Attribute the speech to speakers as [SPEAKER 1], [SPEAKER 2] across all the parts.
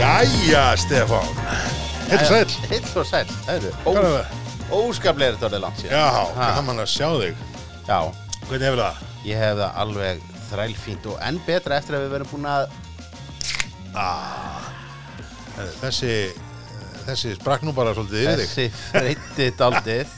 [SPEAKER 1] Jæja, Stefán Heill og sæll
[SPEAKER 2] Hitt og sæl, það
[SPEAKER 1] Hvað er
[SPEAKER 2] eru
[SPEAKER 1] það?
[SPEAKER 2] Óskaplega er þetta orðið langt síðan
[SPEAKER 1] Já,
[SPEAKER 2] Ha.
[SPEAKER 1] gaman að sjá þig
[SPEAKER 2] Já,
[SPEAKER 1] Hvernig hefur það?
[SPEAKER 2] ég hef það alveg þrælfínt og enn betra eftir að við verðum búin að
[SPEAKER 1] Herðu, Þessi, þessi sprakk nú bara svolítið yfir þig
[SPEAKER 2] þessi freytti daldið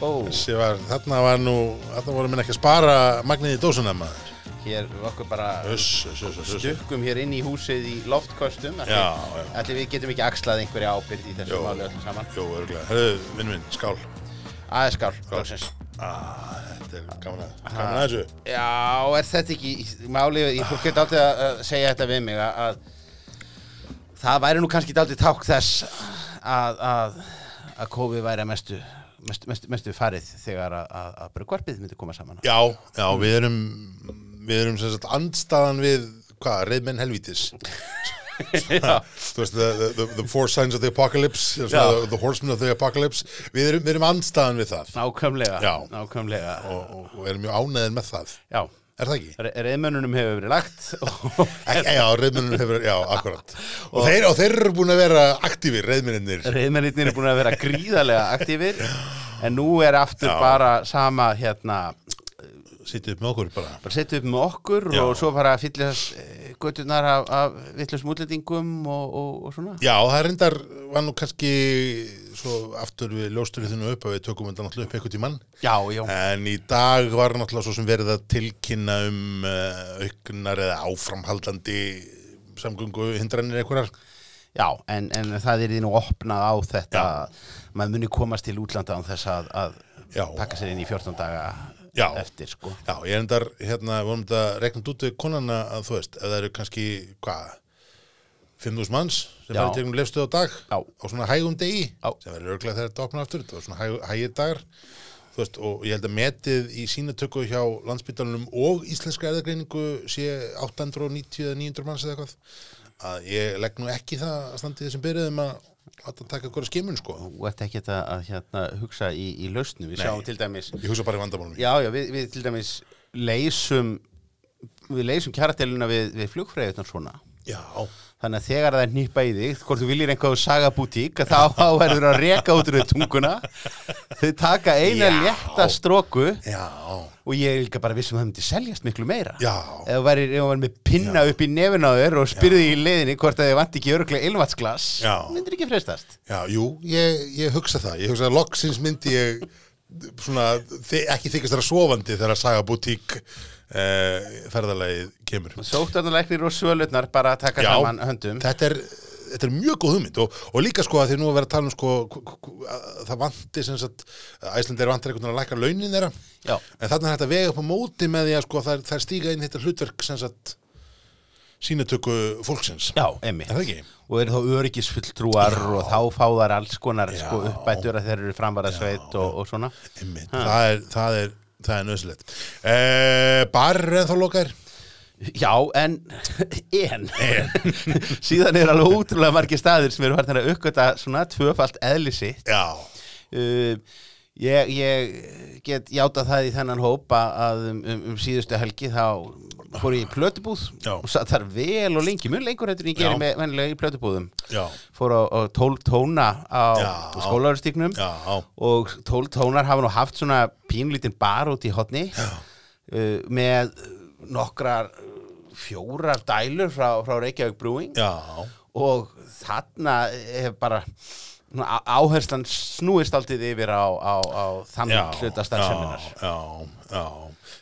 [SPEAKER 2] Ó,
[SPEAKER 1] Þessi var, þarna var nú, þarna voru minn ekki að spara magnið í dósuna maður
[SPEAKER 2] hér okkur bara
[SPEAKER 1] Uss, uss, uss, uss, uss
[SPEAKER 2] stukkum hér inn í húsið í loftköstum
[SPEAKER 1] Já, já.
[SPEAKER 2] Ætli við getum ekki axlað einhverja ábyrgð í þessu
[SPEAKER 1] Jó.
[SPEAKER 2] máli öllu saman
[SPEAKER 1] Jó, örgulega, herðu, vinn minn, skál
[SPEAKER 2] Aðeins skál, loksins
[SPEAKER 1] ah, Þetta er gaman að, gaman að þessu
[SPEAKER 2] Já, er þetta ekki máli, ég fólk geta aldrei að að segja þetta við mig að, að það væri nú kannski aldrei ták þess að, að, að COVID væri að mestu, mestu, mestu, mestu farið þegar að, að, að brugvarpið myndi koma saman.
[SPEAKER 1] Já, já, við erum, við erum sem sagt andstaðan við, hvað, reyðmenn helvítis
[SPEAKER 2] Já,
[SPEAKER 1] Þú veist, the, the, the four signs of the apocalypse eða svona,
[SPEAKER 2] Já.
[SPEAKER 1] the, the horsemen of the apocalypse við erum, við erum andstaðan við það
[SPEAKER 2] nákvæmlega,
[SPEAKER 1] Já.
[SPEAKER 2] nákvæmlega.
[SPEAKER 1] og, og, og erum mjög ánæðin með það
[SPEAKER 2] Já,
[SPEAKER 1] er það ekki?
[SPEAKER 2] Re- reyðmönnunum hefur verið lagt og
[SPEAKER 1] Ek, já, reyðmennir hefur, já, akkurat og þeir, og þeir eru búin að vera aktífir, reyðmennir
[SPEAKER 2] reyðmennirnir eru búin að vera gríðarlega aktífir en nú er aftur bara sama hérna
[SPEAKER 1] sittu upp með okkur bara
[SPEAKER 2] bara setja upp með okkur
[SPEAKER 1] Já.
[SPEAKER 2] og svo bara fyllast göttunar eh, af, af vittlust útlendingum og, og, og svona
[SPEAKER 1] Já, það reyndar var nú kannski svo aftur við ljóstur í þunum upp að við tökum þetta náttúrulega upp eitthvað tímann
[SPEAKER 2] já, já,
[SPEAKER 1] en í dag var náttúrulega svo sem verið að tilkynna um uh, auknar eða áframhaldandi samgöngu hindranir einhverjar
[SPEAKER 2] já en, en það er því nú opnað á þetta maður muni komast til útlanda án þess að, að
[SPEAKER 1] Já.
[SPEAKER 2] taka sér inn í 14 daga
[SPEAKER 1] Já.
[SPEAKER 2] eftir sko
[SPEAKER 1] Já, ég er endar, hérna, við vorum þetta reknum út við konana að þú veist, ef það eru kannski, hvað, 5.000 manns sem
[SPEAKER 2] Já.
[SPEAKER 1] verður tegum lefstuð á dag
[SPEAKER 2] Já.
[SPEAKER 1] á svona hægum degi,
[SPEAKER 2] Já.
[SPEAKER 1] sem verður örglega þegar þetta opna aftur, það var svona hæg, hægir dagar þú veist, og ég held að metið í sínatöku hjá landsbytalunum og íslenska erðagreiningu sé 890 eða 900 manns eða eitthvað að ég legg nú ekki það að standi í þessum byrjuðum að láta taka eitthvað skimun, sko
[SPEAKER 2] og þetta ekki þetta að hérna, hugsa í, í lausnum við sjáum til dæmis
[SPEAKER 1] ég hugsa bara í vandamálum
[SPEAKER 2] já, já, við, við til dæmis leysum við leysum kjaradeluna við, við flugfræðutan svona
[SPEAKER 1] Já.
[SPEAKER 2] Þannig að þegar það er nýpa í þig, hvort þú viljir einhvað sagabútík, þá þá verður að reka út úr þér tunguna. Þau taka eina
[SPEAKER 1] Já.
[SPEAKER 2] létta stróku
[SPEAKER 1] Já.
[SPEAKER 2] og ég er líka bara viss um að það myndi seljast miklu meira.
[SPEAKER 1] Já.
[SPEAKER 2] Ef þú værir ef þú værir með pinna upp í nefin á þér og spyrði í leiðinni hvort að þið vant ekki öruglega ilvatsglas,
[SPEAKER 1] Já.
[SPEAKER 2] myndir ekki freistast.
[SPEAKER 1] Já, jú, ég, ég hugsa það. Ég hugsa að loksins myndi ég svona, þi ekki þykist þeirra sofandi þegar að saga bútík eh, ferðalagið kemur.
[SPEAKER 2] Sóttarnalæknir og svölutnar bara að taka
[SPEAKER 1] Já,
[SPEAKER 2] saman höndum.
[SPEAKER 1] þetta er, þetta er mjög góð hugmynd og, og líka sko að því nú að vera að tala um sko hv- hv- að það vanti sem sagt Æslandir vantir einhvern veginn að lækka launin þeirra
[SPEAKER 2] Já.
[SPEAKER 1] en þarna er þetta vega upp á móti með því að sko þær, þær stíga inn í þetta hlutverk sem sagt sínatöku fólksins.
[SPEAKER 2] Já, einmitt.
[SPEAKER 1] Er það ekki?
[SPEAKER 2] Og eru þá öryggisfulltrúar og þá fá þar alls konar sko,
[SPEAKER 1] Já.
[SPEAKER 2] uppbætur að þeir eru framvarðasveit og, og svona.
[SPEAKER 1] Einmitt, það er, það er, það er nöðsilegt. Eh, bar er ennþá lokaðir?
[SPEAKER 2] Já, en, en, síðan er alveg ótrúlega margir staðir sem eru hvernig að uppgöta svona tvöfalt eðli sitt.
[SPEAKER 1] Já.
[SPEAKER 2] Uh, ég, ég get játa það í þennan hópa að um, um, um síðustu helgi þá fór ég í plötubúð
[SPEAKER 1] Já.
[SPEAKER 2] og satt þar vel og lengi, mjög lengur heldur en ég
[SPEAKER 1] Já.
[SPEAKER 2] gerir með vennilega í plötubúðum.
[SPEAKER 1] Já.
[SPEAKER 2] Fór á, á tól tóna á
[SPEAKER 1] Já.
[SPEAKER 2] skólaverustíknum
[SPEAKER 1] Já,
[SPEAKER 2] og tól tónar hafa nú haft svona pínlítinn bar út í hotni uh, með nokkrar uh, fjórar dælur frá, frá Reykjavík Brewing
[SPEAKER 1] já,
[SPEAKER 2] og þarna er bara svona á- áherslan snúist aldrei yfir á, á, á þann
[SPEAKER 1] já.
[SPEAKER 2] hluta starfseminar
[SPEAKER 1] Já, já, já.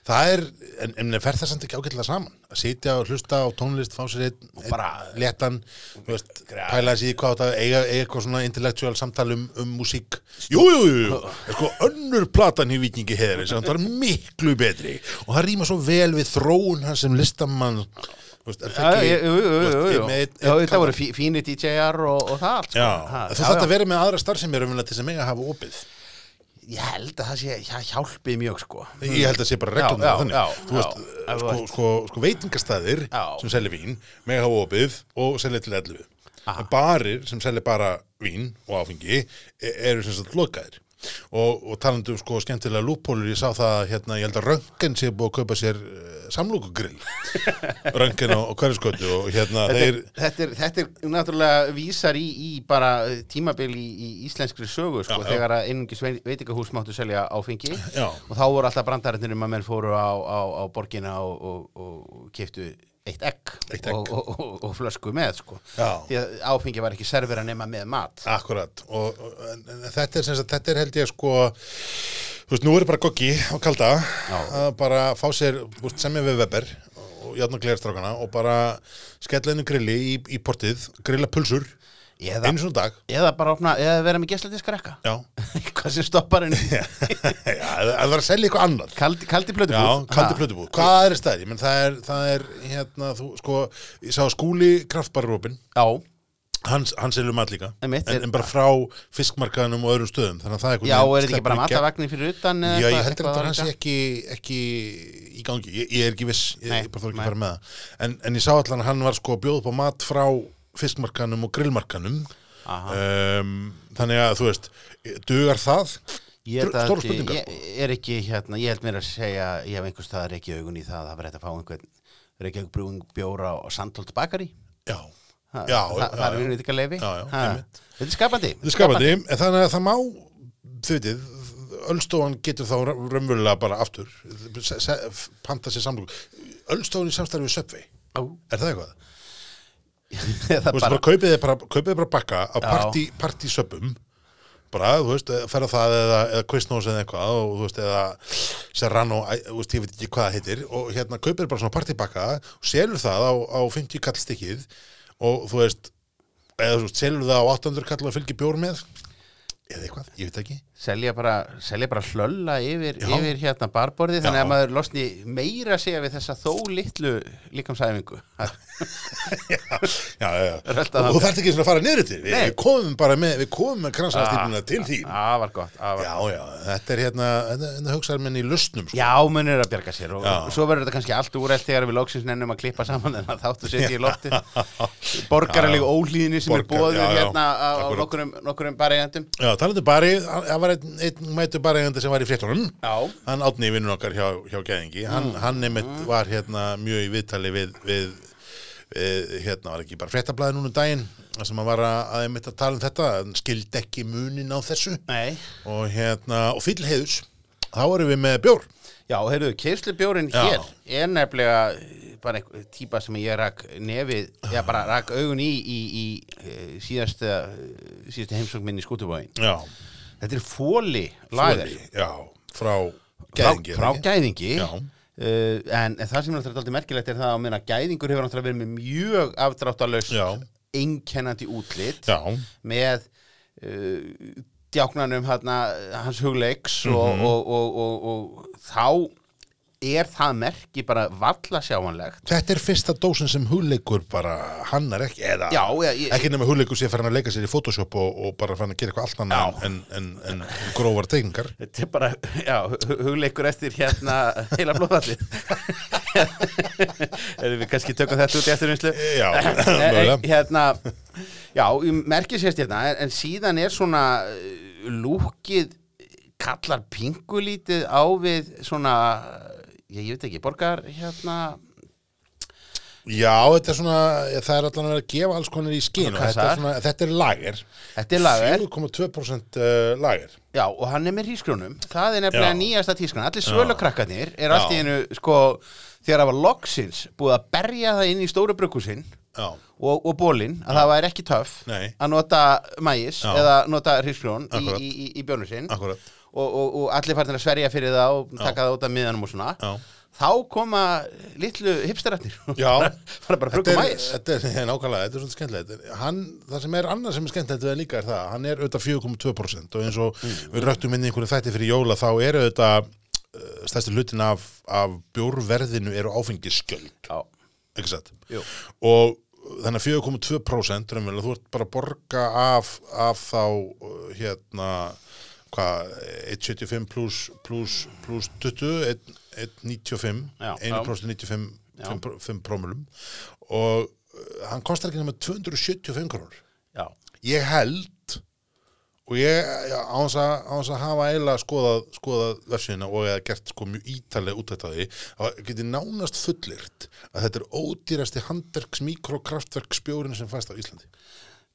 [SPEAKER 1] Það er, en, en fer það samt ekki ágætlega saman? Að sitja og hlusta á tónlist, fá sér einn,
[SPEAKER 2] bara-
[SPEAKER 1] einn letan, þú veist, pæla sér í hvað þetta, eiga, eiga eitthvað svona intellektuál samtal um, um músík.
[SPEAKER 2] Sko-
[SPEAKER 1] Jú, jú, jú, jú. Er sko önnur platan í Víkingi Heðri, sem það er miklu betri og það rýma svo vel við þróun hans sem listamann, þú veist, er
[SPEAKER 2] Já,
[SPEAKER 1] það
[SPEAKER 2] já,
[SPEAKER 1] ekki?
[SPEAKER 2] jú, jú,
[SPEAKER 1] þú
[SPEAKER 2] jú,
[SPEAKER 1] veist,
[SPEAKER 2] jú.
[SPEAKER 1] með einn-
[SPEAKER 2] Já,
[SPEAKER 1] einn
[SPEAKER 2] þetta
[SPEAKER 1] kanta-
[SPEAKER 2] voru fí- fínir DJ-ar og, og það allt sko.
[SPEAKER 1] Já,
[SPEAKER 2] Ha,
[SPEAKER 1] þú
[SPEAKER 2] já,
[SPEAKER 1] þarft
[SPEAKER 2] já.
[SPEAKER 1] að vera með aðra starfsemi raunverulega til sem eiga að hafa opið.
[SPEAKER 2] Ég held að það sé, það hjálpi mjög sko
[SPEAKER 1] Ég held að sé bara reglum
[SPEAKER 2] Já, já,
[SPEAKER 1] þannig.
[SPEAKER 2] já,
[SPEAKER 1] þú veist,
[SPEAKER 2] já. Ef þú
[SPEAKER 1] sko,
[SPEAKER 2] ert-
[SPEAKER 1] sko, sko veitingastæðir
[SPEAKER 2] Já.
[SPEAKER 1] sem selja vín, mega hafa opið og selja til 11. En barir sem selja bara vín og áfengi e- eru sem sagt lokaðir. og, og talandi um sko skemmtilega lúppólur ég sá það að hérna, ég held að Röngen sé búið að kaupa sér uh, samlúkugrill Röngen á, á hverjuskotu og hérna
[SPEAKER 2] Þetta, er,
[SPEAKER 1] þeir
[SPEAKER 2] þetta, er, þetta er náttúrulega vísar í, í bara eh, tímabil í, í íslenskri sögu sko,
[SPEAKER 1] Já, já.
[SPEAKER 2] þegar að einungis vei- veitingahús máttu selja áfengi
[SPEAKER 1] Já.
[SPEAKER 2] og þá voru alltaf brandarinnir um að menn fóru á, á, á borgina og, og, og keftu eitt egg,
[SPEAKER 1] Eitt egg.
[SPEAKER 2] Og, og, og, og flösku með sko.
[SPEAKER 1] Já.
[SPEAKER 2] því að áfengi var ekki servera nema með mat
[SPEAKER 1] Akkurat, og, og en, en þetta er sem sagt, þetta er held ég sko þú veist, nú er bara goggi og kalda að bara fá sér þú veist, semja við Weber og játn og glerastrákana og bara skella einu grilli í, í portið, grilla pulsur
[SPEAKER 2] eða,
[SPEAKER 1] einu svona dag,
[SPEAKER 2] eða bara opna, eða vera með gesladískarekka
[SPEAKER 1] já
[SPEAKER 2] hvað sem stoppar henni
[SPEAKER 1] Já, það var að selja eitthvað annað
[SPEAKER 2] kaldi, kaldi
[SPEAKER 1] Já,
[SPEAKER 2] plötubúð
[SPEAKER 1] kaldi
[SPEAKER 2] Ha.
[SPEAKER 1] plötubúð, hvað er stæði? Menn það er, það er, hérna, þú, sko ég sá skúli kraftbarrópin
[SPEAKER 2] já,
[SPEAKER 1] hans, hans er um all líka en,
[SPEAKER 2] Einmitt, er-
[SPEAKER 1] en bara frá fiskmarkaðunum og öðrum stöðum þannig að það er
[SPEAKER 2] já, er þetta
[SPEAKER 1] sleppur
[SPEAKER 2] ekki bara
[SPEAKER 1] í gegn.
[SPEAKER 2] matavagnin fyrir utan eða
[SPEAKER 1] Já, ég
[SPEAKER 2] eitthvað-
[SPEAKER 1] heldur
[SPEAKER 2] eitthvað
[SPEAKER 1] að
[SPEAKER 2] á
[SPEAKER 1] það sé
[SPEAKER 2] líka?
[SPEAKER 1] ekki, ekki í gangi, ég, ég er ekki viss ég,
[SPEAKER 2] Nei,
[SPEAKER 1] ég bara þarf ekki
[SPEAKER 2] nei.
[SPEAKER 1] að fara með það en, en ég sá allan að hann var sko að bjóða upp á mat frá fiskmarkanum og grillmarkanum
[SPEAKER 2] Aha.
[SPEAKER 1] um, þannig að þú veist dugar það?
[SPEAKER 2] Ég held að
[SPEAKER 1] Stóra
[SPEAKER 2] þetta-
[SPEAKER 1] spurningar,
[SPEAKER 2] ég, er ekki hérna, ég held mér að segja ég hef einhvers staðar ekki augun í það að það verði hægt að fá einhvern Reykjavík brúing bjóra og Sandholt bakari
[SPEAKER 1] Já,
[SPEAKER 2] Ha,
[SPEAKER 1] já,
[SPEAKER 2] það,
[SPEAKER 1] já,
[SPEAKER 2] það er
[SPEAKER 1] já.
[SPEAKER 2] vinnur ykkar leifi
[SPEAKER 1] Já, já,
[SPEAKER 2] Ha,
[SPEAKER 1] einmitt.
[SPEAKER 2] þetta er skapandi
[SPEAKER 1] Þetta er skapandi, en þannig að það má þið vitið, Ölstofan getur þá ra- raunverulega bara aftur se, se, panta sér samlug Ölstofan í samstarfi við Söpvei,
[SPEAKER 2] Á,
[SPEAKER 1] er það eitthvað?
[SPEAKER 2] það
[SPEAKER 1] Þú
[SPEAKER 2] er
[SPEAKER 1] veist,
[SPEAKER 2] bara,
[SPEAKER 1] bara kaupið þið bara, kaupið þið bara bakka á
[SPEAKER 2] Já.
[SPEAKER 1] partí, partysöpum bara, þú veist, ferða það eða, eða quiznos eða eitthvað og þú veist, eða serrano, æ, þú veist, ég veit ekki hvað það heitir og hérna kaupið þið bara svona partybakka og selur það á, á 50 kall stikkið og þú veist eða þú veist, selur það á 800 kall að fylgi bjór með eða eitthvað, ég veit ekki
[SPEAKER 2] selja bara selja bara hlölla yfir,
[SPEAKER 1] Já.
[SPEAKER 2] yfir hérna barborði þannig
[SPEAKER 1] Já.
[SPEAKER 2] að maður losni meira að segja við þessa þó litlu líkamsæfingu Ha,
[SPEAKER 1] já, já, já. og
[SPEAKER 2] Rölta það.
[SPEAKER 1] þú þarft ekki svona að fara niður til við,
[SPEAKER 2] Nei. Ah,
[SPEAKER 1] við komum bara með, við komum með kransastýpuna til því
[SPEAKER 2] afar gott afar.
[SPEAKER 1] já, já, þetta er hérna, þetta, þetta hugsaðar menn í lustnum sko.
[SPEAKER 2] Já, munur er að bjarga sér og
[SPEAKER 1] Já.
[SPEAKER 2] svo verður þetta kannski allt úrælt þegar við loksins nennum að klippa saman en að þáttu setja í lofti borgaralegu ólíðinni sem
[SPEAKER 1] Borgar-
[SPEAKER 2] er bóðið
[SPEAKER 1] já, já,
[SPEAKER 2] hérna á, á
[SPEAKER 1] akkúrat.
[SPEAKER 2] nokkurum, nokkurum baregjandum
[SPEAKER 1] Já, talandi um bari, hann- það var einn, einn mætu barigandi sem var í fréttunum
[SPEAKER 2] Já.
[SPEAKER 1] hann átni í vinnun okkar hjá, hjá Gæðingi hann, hann nefnt var hérna mjög í viðtali við, við, við hérna var ekki bara fréttablaði núna um daginn þar sem hann var að, að einmitt að tala um þetta hann skildi ekki munin á þessu
[SPEAKER 2] Nei,
[SPEAKER 1] og hérna, og fyll heiðus þá erum við með bjór
[SPEAKER 2] já, heyrðu, keirslubjórin
[SPEAKER 1] Já.
[SPEAKER 2] hér er nefnilega bara einhver típa sem ég rak nefið, já, bara rak augun í í, í eh, síðasta síðasta heimsókn minn í skútubóin
[SPEAKER 1] Já,
[SPEAKER 2] Þetta er fóli lager
[SPEAKER 1] Fóli, Já, frá
[SPEAKER 2] frá,
[SPEAKER 1] Gæðingi
[SPEAKER 2] frá gæðingi
[SPEAKER 1] Já.
[SPEAKER 2] uh, en, en það sem er náttúrulega alltaf merkilegt er það að meina gæðingur hefur náttúrulega verið með mjög
[SPEAKER 1] Já.
[SPEAKER 2] afdráttalöst einkennandi útlit
[SPEAKER 1] Já,
[SPEAKER 2] með uh, djáknanum hana, hans hugleiks og,
[SPEAKER 1] Mhm.
[SPEAKER 2] og, og, og, og, þá er það merki bara valla sjáanlegt
[SPEAKER 1] þetta er fyrsta dósin sem hugleikur bara hannar ekki, eða
[SPEAKER 2] Já, ég, ég,
[SPEAKER 1] ekki nema hugleikur sé farin að leika sér í Photoshop og, og bara farin að gera eitthvað allt annað en, en, en, en grófar teikingar
[SPEAKER 2] Þetta er bara, já, hu- hugleikur eftir hérna heila blóðallið. Erum við kannski tökum þetta út í eftirvinnslu?
[SPEAKER 1] Já, mögulega.
[SPEAKER 2] mögulega. Hérna, já, ég merki sérst hérna, en- en síðan er svona uh, lúkið kallar pingulítið á við svona, ég, ég veit ekki, borgar hérna,
[SPEAKER 1] Já, þetta er svona, það er allan að vera að gefa alls konar í skinn og
[SPEAKER 2] Svona
[SPEAKER 1] þetta er,
[SPEAKER 2] kassar.
[SPEAKER 1] svona, þetta er lager
[SPEAKER 2] þetta er lagar,
[SPEAKER 1] 4,2% eh, lager
[SPEAKER 2] já, og hann er með hrísgrjónum, það er nefnilega
[SPEAKER 1] Já.
[SPEAKER 2] nýjasta tískan, allir svölakrakkarnir er allt í
[SPEAKER 1] Já.
[SPEAKER 2] einu, sko, þegar það var loksins búið að berja það inn í stóru brugghúsin,
[SPEAKER 1] Já,
[SPEAKER 2] og, og bólinn að það væri ekki töff
[SPEAKER 1] Nei.
[SPEAKER 2] að nota mægis
[SPEAKER 1] Já.
[SPEAKER 2] eða nota hrísgrjón í,
[SPEAKER 1] Akkurat.
[SPEAKER 2] í, í, í bjónu sinn og,
[SPEAKER 1] akkurat
[SPEAKER 2] og, og allir farnir að sverja fyrir það og taka það út af miðanum og svona
[SPEAKER 1] Já.
[SPEAKER 2] þá koma litlu hipsteratnir
[SPEAKER 1] Já.
[SPEAKER 2] fara bara að
[SPEAKER 1] Þetta
[SPEAKER 2] bruga
[SPEAKER 1] er,
[SPEAKER 2] mægis
[SPEAKER 1] þetta er nei, nákvæmlega, þetta er svolítið skemmtilegt En hann, það sem er annað sem er skemmtilegt við það líka er það, að hann er auðvitað 4,2% og eins og við röktum inn í einhverju þætti fyrir jóla þá er auðvitað eh, stærsti hlutin af, af bjórverðinu eru áfengisgjöld
[SPEAKER 2] Já.
[SPEAKER 1] ekki satt
[SPEAKER 2] Jú.
[SPEAKER 1] og uh, þannig að 4,2% raunverulega, þú ert bara að borga af, af þá uh, hérna hvað, 1,75 plus, plus, plus 20 1, 1,95
[SPEAKER 2] Já,
[SPEAKER 1] 1% 95
[SPEAKER 2] Já.
[SPEAKER 1] 5, 5 prómulum og uh, hann kostar ekki nema 275 krónur
[SPEAKER 2] Já.
[SPEAKER 1] ég held og ég á hans að, á hans að hafa eiginlega skoðað, skoðað vefsina og eða gert sko mjög ítalega útætt á því að geti nánast fullirt að þetta er ódýrasti handverks mikrokraftverksbjórin sem fæst á Íslandi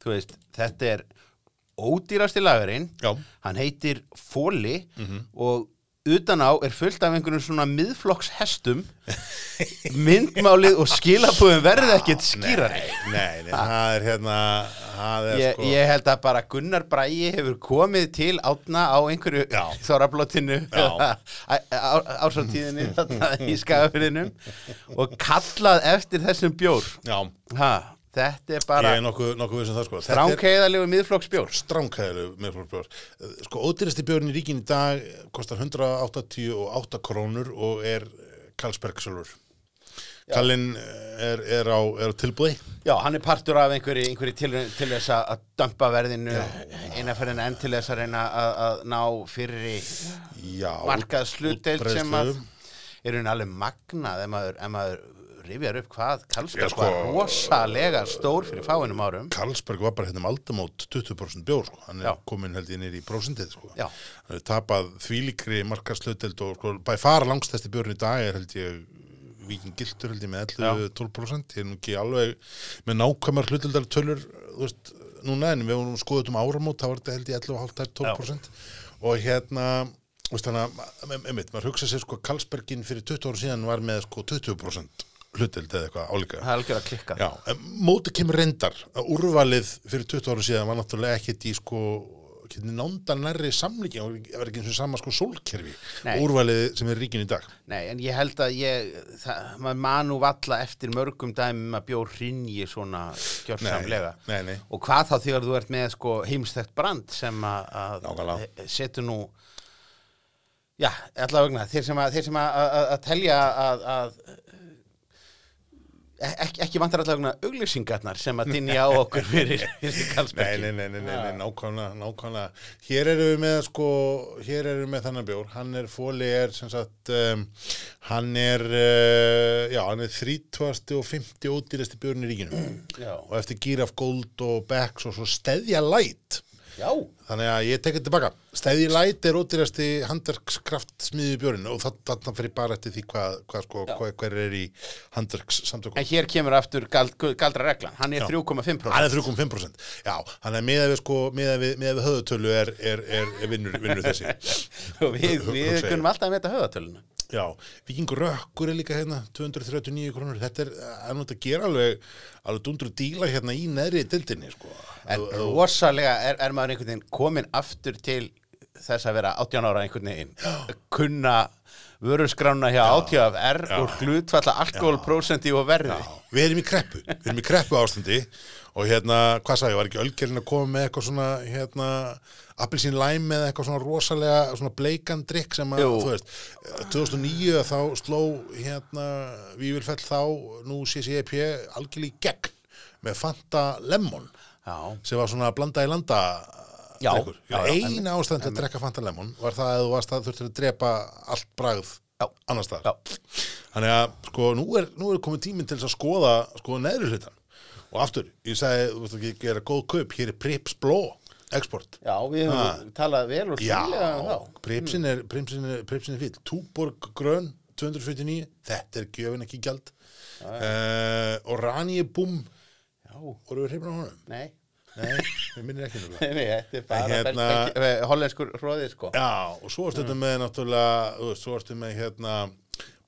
[SPEAKER 2] þú veist, þetta er ódýrasti lagurinn
[SPEAKER 1] Já. Mhm.
[SPEAKER 2] hann heitir Fóli og utan á er fullt af einhvernum svona miðflokkshestum myndmálið og skilabúðum verði ekkert skýrari
[SPEAKER 1] Nei, nei, það er hérna það er
[SPEAKER 2] ég,
[SPEAKER 1] sko
[SPEAKER 2] ég held að bara Gunnar Bræi hefur komið til átna á einhverju
[SPEAKER 1] Já.
[SPEAKER 2] þorrablotinu
[SPEAKER 1] Já.
[SPEAKER 2] ásáttíðinni þarna í skafurinnum og kallað eftir þessum bjór
[SPEAKER 1] Já,
[SPEAKER 2] ha, þetta er bara
[SPEAKER 1] ég er nokkuð, nokkuð við sem það sko Þetta er-
[SPEAKER 2] stránkeiðalegu miðflokksbjór
[SPEAKER 1] stránkæðilegu mikroflórbjór. Sko, ódýrasti bjórn í ríkin í dag eh, kostar 188 krónur og er Karlsbergsölur. Kallinn eh, er, er, á, er á tilbúði.
[SPEAKER 2] Já, hann er partur af einhverju, einhverju til, til þess að að dömpa verðinu innanferðin enn til þess að reyna að, að ná fyrri
[SPEAKER 1] Já.
[SPEAKER 2] markað slutdeild sem að
[SPEAKER 1] útbreiðslu.
[SPEAKER 2] er hún alveg magnað ef maður, ef maður rifjar upp hvað
[SPEAKER 1] Já,
[SPEAKER 2] Karlsberg
[SPEAKER 1] sko-
[SPEAKER 2] var rosalega stór fyrir fáinum árum
[SPEAKER 1] Karlsberg var bara hérna um aldamót 20% bjór, sko. hann
[SPEAKER 2] Já.
[SPEAKER 1] er komin held ég nýr í prósentið, sko.
[SPEAKER 2] Já.
[SPEAKER 1] hann er tapað þvílíkri markarsluteld og sko, bæ fara langstæsti bjórn í dag er held ég Víkin Gildur held ég með 11-12% ég er nú ekki alveg með nákvæmar hluteldar tölur, þú veist, núna en við vorum skoðið um áramót, þá var þetta held ég 11,5-12% og hérna þú veist þannig að, em- einmitt, maður hugsa sér sko að Karlsbergin fyrir 20 ára síðan var með sko 20% hluteld eða eitthvað álíka
[SPEAKER 2] Það er algjör að klikka
[SPEAKER 1] Já, en mótið kemur reyndar að úrvalið fyrir 20 ára síðan var náttúrulega ekkit í sko nánda nærri samlíki og það var ekki eins og sama sko sólkerfi
[SPEAKER 2] Nei.
[SPEAKER 1] úrvalið sem er ríkin í dag
[SPEAKER 2] Nei, en ég held að ég það, maður manu valla eftir mörgum dæmum að bjór hrinji svona gjörsamlega
[SPEAKER 1] Nei, nei, nei.
[SPEAKER 2] og hvað þá þegar þú ert með sko heimstækt brand sem að- að
[SPEAKER 1] Nákvæmlega.
[SPEAKER 2] setur nú já, allavega vegna þeir sem að, þeir sem að, að, að telja að, að e, ekki, ekki vantar allavega auglýsingarnar sem að dinja á okkur fyrir, fyrir
[SPEAKER 1] Nei,
[SPEAKER 2] Karlsbergi
[SPEAKER 1] nei, nei, nei, nei, nei, nákvæmlega, nákvæmlega. Hér erum við með, sko, hér erum við með þannig bjór. Hann er, Fóli er, sem sagt, um, hann er, uh, já, hann er 30 og 50 ódýrasti bjórn í ríkinu.
[SPEAKER 2] Já.
[SPEAKER 1] Og eftir Gíraf Gold og Becks og svo Steðja Light.
[SPEAKER 2] Já,
[SPEAKER 1] Þannig að ég tekið tilbaka. Stæði Light er ódýrasti handverkskraftsmiðju björn og þa- þarna fyrir bara eftir því hvað, hvað sko,
[SPEAKER 2] Já.
[SPEAKER 1] hvað, hver er í handverkssamtökum.
[SPEAKER 2] en hér kemur aftur gald, galdra reglan, hann er 3,5%
[SPEAKER 1] Hann er 3,5%. Já, hann er miðað við sko, miðað við, miðað við höðutölu er, er, er, er vinnur, vinnur þessi.
[SPEAKER 2] og við, við
[SPEAKER 1] Hugsa ég.
[SPEAKER 2] kunum alltaf að meta höfðatöluna
[SPEAKER 1] Já, Víkingur Rökkur er líka hérna 239 krónur. Þetta er, hann átt að gera alveg, alveg dundru díla hérna í neðri dildinni sko.
[SPEAKER 2] En
[SPEAKER 1] Þú- þú-
[SPEAKER 2] rosalega er, er maður einhvern veginn komin aftur til þess að vera 18 ára einhvern veginn kunna vörurskrána hjá ATFR og hlutfalla alkoholprósenti og verði
[SPEAKER 1] Já, við erum í kreppu, við erum í kreppu ástandi og hérna, hvað sagði, ég, var ekki ölgerinn að koma með eitthvað svona, hérna, appelsín lime eða eitthvað svona rosalega, svona bleikan drikk sem að,
[SPEAKER 2] Jú.
[SPEAKER 1] þú veist, eh, 2009 þá sló, hérna, Vívilfell þá, nú CCEP, algjörlega í gegn með Fanta Lemon
[SPEAKER 2] Já,
[SPEAKER 1] sem var svona blanda í landa
[SPEAKER 2] Já,
[SPEAKER 1] drikkur.
[SPEAKER 2] já, já,
[SPEAKER 1] Eina ástæðan til að drekka Fanta Lemon var það að þú varst að þurftir að drepa allt bragð
[SPEAKER 2] Já.
[SPEAKER 1] annars staðar.
[SPEAKER 2] já,
[SPEAKER 1] Þannig að sko, nú er, nú er komið tíminn til þess að skoða sko, neðri hlutan. Og aftur, ég sagði, þú veist ekki, gera góð kaup, hér er Prips Bló, export.
[SPEAKER 2] já, við höfum talað vel og
[SPEAKER 1] Já,
[SPEAKER 2] sýlega um þá
[SPEAKER 1] Pripsin er, Pripsin er, Pripsin er fýll. Túborg Grön, 249, þetta er gjöfin ekki gjald. Uh, Oranje Búm,
[SPEAKER 2] Já,
[SPEAKER 1] voru við hrifin á honum?
[SPEAKER 2] nei,
[SPEAKER 1] Nei, við minnir ekki um náttúrulega.
[SPEAKER 2] nei, þetta er bara
[SPEAKER 1] En
[SPEAKER 2] hérna...
[SPEAKER 1] hérna-
[SPEAKER 2] hollenskur hróðið sko
[SPEAKER 1] Já, og svo
[SPEAKER 2] Mm.
[SPEAKER 1] erstu þetta með náttúrulega, þú veist, svo erstu með hérna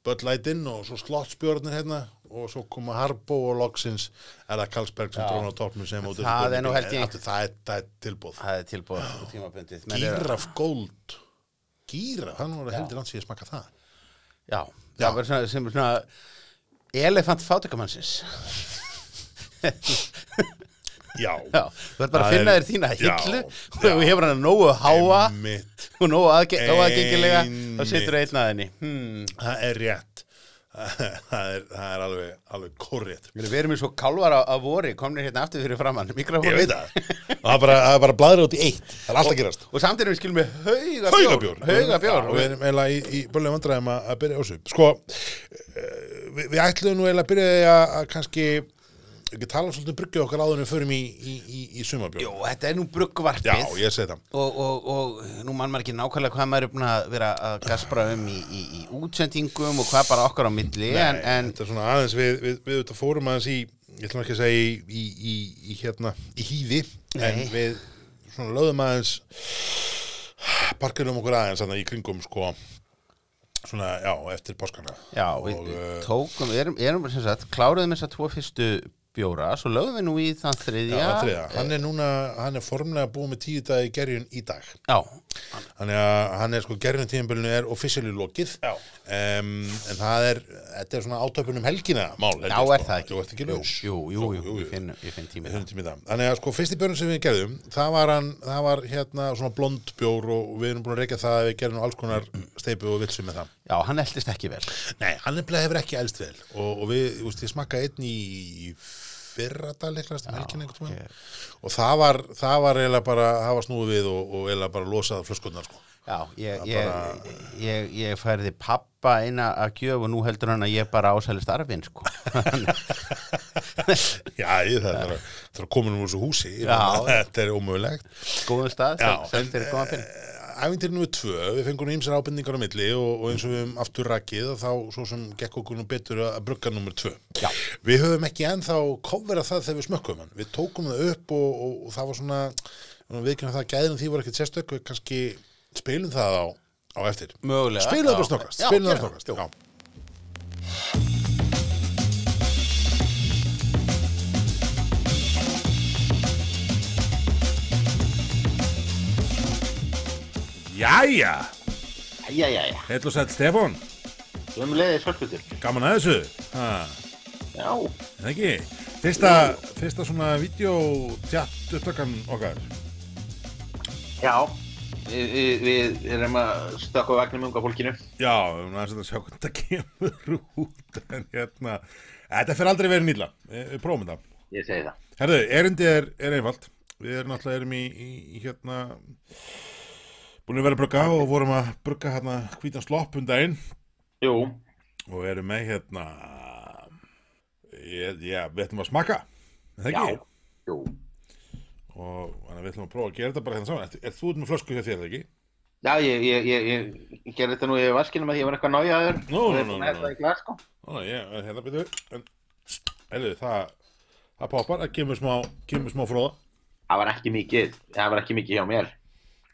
[SPEAKER 1] Bud Light-inn og svo Slottsbjörnir hérna og svo koma Harbo og Logsins er það Karlsberg sem
[SPEAKER 2] Já.
[SPEAKER 1] dróna á toppnum sem út
[SPEAKER 2] Það er nú held ég-
[SPEAKER 1] Aftur, það, er, það er tilbúð
[SPEAKER 2] Það er tilbúið og tímabundið menn eru-
[SPEAKER 1] Gíraf Gold Gíraf, hann var heldur hans ég að smaka það
[SPEAKER 2] Já, það verður svona, sem svona elefant fátakamannsins
[SPEAKER 1] Já,
[SPEAKER 2] Já, þú ert bara að
[SPEAKER 1] Það
[SPEAKER 2] finna
[SPEAKER 1] er-
[SPEAKER 2] þér þína
[SPEAKER 1] Já,
[SPEAKER 2] hillu
[SPEAKER 1] já.
[SPEAKER 2] og hefur hann nógu háa
[SPEAKER 1] mitt
[SPEAKER 2] og nógu aðge- nógu aðgengilega þá
[SPEAKER 1] Einmitt.
[SPEAKER 2] setur þú einn að henni hmm.
[SPEAKER 1] Það er rétt Það er, það er alveg, alveg korrétt
[SPEAKER 2] Við erum eins og kálvar á, á vori komnir hérna aftur fyrir framann
[SPEAKER 1] Ég
[SPEAKER 2] mikrofónu
[SPEAKER 1] veit það Það er bara, það er bara bladra út í eitt Það er alltaf gerast
[SPEAKER 2] og samt erum við skilum með haugabjór
[SPEAKER 1] Haugabjór
[SPEAKER 2] Haugabjór
[SPEAKER 1] Já, og við erum eiginlega í, í börnlega vandræðum að, að byrja á þessu sko, eh, við, við ætlum nú eiginlega að byrja því að, að kannski
[SPEAKER 3] ekki tala svolítið um bryggju okkar áður en við förum í, í, í, í sumabjörn
[SPEAKER 4] Jó, þetta er nú
[SPEAKER 3] Já,
[SPEAKER 4] bruggvarpið
[SPEAKER 3] ég segi það
[SPEAKER 4] og, og, og nú mann maður ekki nákvæmlega hvað maður er búin að vera að gaspra um í, í, í útsendingum og hvað bara okkar á milli en, en
[SPEAKER 3] Þetta er svona aðeins, við, við, við auðvitað fórum aðeins í, ég ætlum ekki að segja í, í, í, í hérna, í hýði, en
[SPEAKER 4] Nei.
[SPEAKER 3] við svona löðum aðeins, parkirum okkur aðeins þannig í kringum, sko, svona, já, eftir páskana.
[SPEAKER 4] já, við
[SPEAKER 3] og,
[SPEAKER 4] við
[SPEAKER 3] eh,
[SPEAKER 4] tókum, við erum, erum sem sagt, kláruðum þess að tvo fyrstu bjóra, svo lögum við nú í þann
[SPEAKER 3] já,
[SPEAKER 4] þriðja
[SPEAKER 3] já, þriða. Hann er núna, hann er formlega búið með tíu dag í gerjun í dag.
[SPEAKER 4] já,
[SPEAKER 3] Þannig að hann er sko, gerjun tíðanbölinu er officially lokið,
[SPEAKER 4] Já.
[SPEAKER 3] um, en það er, þetta er svona átöpunum helgina mál. held
[SPEAKER 4] já,
[SPEAKER 3] ég, sko.
[SPEAKER 4] er það ekki
[SPEAKER 3] Þú ert ekki laus.
[SPEAKER 4] jú, jú, jú,
[SPEAKER 3] Jú, jú,
[SPEAKER 4] ég finn, ég finn tími
[SPEAKER 3] Við höfum tíma í það. Þannig að sko fyrsti björn sem við gerðum, það var hann, það var hérna svona blond bjór og við erum búin að reyka það að við gerum nú alls konar steipu og vilsum með það.
[SPEAKER 4] já, hann eldist ekki vel
[SPEAKER 3] Nei, hann nefnilega hefur ekki elst vel og, og við, þú veist, ég smakka einn í, í fyrradag leiklast um helgin einhvern tímann og það var, það var eiginlega bara, það var snúið við og, og eiginlega bara losað flöskunnar sko.
[SPEAKER 4] Já, ég,
[SPEAKER 3] Það
[SPEAKER 4] ég,
[SPEAKER 3] bara-
[SPEAKER 4] ég, ég færði pappa inn að að gjöf og nú heldur hann að ég bara ásæli starfin, sko.
[SPEAKER 3] Já, ég, það er bara, það er að koma nú úr þessu húsi, ég
[SPEAKER 4] Já.
[SPEAKER 3] meina, þetta er ómögulegt.
[SPEAKER 4] Góðum stað,
[SPEAKER 3] Já,
[SPEAKER 4] sem þeir koma fyrir.
[SPEAKER 3] Ævindir nú tvö, við fengum ímsar ábendingar á milli og, og eins og við höfum aftur rakið og þá svo sem gekk okkur nú betur að að brugga nummer tvö.
[SPEAKER 4] Já.
[SPEAKER 3] Við höfum ekki ennþá kofverað það þegar við smökkum hann. Við tókum það upp og, og, og það var svona, við ekki það að gæðin því voru ekkert sérstök, við kannski spilum það á, á eftir.
[SPEAKER 4] Mögulega.
[SPEAKER 3] Spilum það
[SPEAKER 4] Já.
[SPEAKER 3] bara snokast,
[SPEAKER 4] Já,
[SPEAKER 3] spilum
[SPEAKER 4] gera
[SPEAKER 3] það snokast,
[SPEAKER 4] það.
[SPEAKER 3] já.
[SPEAKER 1] Jæja,
[SPEAKER 2] Jæja, jæja,
[SPEAKER 1] heil og sætt Stefán,
[SPEAKER 2] við höfum leiðið svolputur.
[SPEAKER 1] gaman að þessu, ha,
[SPEAKER 2] Já,
[SPEAKER 1] er það ekki?
[SPEAKER 3] Fyrsta, fyrsta svona videótjatt upptökan okkar.
[SPEAKER 2] já, við, við, við erum að stökka á vagnum unga fólkinu.
[SPEAKER 1] Já, við erum aðeins að sjá hvernig það kemur út, en hérna, þetta fyrir aldrei verið nýla, við, við prófum þetta.
[SPEAKER 2] Ég segi það.
[SPEAKER 1] Herðu, erindi er, er einfalt, við erum alltaf erum í, í, í hérna, búin að vera að brugga og vorum að brugga hérna hvítan slopp um daginn
[SPEAKER 2] Jú,
[SPEAKER 1] og erum með hérna, ég, já, við ætlum að smakka, er það
[SPEAKER 2] já,
[SPEAKER 1] ekki?
[SPEAKER 2] jú.
[SPEAKER 1] og þannig að við ætlum að prófa að gera þetta bara hérna saman er, er þú út með flösku hjá þér eða ekki?
[SPEAKER 2] Já, ég, ég, ég, ég, ég gerði þetta nú í vaskinum að ég var eitthvað nájaður.
[SPEAKER 1] Nú, nú, nú, nú,
[SPEAKER 2] Það
[SPEAKER 1] nú.
[SPEAKER 2] er glas, sko.
[SPEAKER 1] Ó, ég, en hérna byrju en, heilu, það, það poppar, það kemur smá, kemur smá fróða
[SPEAKER 2] Það var ekki mikið, það var ekki mikið hjá mér.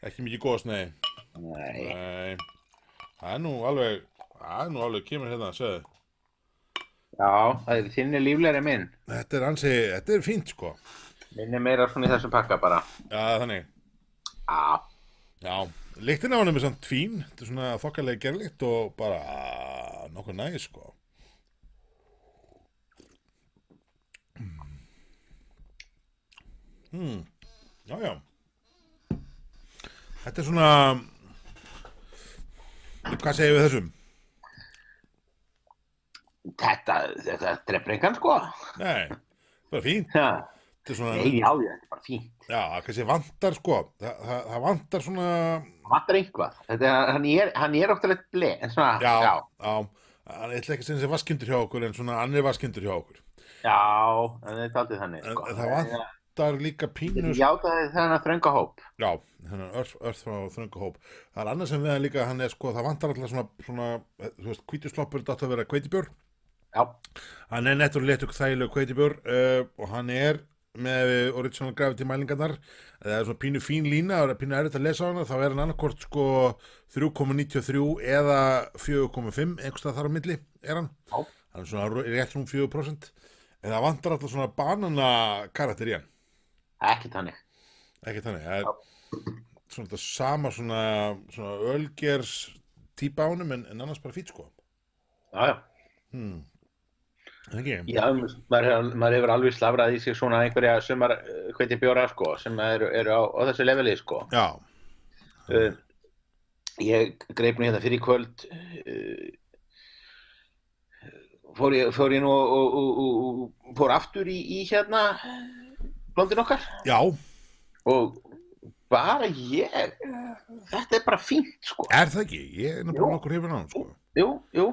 [SPEAKER 1] ekki mikið góðs, nei,
[SPEAKER 2] Nei,
[SPEAKER 1] nei það er nú alveg það er nú alveg, kemur hérna, segðu
[SPEAKER 2] já, það er þinni líflegri en minn.
[SPEAKER 1] þetta er ansi, þetta er fínt sko já,
[SPEAKER 2] Minn er meira svona í þessum pakka bara.
[SPEAKER 1] þannig,
[SPEAKER 2] Já,
[SPEAKER 1] já lyktin á hann er samt fín, þetta er svona þokkalega gerlikt og bara nokkuð næg sko Hmm. Já, já. Þetta er svona, hvað segjum við þessum?
[SPEAKER 2] þetta, þetta drefnir engan, sko.
[SPEAKER 1] Nei, bara fínt.
[SPEAKER 2] Ha,
[SPEAKER 1] Þetta er svona,
[SPEAKER 2] Nei, já, já, þetta er bara fínt.
[SPEAKER 1] já, kannski vantar sko, Þa, það, það vantar svona,
[SPEAKER 2] Það vantar einhvað. Þetta, hann er, hann er óttalegt ble, en svona,
[SPEAKER 1] já, já, hann ætla ekki að segja vaskindur hjá okkur en svona annir vaskindur hjá okkur.
[SPEAKER 2] Já, en þetta er aldrei þannig
[SPEAKER 1] En
[SPEAKER 2] sko.
[SPEAKER 1] það vantar líka pínu,
[SPEAKER 2] Ég játaði þennan þrönga hóp
[SPEAKER 1] já, þennan örf, örf frá þröngu hóp. Það er annað sem við hann líka, hann er sko, það vantar alltaf svona, svona, þú veist, hvítusloppur þetta átt að vera hveitibjörn.
[SPEAKER 2] Já,
[SPEAKER 1] Hann er nettur letur þægileg kveitibjór uh, og hann er með uh, original gravity mælingarnar það er svona pínu fín lína, það er pínu erfitt að lesa á hana þá er hann annarkort sko 3,93 eða 4,5 einhverstað þar á milli er hann
[SPEAKER 2] Já.
[SPEAKER 1] hann er svona rú- rétt rúm 4% en það vantar alltaf svona banana karakter í hann
[SPEAKER 2] ekki þannig
[SPEAKER 1] ekki þannig, það er svona þetta sama svona, svona ölgers típa á honum en, en annars bara fýt sko Hmm.
[SPEAKER 2] Já, já,
[SPEAKER 1] Er það ekki?
[SPEAKER 2] já maður, hefur- maður hefur alveg slafrað í sig svona einhverja sumar hviti bjóra sko sem eru, eru á, á þessu leveli sko
[SPEAKER 1] Já,
[SPEAKER 2] uh, Ég greip nú hérna fyrir í kvöld uh, fór, ég, fór ég nú og, og, og, og fór aftur í, í hérna blondin okkar
[SPEAKER 1] já,
[SPEAKER 2] og bara ég þetta er bara fínt sko
[SPEAKER 1] er það ekki? Ég er
[SPEAKER 2] Jú.
[SPEAKER 1] nefnilega okkur hefur náðum sko
[SPEAKER 2] Jú, jú,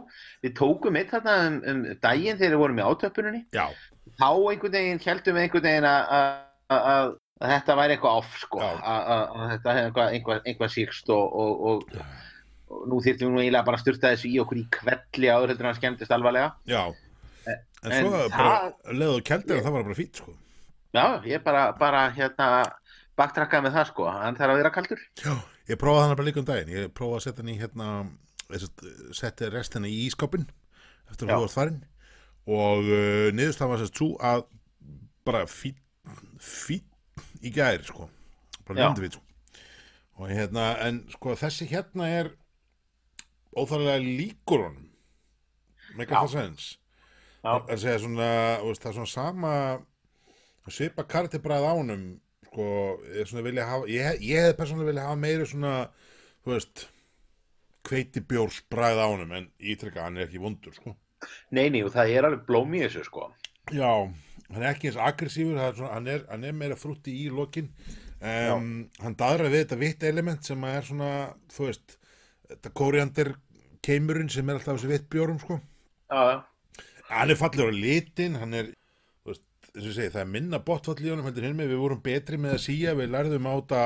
[SPEAKER 2] við tókum eitt þarna um, um daginn þegar við vorum í átöpuninni
[SPEAKER 1] Já,
[SPEAKER 2] þá einhvern veginn heldum við einhvern veginn að- að að- að þetta væri eitthvað off sko,
[SPEAKER 5] Já.
[SPEAKER 2] að að- að þetta hefði eitthvað, eitthvað, eitthvað síkst og, og, og, og nú þyrftum við nú eiginlega bara að styrta þessu í okkur í kvelli áður heldur en að skemmtist alvarlega
[SPEAKER 1] já en,
[SPEAKER 2] en
[SPEAKER 1] svo
[SPEAKER 2] það-
[SPEAKER 1] bara leðu keldir það var bara fínt sko
[SPEAKER 2] já, ég bara, bara hérna baktrakkaði með það sko, hann þarf að vera kaldur
[SPEAKER 1] já, ég prófaði hann bara líka um daginn ég prófaði að setja hann í hérna þess- setti restina í ískapin eftir að
[SPEAKER 2] Já.
[SPEAKER 1] þú varst farin og uh, niðurst var sérst svo að bara fín fín í gær sko bara
[SPEAKER 2] Já.
[SPEAKER 1] ljóndi við sko og hérna, en sko þessi hérna er óþarlega líkur honum make
[SPEAKER 2] Já.
[SPEAKER 1] a sense
[SPEAKER 2] já,
[SPEAKER 1] að segja svona, þú veist, það er svona sama svipa kartibræð ánum sko, ég svona vilja hafa ég, hef- ég hefði persónulega vilja hafa meiri svona þú veist hveitibjórs bræð ánum en ítrekka hann er ekki vondur sko
[SPEAKER 2] nei, nei, og það er alveg blóm í þessu sko
[SPEAKER 1] já, hann er ekki eins aggressífur það er svona, hann, er, hann er meira frútti í lokin um, hann daðrar við þetta vitt element sem að er svona þú veist, þetta kóriandir keimurinn sem er alltaf þessi vitt bjórum sko
[SPEAKER 2] já, já,
[SPEAKER 1] hann er fallegur á litin hann er, þú veist, eins og ég segi það er minna botfall í honum heldur hinn með við vorum betri með að síja, við lærðum á þetta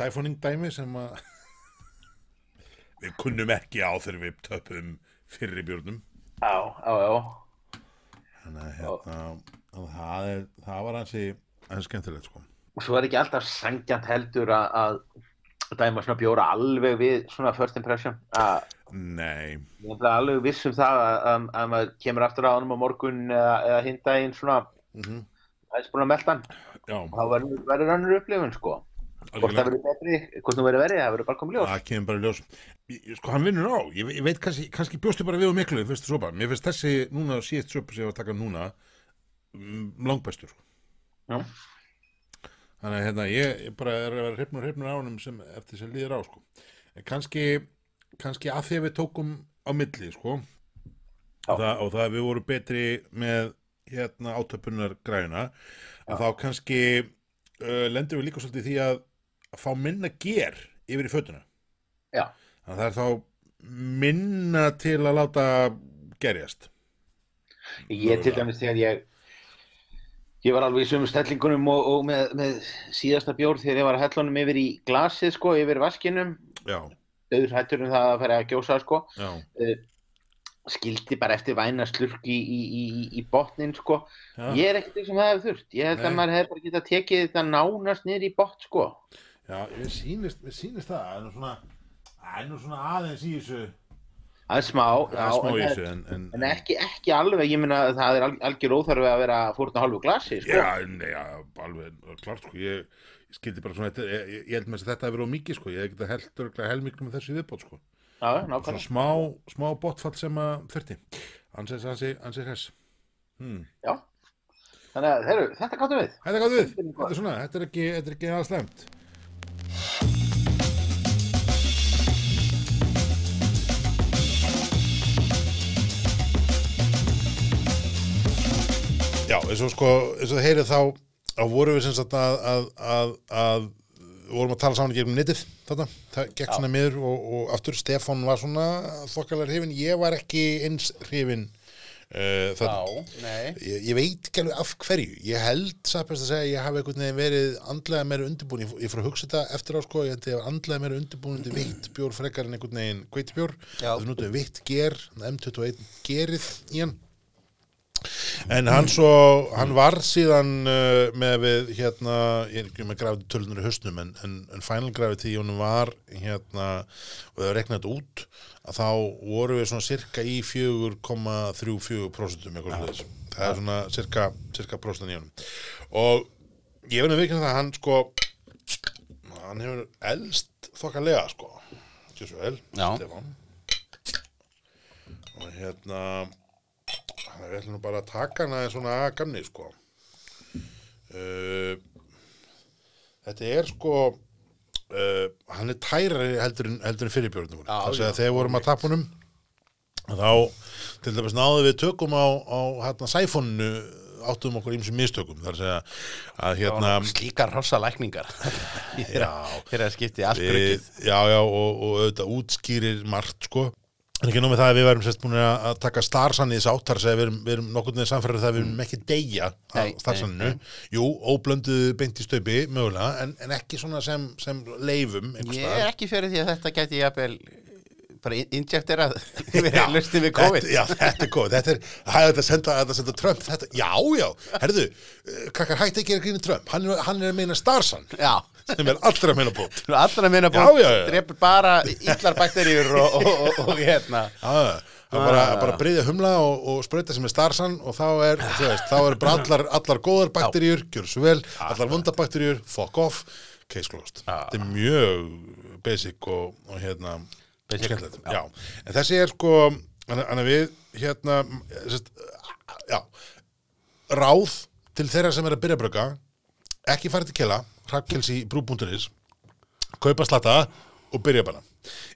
[SPEAKER 1] sæfoning dæmi sem að við kunnum ekki á þegar við töpum fyrri björnum
[SPEAKER 2] já, já, já.
[SPEAKER 1] þannig að hérna, að það, er, það var hansi hans skemmtilegt sko
[SPEAKER 2] og svo er ekki alltaf sangjant heldur að, að dæma svona bjóra alveg við svona first impression að
[SPEAKER 1] nei,
[SPEAKER 2] ég er alveg viss um það að, að, að maður kemur aftur að honum á morgun eða, eða hinn daginn svona
[SPEAKER 1] mm -hmm.
[SPEAKER 2] aðeins búin að melta hann
[SPEAKER 1] já,
[SPEAKER 2] þá verður verður önnur upplifun sko hvort það
[SPEAKER 1] algjörlega.
[SPEAKER 2] verður betri, hvort það verður verið það verður bara komið ljós
[SPEAKER 1] það kemur bara í ljós Ég- sko hann vinnur á, ég, ég veit kannski, kannski bjóstu bara við og miklu, fyrstu sopa mér finnst þessi núna síðast sopa sem ég var að taka núna mm, langbæstur sko.
[SPEAKER 2] Já.
[SPEAKER 1] Þannig að hérna, ég, ég bara er að vera hrifnur hrifnur ánum sem eftir sem líður á sko. En kannski, kannski að því að við tókum á milli sko.
[SPEAKER 2] Já.
[SPEAKER 1] það, og það að við vorum betri með hérna átöpunar græna að þá kannski uh, lendum við líka svolítið í því að, að fá minna ger yfir í fötuna
[SPEAKER 2] Já.
[SPEAKER 1] Að það er þá minna til að láta gerjast
[SPEAKER 2] Ég til dæmis þegar ég ég var alveg í sömu stellingunum og, og með, með síðasta bjór þegar ég var að hellunum yfir í glasið sko, yfir vaskinum
[SPEAKER 1] já,
[SPEAKER 2] auður hættur um það að fara að gjósa sko
[SPEAKER 1] já,
[SPEAKER 2] skildi bara eftir væna slurk í, í, í, í botnin sko.
[SPEAKER 1] já.
[SPEAKER 2] ég er ekkert sem það hefur þurft ég held
[SPEAKER 1] Nei.
[SPEAKER 2] að maður hefur bara getað tekið þetta nánast niður í botn sko.
[SPEAKER 1] já við, sýnist, við sýnist það það er nú svona, það er nú svona aðeins í þessu
[SPEAKER 2] það er smá,
[SPEAKER 1] það er
[SPEAKER 2] já,
[SPEAKER 1] smá
[SPEAKER 2] en,
[SPEAKER 1] í
[SPEAKER 2] það
[SPEAKER 1] þessu
[SPEAKER 2] er-
[SPEAKER 1] en, en,
[SPEAKER 2] en ekki, ekki alveg ég meina að það er al- algjör óþarfi að vera fórna hálfu glasi sko.
[SPEAKER 1] Já, nei, já, alveg, klart sko, ég, ég skildi bara svona, þetta- ég, ég- ég held með þess að þetta hefur á mikið sko, ég hef getað held örglega helmiklu með þessu viðbót sko.
[SPEAKER 2] já,
[SPEAKER 1] Svona
[SPEAKER 2] nákvæmlega
[SPEAKER 1] smá, smá botfall sem að þurfti. Ansið, ansið, ansið hess. Hmm.
[SPEAKER 2] já. þannig að heru, þetta gáttum við
[SPEAKER 1] Þetta er gátt við,
[SPEAKER 2] er gott.
[SPEAKER 1] þetta er svona, þetta er ekki, þetta er ekki aðeins slemt.
[SPEAKER 5] Já, eins og sko, eins og það heyrið þá þá vorum við sem sagt að, að, að, að við vorum að tala saman í gegnum netið þetta, það gekk svona miður og, og aftur Stefán var svona þokkalega hrifin, ég var ekki eins hrifin uh, þetta
[SPEAKER 6] nei
[SPEAKER 5] ég, ég veit ekki alveg af hverju ég held, sagði best að segja, ég hafi einhvern veginn verið andlega meira undirbúin, ég, ég fór að hugsa þetta eftir á sko, ég held ég var andlega meira undirbúin undir veitt bjór frekar en einhvern veginn kveitbjór,
[SPEAKER 6] Já.
[SPEAKER 5] það notuði veitt ger M21 gerið í hann en hann svo hann var síðan uh, með við hérna, ég er ekki með grafið tölunar í hausnum en, en, en final grafið því hún var hérna, og það var reiknað þetta út að þá voru við svona cirka í 4,34% eitthvað svoleiðis. það er svona cirka, cirka prostan í honum og ég verður vikinn það að hann sko hann hefur elst þokkalega sko ekki svo vel,
[SPEAKER 6] Já.
[SPEAKER 5] Stefán og hérna þannig að við ætlum nú bara að taka hana aðeins svona að gamni sko uh, þetta er sko uh, hann er tærari heldur en, heldur en fyrirbjörnum
[SPEAKER 6] Já,
[SPEAKER 5] þannig
[SPEAKER 6] já,
[SPEAKER 5] að þegar vorum að tapunum þá til dæmis náðu við tökum á, á hérna sæfónu áttum okkur ímsum mistökum þar að segja að hérna
[SPEAKER 6] slíkar rossalækningar þegar
[SPEAKER 5] já,
[SPEAKER 6] þegar skipti allt
[SPEAKER 5] við,
[SPEAKER 1] Eh,
[SPEAKER 6] grukkið
[SPEAKER 5] já, já, og, og auðvitað útskýrir margt sko
[SPEAKER 1] En ekki nómið það að við værum sérst búin að að taka starsannis áttar sem við erum, við erum nokkurn veginn samfærið það að við erum ekki deyja af
[SPEAKER 2] Mm. Nei,
[SPEAKER 1] starsanninu. Jú, óblönduðu beint í staupi, mögulega, en, en ekki svona sem, sem leifum einhvers
[SPEAKER 2] Ég
[SPEAKER 1] staðar.
[SPEAKER 2] er ekki fyrir því að þetta gæti jafnvel bara in- injekterað við lustin við COVID.
[SPEAKER 1] Þetta, já, þetta er COVID, þetta er, það er þetta að senda, þetta að senda Trump, þetta, já, já, herðu, eh, krakkar hætti að gera grínu Trump, hann er, hann er að meina starsan,
[SPEAKER 2] Já.
[SPEAKER 1] sem er allra að meina bótt.
[SPEAKER 2] Nú, Allra minna
[SPEAKER 1] Já,
[SPEAKER 2] bótt
[SPEAKER 1] já, já.
[SPEAKER 2] drefur bara illar bakteríur og, og, og, og hérna. Ah.
[SPEAKER 1] Já, já, það er bara, bara breyðja humla og, og sprauta sem er starsan og þá er, þú veist, þá er bara allar, allar góðar bakteríur, gjör svo vel,
[SPEAKER 2] Ah.
[SPEAKER 1] allar vondar bakteríur, fuck off, case closed. Þetta er mjög basic og, og hérna,
[SPEAKER 2] Basic,
[SPEAKER 1] skemmtilegt. Já. en þessi er sko, hann hann er við, hérna, sest, já, ráð til þeirra sem er að byrja að brugga, ekki fara til kela, hrappkelsi í brú.is, kaupa slatta og byrja bara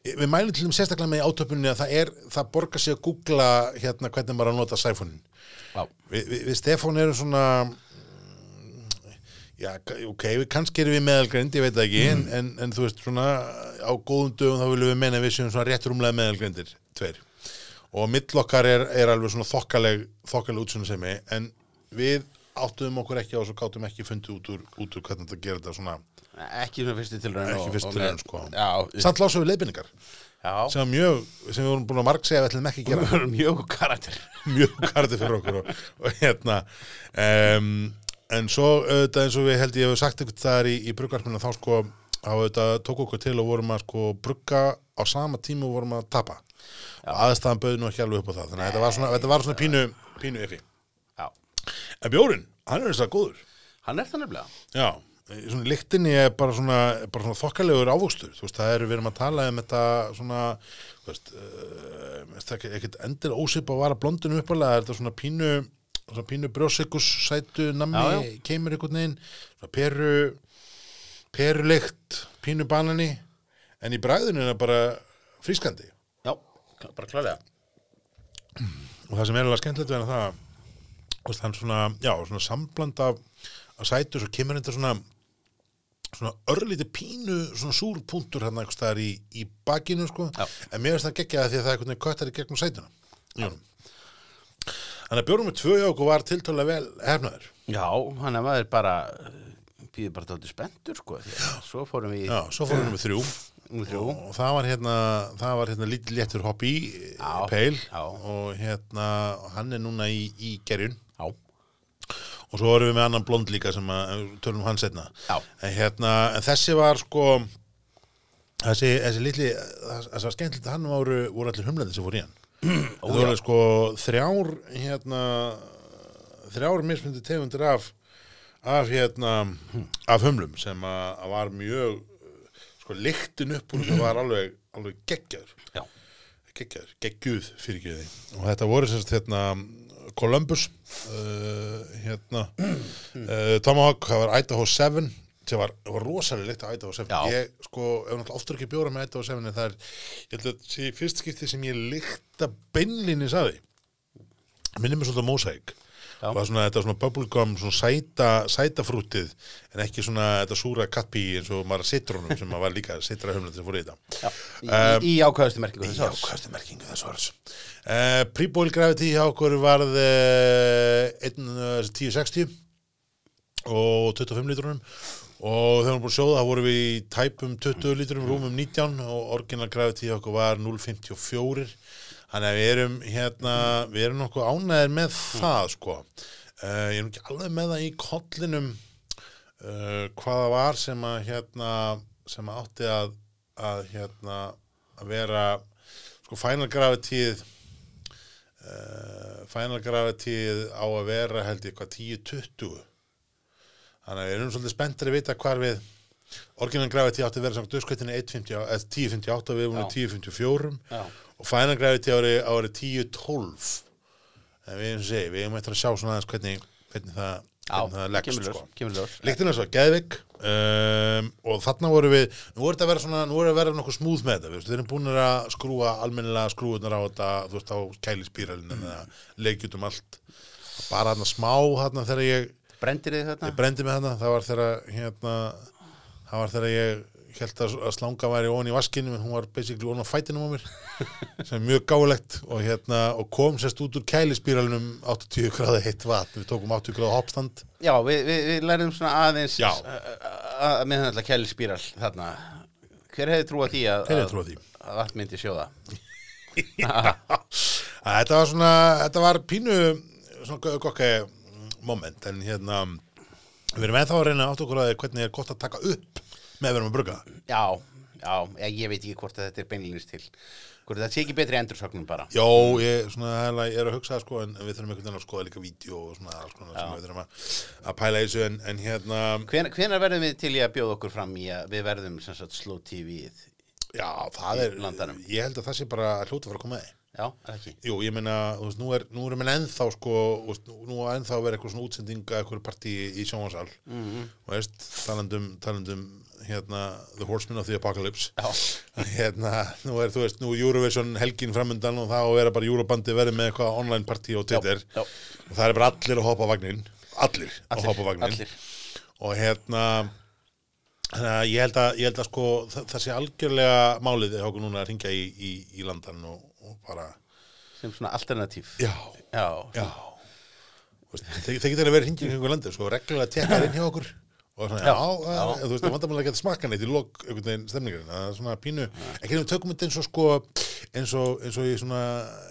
[SPEAKER 1] við mælum til þeim sérstaklega með í átöpunni að það er, það borgar sig að googla hérna hvernig maður á að nota sæfónin
[SPEAKER 2] Já.
[SPEAKER 1] við, við, við Stefán erum svona mm, já, k- ok, við kannski erum við meðalgrind, ég veit það ekki en, en, en þú veist svona á góðum dögum þá viljum við menna við séum svona rétt rúmlega meðalgrindir, tveir og mittlokkar er, er alveg svona þokkaleg þokkaleg útsunnusemi en við áttuðum okkur ekki á þessu gátum ekki fundið út úr, út úr hvernig þetta gera þetta svona
[SPEAKER 2] Ekki svona fyrstu tilraun.
[SPEAKER 1] Ekki
[SPEAKER 2] og-
[SPEAKER 1] fyrstu
[SPEAKER 2] og
[SPEAKER 1] tilraun,
[SPEAKER 2] með-
[SPEAKER 1] sko.
[SPEAKER 2] Já,
[SPEAKER 1] samt lásum við leiðbynningar
[SPEAKER 2] já.
[SPEAKER 1] sem, var mjög, sem við vorum búin að marg segja að við ætlum ekki að gera
[SPEAKER 2] Það eru mjög karakter.
[SPEAKER 1] mjög karti fyrir okkur og, og hérna um, en svo auðvitað eins og við held ég hef sagt eitthvað þar í, í bruggarpinu þá sko þá auðvitað tók okkur til og vorum að sko brugga á sama tíma og vorum að tapa og aðstæðan bauði nú ekki alveg upp á það þannig að þetta var svona, þetta var svona pínu, pínu effi
[SPEAKER 2] Já.
[SPEAKER 1] en bjórin, hann er þess að góður
[SPEAKER 2] Hann er það nefnilega.
[SPEAKER 1] já, í svona lyktinni er bara svona, bara svona þokkalegur ávöxtur þú veist, það er, við erum að tala um þetta svona, þú veist uh, ekki, ekkert endir ósip að vara blondinu uppalega, þetta er svona pínu svona pínu brjósikus sætu nammi
[SPEAKER 2] Já,
[SPEAKER 1] kemur einhvern veginn svona peru perulykt, pínu banani en í bræðinu er það bara frískandi
[SPEAKER 2] Já, kl- bara klálega.
[SPEAKER 1] og það sem er alveg skemmtilegt við hann það að, þú veist, hann svona, já, svona sambland af, af sætu svo kemur þetta svona svona örlítið pínu svona súr punktur hann einhvers staðar í, í bakinu sko.
[SPEAKER 2] Já.
[SPEAKER 1] en mér finnst það geggja það því að það er einhvern veginn köttar í gegnum sætuna í honum. þannig að bjórum með tvö hjá okkur var tiltölulega vel hefnaður
[SPEAKER 2] Já, hann er maður bara býður bara tóttu spenntur sko því að svo fórum við
[SPEAKER 1] já, svo fórum við með þrjú
[SPEAKER 2] um þrjú
[SPEAKER 1] og það var hérna, það var hérna lítið léttur hopp í
[SPEAKER 2] Já,
[SPEAKER 1] peil
[SPEAKER 2] já.
[SPEAKER 1] og hérna hann er núna í, í gerjun
[SPEAKER 2] Já,
[SPEAKER 1] og svo erum við með annan blond líka sem að eh, tölum hann setna
[SPEAKER 2] Já.
[SPEAKER 1] en, hérna, en þessi var sko þessi, þessi litli það það var skemmtilegt að hann voru, voru allir humlandi sem voru í hann það voru sko þrjár hérna, þrjár mismundi tegundir af af hérna af humlum sem að, að var mjög eh, sko lyktin upp úr það var alveg, alveg geggjaður
[SPEAKER 2] já,
[SPEAKER 1] geggjaður, geggjuð fyrir ekki því og þetta voru sérst hérna Columbus uh, hérna uh, Tomahawk, það var Idaho 7 sem var, var rosalega líkt að Idaho 7
[SPEAKER 2] Já.
[SPEAKER 1] ég sko, ef náttúrulega oftur ekki bjóra með Idaho 7 en það er, ég held að þetta sé í fyrst skipti sem ég líkta beinlinni saði minnir mér svolítið á Mosaic
[SPEAKER 2] Já.
[SPEAKER 1] og það er svona, þetta er svona bubblegum svona sæta, sæta frútið en ekki svona þetta súra kappi eins og maður sitrónum sem maður var líka sitra höfnandi sem fór í þetta
[SPEAKER 2] já. Í, í ákvæðustu merkingu þess árs
[SPEAKER 1] Jákvæðstu merkingu þess orðs. Uh, Pre-boil gravity hjá okkur varð uh, 1060 og 25 lítrunum og þegar við vorum búin að sjóða þá vorum við í tæpum 20 lítrum, rúmum 19 og orginal gravity hjá okkur var 0,54 þannig að við erum hérna, við erum nokkuð ánæðir með það sko uh, ég er nú ekki alveg með það í kollinum uh, hvaða var sem að hérna, sem að átti að, að hérna, að vera sko Final Gravityð uh, Final Gravityð á að vera held ég hvað 10-20 þannig að við erum svolítið spenntir að vita hvar við Orginal Gravity átti að vera samt döskvættinu 10.58 eh, og við erum
[SPEAKER 2] Já.
[SPEAKER 1] nú 10.54
[SPEAKER 2] Já.
[SPEAKER 1] og Final Gravity ári, ári 10.12 en við erum sem segi, við erum eftir að sjá svona aðeins hvernig, hvernig það, hvernig það leggst
[SPEAKER 2] kemur ljós,
[SPEAKER 1] sko.
[SPEAKER 2] kemur ljós
[SPEAKER 1] Líktin er svo Geðvik um, og þarna voru við nú voru þetta að vera svona, nú voru að vera nokkuð smúð með þetta við veist, við erum búin að skrúa almennilega skrúðunar á þetta, þú veist, á kælispíralin mm. eða leikjut um allt bara þarna smá, þarna þegar ég
[SPEAKER 2] Brendir þið þetta?
[SPEAKER 1] ég brendi með þarna, hérna, það var þegar hérna, það var þegar ég held að, að slanga væri ofan í vaskinu en hún var basically ofan á fætinum á mér sem er mjög gáulegt og, hérna, og kom sérst út úr kælispíralunum 80 gráða heitt vatn við tókum 80 gráða hoppstand
[SPEAKER 2] Já, við, við, við lærum svona aðeins uh,
[SPEAKER 1] Já.
[SPEAKER 2] að meðhandla kæli spíral þarna. Hver hefði trúað því að,
[SPEAKER 1] Hver hefði trúað því?
[SPEAKER 2] að, að allt myndi sjóða?
[SPEAKER 1] Æ, þetta var svona, þetta var pínu svona gokki moment en hérna við erum ennþá að reyna átt okkur að því hvernig er gott að taka upp með að vera með að bruga
[SPEAKER 2] Já, já, ég, ég veit ekki hvort að þetta er beinlýnist til. Hvort það sé ekki betri endursögnum bara.
[SPEAKER 1] Jó, ég, svona, hæla, ég er að hugsa sko, en en við þurfum einhvern veginn að skoða líka vídeo og svona, alls konar sem við þurfum að, að pæla í þessu en, en hérna,
[SPEAKER 2] Hvenær, hvenær verðum við til í að bjóða okkur fram í að við verðum sem sagt slow TV-ið?
[SPEAKER 1] já, það er
[SPEAKER 2] landanum.
[SPEAKER 1] ég held að það sé bara að hljóta að fara að koma að því
[SPEAKER 2] Já, er það ekki.
[SPEAKER 1] Jú, ég meina, þú veist, nú er, nú erum við ennþá sko, þú veist, nú- nú er ennþá að vera eitthvað svona útsendinga eitthvað partí í sjónvarsal mm
[SPEAKER 2] Mhm.
[SPEAKER 1] -hmm. og veist, talandum, talandum hérna, The Horseman of the Apocalypse
[SPEAKER 2] Já.
[SPEAKER 1] hérna, nú er, þú veist, nú er Eurovision helgin framundan og það á að vera bara Eurobandi verið með eitthvað online partí á Twitter
[SPEAKER 2] já.
[SPEAKER 1] og það er bara allir að hoppa á vagnin allir, að hoppa á vagnin
[SPEAKER 2] allir.
[SPEAKER 1] og hérna Þannig að ég held að, ég held að sko, það, það sé algjörlega málið eða okkur núna að ringja í, í, í landan og, og bara,
[SPEAKER 2] Sem svona alternatív.
[SPEAKER 1] já,
[SPEAKER 2] Já,
[SPEAKER 1] Já Þú veist, Þeir þeir geta verið hringin í einhver landi sko, reglulega tekka inn hjá okkur og svona, já, já, já. þú veist, vandamælega geta smakkan eitt í lok einhvern veginn stemningarinn það er svona pínu, ekki nefnum tökum þetta eins og sko eins og, eins og í svona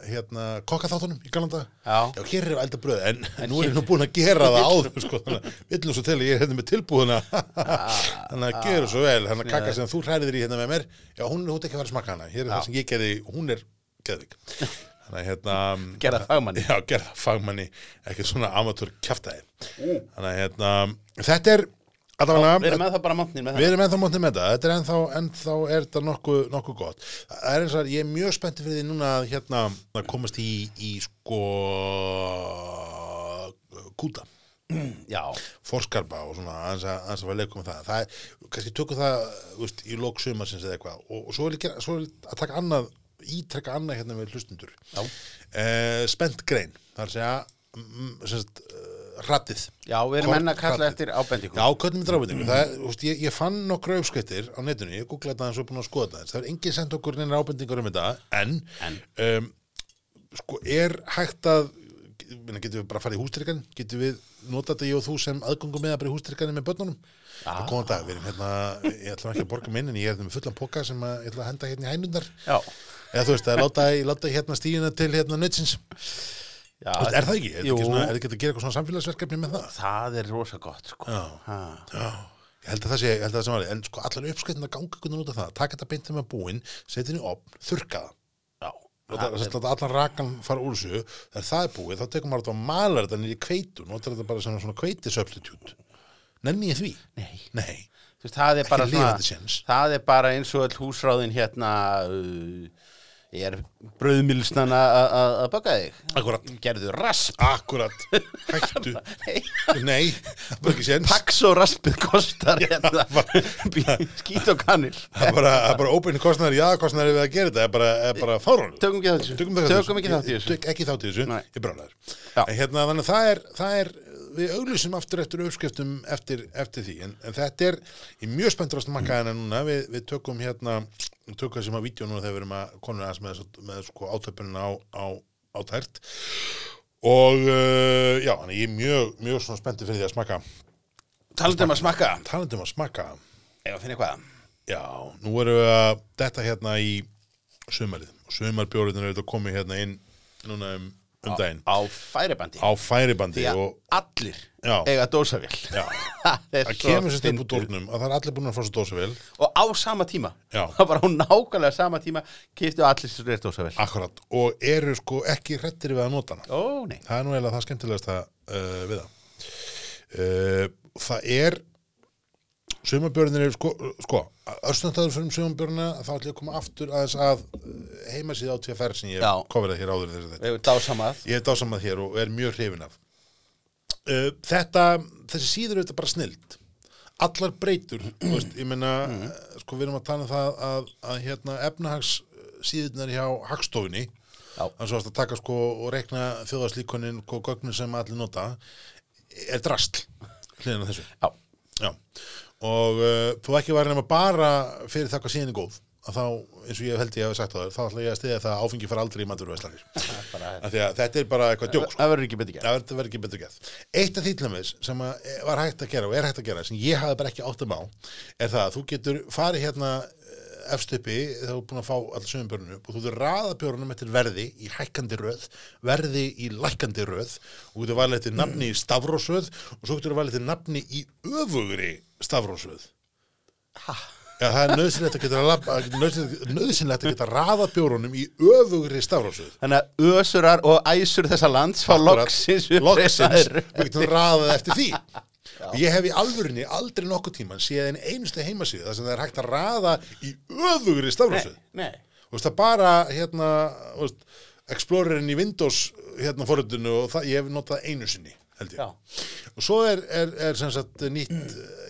[SPEAKER 1] hérna, kokkaþáttunum í Galanda
[SPEAKER 2] Já.
[SPEAKER 1] já hér er elda bröð, en, nú er ég nú búin að gera það áður, sko, þannig að villum svo til að ég er hérna með tilbúðuna þannig að gera svo vel, þannig að kaka sem þú hræðir í hérna með mér, já, hún hún er ekki að vera að smakka hana hér er það sem ég gerði, hún er geðvik þannig að hérna
[SPEAKER 2] gerða fagmanni.
[SPEAKER 1] Já, gerða fagmanni, ekkert svona amatúr kjaftaði. Þannig að hérna, þetta er,
[SPEAKER 2] Við
[SPEAKER 1] allavega,
[SPEAKER 2] erum með það bara máttnir með
[SPEAKER 1] við
[SPEAKER 2] það.
[SPEAKER 1] erum ennþá mótnið með þetta, þetta er ennþá, ennþá er þetta nokkuð, nokkuð gott. Það er eins og að ég er mjög spenntið fyrir því núna að hérna að komast í, í sko, kúta,
[SPEAKER 2] Já,
[SPEAKER 1] forskarpa og svona aðeins að, aðeins að fara leikum með það. Það er, kannski tökum það, þú veist, í lók sumarsins eða eitthvað og, og svo vil ég gera, svo vil ég að taka annað, ítrekka annað hérna með hlustundur
[SPEAKER 2] já.
[SPEAKER 1] uh, spennt grein það er að segja mm, sem sagt, uh, ratið
[SPEAKER 2] Já, við erum
[SPEAKER 1] Kort-
[SPEAKER 2] enn að kalla
[SPEAKER 1] ratið.
[SPEAKER 2] eftir ábendingum.
[SPEAKER 1] Já, hvernig með drábendingu? Það, er, þú veist, ég, ég fann nokkra uppskrittir á netinu, ég googlaði það eins og búin að skoða það aðeins. Það er engin sent okkur neina ábendingar um þetta, en, Um, sko, er hægt að, minna, getum við bara farið í hústyrkan? Getum við notað þetta ég og þú sem aðgöngum með að bara í hústyrkanum með börnunum? Já. Það komum dag, við erum hérna, ég ætla nú ekki að borga minn, en ég er hérna með fullan poka sem að, ég ætla að henda hérna í hænundar.
[SPEAKER 2] Já,
[SPEAKER 1] Eða þú veist, að láta, láta hérna stíðina til hérna nötsins.
[SPEAKER 2] já.
[SPEAKER 1] Þú veist, Er það ekki? Er
[SPEAKER 2] Jú.
[SPEAKER 1] það ekki, svona, er það ekki hægt að gera eitthvað svona samfélagsverkefni með það?
[SPEAKER 2] Það er rosa gott, sko.
[SPEAKER 1] Já.
[SPEAKER 2] Ha.
[SPEAKER 1] Já. Ég held að það sé, ég held að það sé málið. En sko allan uppskritin að ganga einhvern veginn út af það. Takk þetta beint þeim að búinn, setja henni opn, þurrka það.
[SPEAKER 2] Já.
[SPEAKER 1] Láta- sem sagt, Láta allan rakan fara úr þessu. Þegar það er búið, þá tekum maður þetta og malar þetta niður í kveitu. Notar þetta bara sem svona kveiti substitute. Nenni ég því?
[SPEAKER 2] Nei.
[SPEAKER 1] Nei.
[SPEAKER 2] Þú veist, það er bara
[SPEAKER 1] lifandi séns.
[SPEAKER 2] það er bara eins og all húsráðin hérna, uh, er brauðmilsnan að að- að baka þig.
[SPEAKER 1] Akkurat.
[SPEAKER 2] Gerðu rasp.
[SPEAKER 1] Akkurat. Hættu. Nei. Það er bara ekki séns.
[SPEAKER 2] Paks og raspið kostar hérna. Skít og kannil.
[SPEAKER 1] Það er bara, það er bara óbeinni kostnæri, jaðakostnæri við að gera þetta. Það er bara, er bara fáránlegt.
[SPEAKER 2] Tökum ekki þátt í þessu.
[SPEAKER 1] Tökum, ekki þátt í þessu.
[SPEAKER 2] ekki þátt í
[SPEAKER 1] Ég-
[SPEAKER 2] þessu.
[SPEAKER 1] tök ekki þátt í þessu,
[SPEAKER 2] Nei.
[SPEAKER 1] ég brálaður
[SPEAKER 2] Já.
[SPEAKER 1] en hérna, þannig að það er, það er við auglýsum aftur eftir uppskriftum eftir, eftir því, en, en þetta er í mjög spennturast makkaðina núna við, við tökum hérna, við tökum þessum að vídeo núna þegar við erum að konur aðeins með, þessa- með sko átöpunina á, á, á tært og uh, já, þannig að ég er mjög, mjög svona spenntur fyrir því að smakka
[SPEAKER 2] Talandi um að smakka.
[SPEAKER 1] talandi um að smakka,
[SPEAKER 2] Ég finn eitthvað.
[SPEAKER 1] já, nú erum við að þetta hérna í sömarið og sömarbjóriðin er auðvitað komið hérna inn núna um, um daginn
[SPEAKER 2] Á færibandi.
[SPEAKER 1] á færibandi
[SPEAKER 2] Því að
[SPEAKER 1] og
[SPEAKER 2] allir
[SPEAKER 1] Já.
[SPEAKER 2] eiga dósavél.
[SPEAKER 1] já,
[SPEAKER 2] það
[SPEAKER 1] það kemur sem stöðum úr dórnum að það er allir búin að fá svo dósa vel
[SPEAKER 2] og á sama tíma
[SPEAKER 1] Já.
[SPEAKER 2] það var á nákvæmlega sama tíma kýftu allir sér rétt ósa vel
[SPEAKER 1] akkurat, og eru sko ekki hrettir við að nota hana
[SPEAKER 2] ó nei,
[SPEAKER 1] það er nú eiginlega það skemmtilegasta uh, við það uh, það er sumabjörnir eru sko, sko örstundtaður fyrir um sumabjörna þá ætlum ég að koma aftur aðeins að uh, heimasíða á TFR sem ég
[SPEAKER 2] Já.
[SPEAKER 1] kofraði hér áður í þessu þetta
[SPEAKER 2] við hefum dásamað
[SPEAKER 1] ég hef dásamað hér og er mjög hrifin af uh, þetta þessi síður er þetta bara snild allar breytur þú veist, ég meina, eh, sko við erum að tala um það að, að hérna efnahags síðurnar hjá hagstofinni
[SPEAKER 2] Já.
[SPEAKER 1] þannig svo varst að taka sko og rekna þjóðarslíkonin og gögnin sem allir nota er drastl hliðin á þessu
[SPEAKER 2] já,
[SPEAKER 1] Já, og uh, þú ekki var nema bara fyrir það hvað síðan er góð að þá, eins og ég held ég hafi sagt á þér þá ætla ég að stiðja það að áfengi fara aldrei í maturverslanir af því að þetta er bara eitthvað djók sko.
[SPEAKER 2] það verður ekki betur gert
[SPEAKER 1] það verður verður ekki betur gæð eitt af því til dæmis sem að eh, var hægt að gera og er hægt að gera sem ég hafði bara ekki áttum á er það að þú getur farið hérna eh, efst uppi þegar þú er búin að fá alls sögum börnum upp og þú getur raða björnum eftir verði í hækkandi röð verði í lækkandi röð og getur valið eftir nafni í stafrósröð og svo getur valið eftir nafni í öfugri stafrósröð Já, það er nöðsynlegt að geta, labba, nöðsynlegt, nöðsynlegt að geta raða bjórunum í öfugri stafrósröð
[SPEAKER 2] þannig að ösurar og æsur þessa lands fá
[SPEAKER 1] Akkurat,
[SPEAKER 2] loksins
[SPEAKER 1] loksins
[SPEAKER 2] uppreisnaðir.
[SPEAKER 1] við getum raðað eftir því og ég hef í alvörinni aldrei nokkuð tíman séð en einustu heimasíðu þar sem það er hægt að raða í öðugri
[SPEAKER 2] Nei,
[SPEAKER 1] stafrásöð
[SPEAKER 2] nei.
[SPEAKER 1] og það bara hérna þú veist, Explorerinn í Windows hérna forutinu og það, ég hef notað einu sinni held ég
[SPEAKER 2] Já.
[SPEAKER 1] og svo er, er, er sem sagt nýtt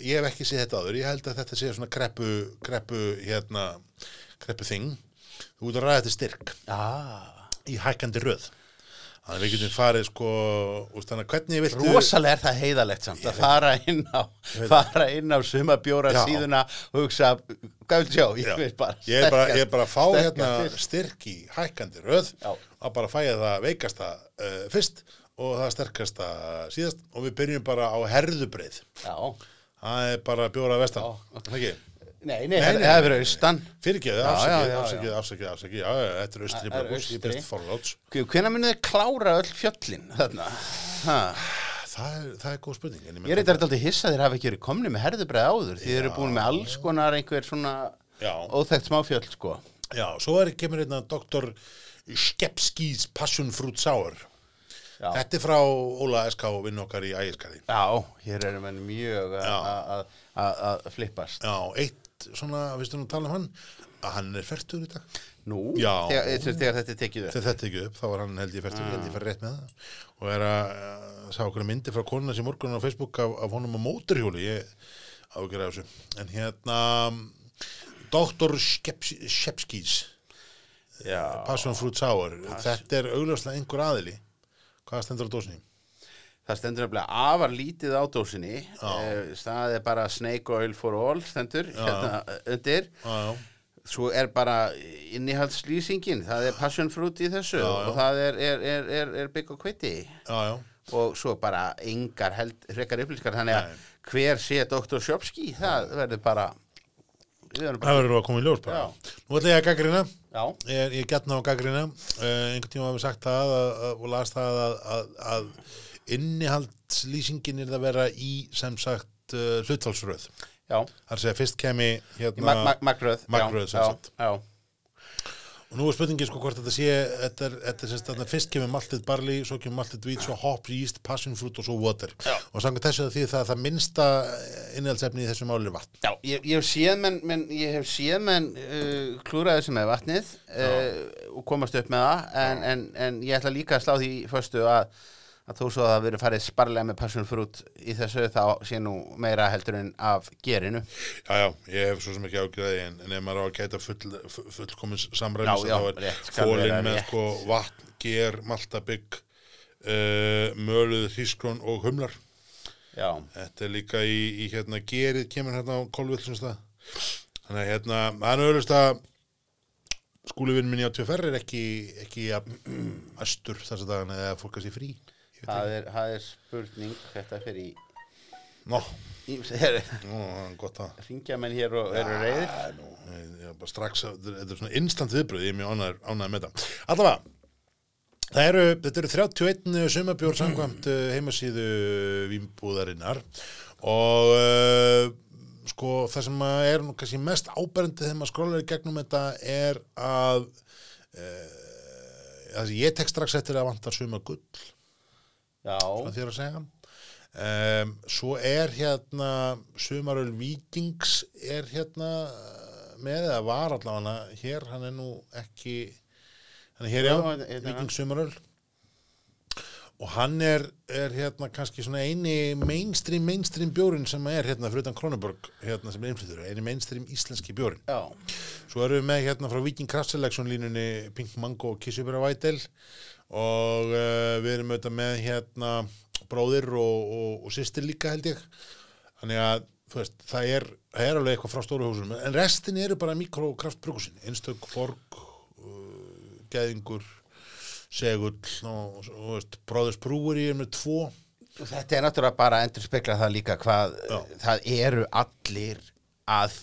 [SPEAKER 1] ég hef ekki séð þetta áður, ég held að þetta sé svona kreppu, kreppu hérna kreppu þing þú ert að ræða þetta styrk
[SPEAKER 2] Ah,
[SPEAKER 1] í hækkandi röð þannig að við getum farið sko úst, þannig að hvernig viltu
[SPEAKER 2] rosalega er það heiðalegt samt að fara inn á fara inn á sumabjóra
[SPEAKER 1] Já.
[SPEAKER 2] síðuna og hugsa hvað vil sjá, ég
[SPEAKER 1] Já.
[SPEAKER 2] vil bara
[SPEAKER 1] ég er bara, ég er
[SPEAKER 2] sterkast-
[SPEAKER 1] bara að fá
[SPEAKER 2] sterkast
[SPEAKER 1] hérna
[SPEAKER 2] til.
[SPEAKER 1] styrk í hækkandi röð
[SPEAKER 2] Já.
[SPEAKER 1] að bara fæja það veikasta uh, fyrst og það sterkasta síðast og við byrjum bara á herðubreið
[SPEAKER 2] já,
[SPEAKER 1] það er bara bjóra vestan
[SPEAKER 2] Já.
[SPEAKER 1] ekki
[SPEAKER 2] nei, nei,
[SPEAKER 1] Nei,
[SPEAKER 2] það
[SPEAKER 1] nei,
[SPEAKER 2] það er verið austan
[SPEAKER 1] fyrirgeðu,
[SPEAKER 2] Já, já,
[SPEAKER 1] afsakið,
[SPEAKER 2] já,
[SPEAKER 1] afsakið,
[SPEAKER 2] já.
[SPEAKER 1] afsakið, afsakið já, já, þetta er austri
[SPEAKER 2] Það er
[SPEAKER 1] blokkurs, ég
[SPEAKER 2] austri.
[SPEAKER 1] best forláts
[SPEAKER 2] hvenær munið þið klára öll fjöllin þarna ha.
[SPEAKER 1] það er, það er góð spurning en
[SPEAKER 2] ég
[SPEAKER 1] meina-
[SPEAKER 2] reyndar þetta aldrei hissa að þeir hafa ekki verið komni með herðubreið áður því þeir eru búin með alls konar einhver svona
[SPEAKER 1] Já.
[SPEAKER 2] óþekkt smáfjöll sko
[SPEAKER 1] já, svo er, kemur hérna doktor Skepskís Passion Fruit Sour
[SPEAKER 2] Já.
[SPEAKER 1] þetta er frá Óla SK og vinn okkar í Ægiskarði
[SPEAKER 2] Já, hér eru menn mjög að- að- að- að að flippast.
[SPEAKER 1] Já, eitt svona, viðstu nú að tala um hann að hann er færtur í dag
[SPEAKER 2] Nú,
[SPEAKER 1] Já.
[SPEAKER 2] þegar, eh, sem- þegar þetta er tekið upp.
[SPEAKER 1] þegar þetta ekki upp, þá var hann held ég færtur held ég fær rétt með það og er að eh, sá okkur myndi frá konuna sem morgunin á Facebook af, af honum á móturhjóli ég ágjör af þessu en hérna Dr. Shepskís
[SPEAKER 2] Já.
[SPEAKER 1] Passion Fruit Sour þetta er augljóslega einhver aðili hvað stendur á dósinni?
[SPEAKER 2] Það stendur nefnilega afar lítið á dósinni. Eh, Það er bara snake oil for all stendur hérna eh, undir.
[SPEAKER 1] Já, já,
[SPEAKER 2] Svo er bara innihaldslýsingin. Það er passion fruit í þessu og það er, er, er, er, er bygg og kviti.
[SPEAKER 1] já, já
[SPEAKER 2] Og svo bara engar held, hrekar upplýskar. Þannig að
[SPEAKER 1] Nei.
[SPEAKER 2] hver sé Dr. Shopski, það verður bara... Við verðum bara...
[SPEAKER 1] Það verður að koma í ljós bara.
[SPEAKER 2] Já.
[SPEAKER 1] Nú ætla ég að gaggrina
[SPEAKER 2] Já.
[SPEAKER 1] Ég, ég getna á gaggrina, uh, einhvern tíma hafum við sagt það að, að, og las það að, að, að innihaldslýsingin er að vera í sem sagt uh, hlutfálsröð.
[SPEAKER 2] Já.
[SPEAKER 1] Það er að segja fyrst kemi
[SPEAKER 2] Í
[SPEAKER 1] hérna
[SPEAKER 2] Mag mag magröð já,
[SPEAKER 1] Magröð, sem
[SPEAKER 2] já,
[SPEAKER 1] sagt.
[SPEAKER 2] já.
[SPEAKER 1] og nú er spurningin sko hvort þetta sé, þetta er, þetta er sem sagt þarna fyrst kemur maltið barley, svo kemur maltið hvít, svo hopp, yeast, passion fruit og svo water. Já. Og samkvæmt þessu því það, það minnsta innhaldsefni í þessu máli er vatn.
[SPEAKER 2] já ég, ég hef séð menn, menn, ég hef séð menn uh, klúra þessu með vatnið uh, og komast upp með það en, en, en ég ætla líka að slá því föstu að, að þó svo að það verið farið sparlega með passion fruit í þessu þá sé nú meira heldur en af gerinu
[SPEAKER 1] Já, já, ég hef svo sem ekki ágjöði en, en ef maður á að gæta full, full, fullkomins
[SPEAKER 2] Já,
[SPEAKER 1] samræmis
[SPEAKER 2] já,
[SPEAKER 1] þá er
[SPEAKER 2] rétt, skal vera
[SPEAKER 1] fólinn með
[SPEAKER 2] rétt.
[SPEAKER 1] sko vatn, ger, maltabygg uh, möluð, hrískrón og humlar
[SPEAKER 2] Já,
[SPEAKER 1] þetta er líka í, í hérna gerið kemur hérna á kolvillum stað þannig að hérna, hann auðvist að skúluvinn minn í 84 er ekki, ekki að astur þess að dagana eða fólk að sé frí Ég veit
[SPEAKER 2] það er, það er spurning þetta fyrir í,
[SPEAKER 1] ekki. Nó,
[SPEAKER 2] í þeir
[SPEAKER 1] nú, það er gott að
[SPEAKER 2] ringja menn hér og eru reyðir
[SPEAKER 1] Ég ég er bara strax, að- þetta er- þetta er svona instant viðbröð, ég er mjög ánægður ánægður með þetta. Allavega, það eru, þetta eru 31 sumabjór eh, samkvæmt uh, heimasíðu výmbúðarinnar og uh, sko það sem að er nú kannski mest áberandi þegar maður skrólar í gegnum þetta er að uh, að ég tek strax eftir að vantar sumagull
[SPEAKER 2] Já,
[SPEAKER 1] hvað þér að segja um, svo er hérna sumaröl Víkings er hérna eh, með eða var allavega hér, hann er nú ekki hann er hér já,
[SPEAKER 2] Já, hérna.
[SPEAKER 1] Víkings sumaröl og hann er, er hérna kannski svona eini mainstream, mainstream bjórin sem er hérna fyrir utan Kronenborg hérna sem er innflyttur, eini mainstream íslenski bjórin
[SPEAKER 2] já,
[SPEAKER 1] Svo erum við með hérna frá Viking Craft Selection línunni Pink Mango og Kissubera Vætel og uh, við erum auðvitað með hérna bróðir og, og, og sýstir líka held ég þannig að þú veist, það er, það er alveg eitthvað frá stóru húsum en restin eru bara mikrokraftbrukusin einstök forg uh, geðingur segull og, og, og veist, bróðus brúur í með tvo
[SPEAKER 2] Og Þetta er náttúrulega bara að endur spekla það líka hvað
[SPEAKER 1] Já.
[SPEAKER 2] það eru allir að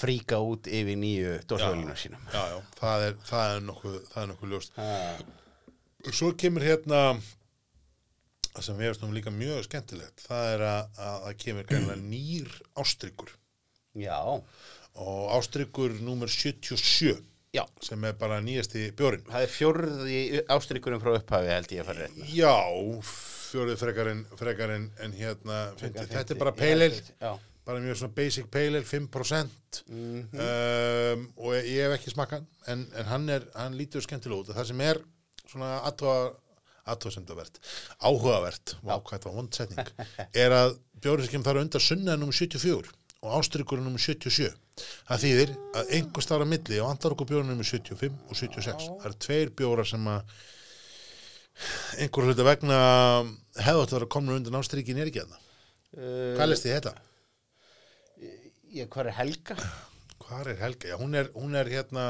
[SPEAKER 2] fríka út yfir nýju dórsvölinu sínum.
[SPEAKER 1] já, já, það er, það er nokkuð það er nokkuð ljóst svo kemur hérna það sem við erum líka mjög skemmtilegt það er að, að það kemur gæmlega nýr ástryggur
[SPEAKER 2] Já,
[SPEAKER 1] og ástryggur númer 77
[SPEAKER 2] já.
[SPEAKER 1] sem er bara nýjasti bjórin
[SPEAKER 2] Það er fjórði ástrykkurum frá upphafi held ég að fara rétt með.
[SPEAKER 1] já, fjórið frekar en, frekar en, en hérna 50. þetta er bara peilil
[SPEAKER 2] Já,
[SPEAKER 1] bara mjög svona basic peilil 5% um, og ég hef ekki smakkan en, en hann, er, hann lítur skemmtilega út það sem er svona aðtóðsendavert, áhugavert og ákvæmt á vondsetning er að bjórið sem kemur þar á undan sunnaði nummer 74 og ástrykkurinn nummer 77 það þýðir að einhver starf á milli og andlar okkur bjórið nummer 75 og 76 það eru tveir bjórar sem að einhver hluta vegna hefðu átt að vera komin undan ástrykin er ekki þarna
[SPEAKER 2] Eh,
[SPEAKER 1] hvað leist þið í þetta?
[SPEAKER 2] ég hvað er helga?
[SPEAKER 1] Hvar er Helga? Já, hún er, hún er hérna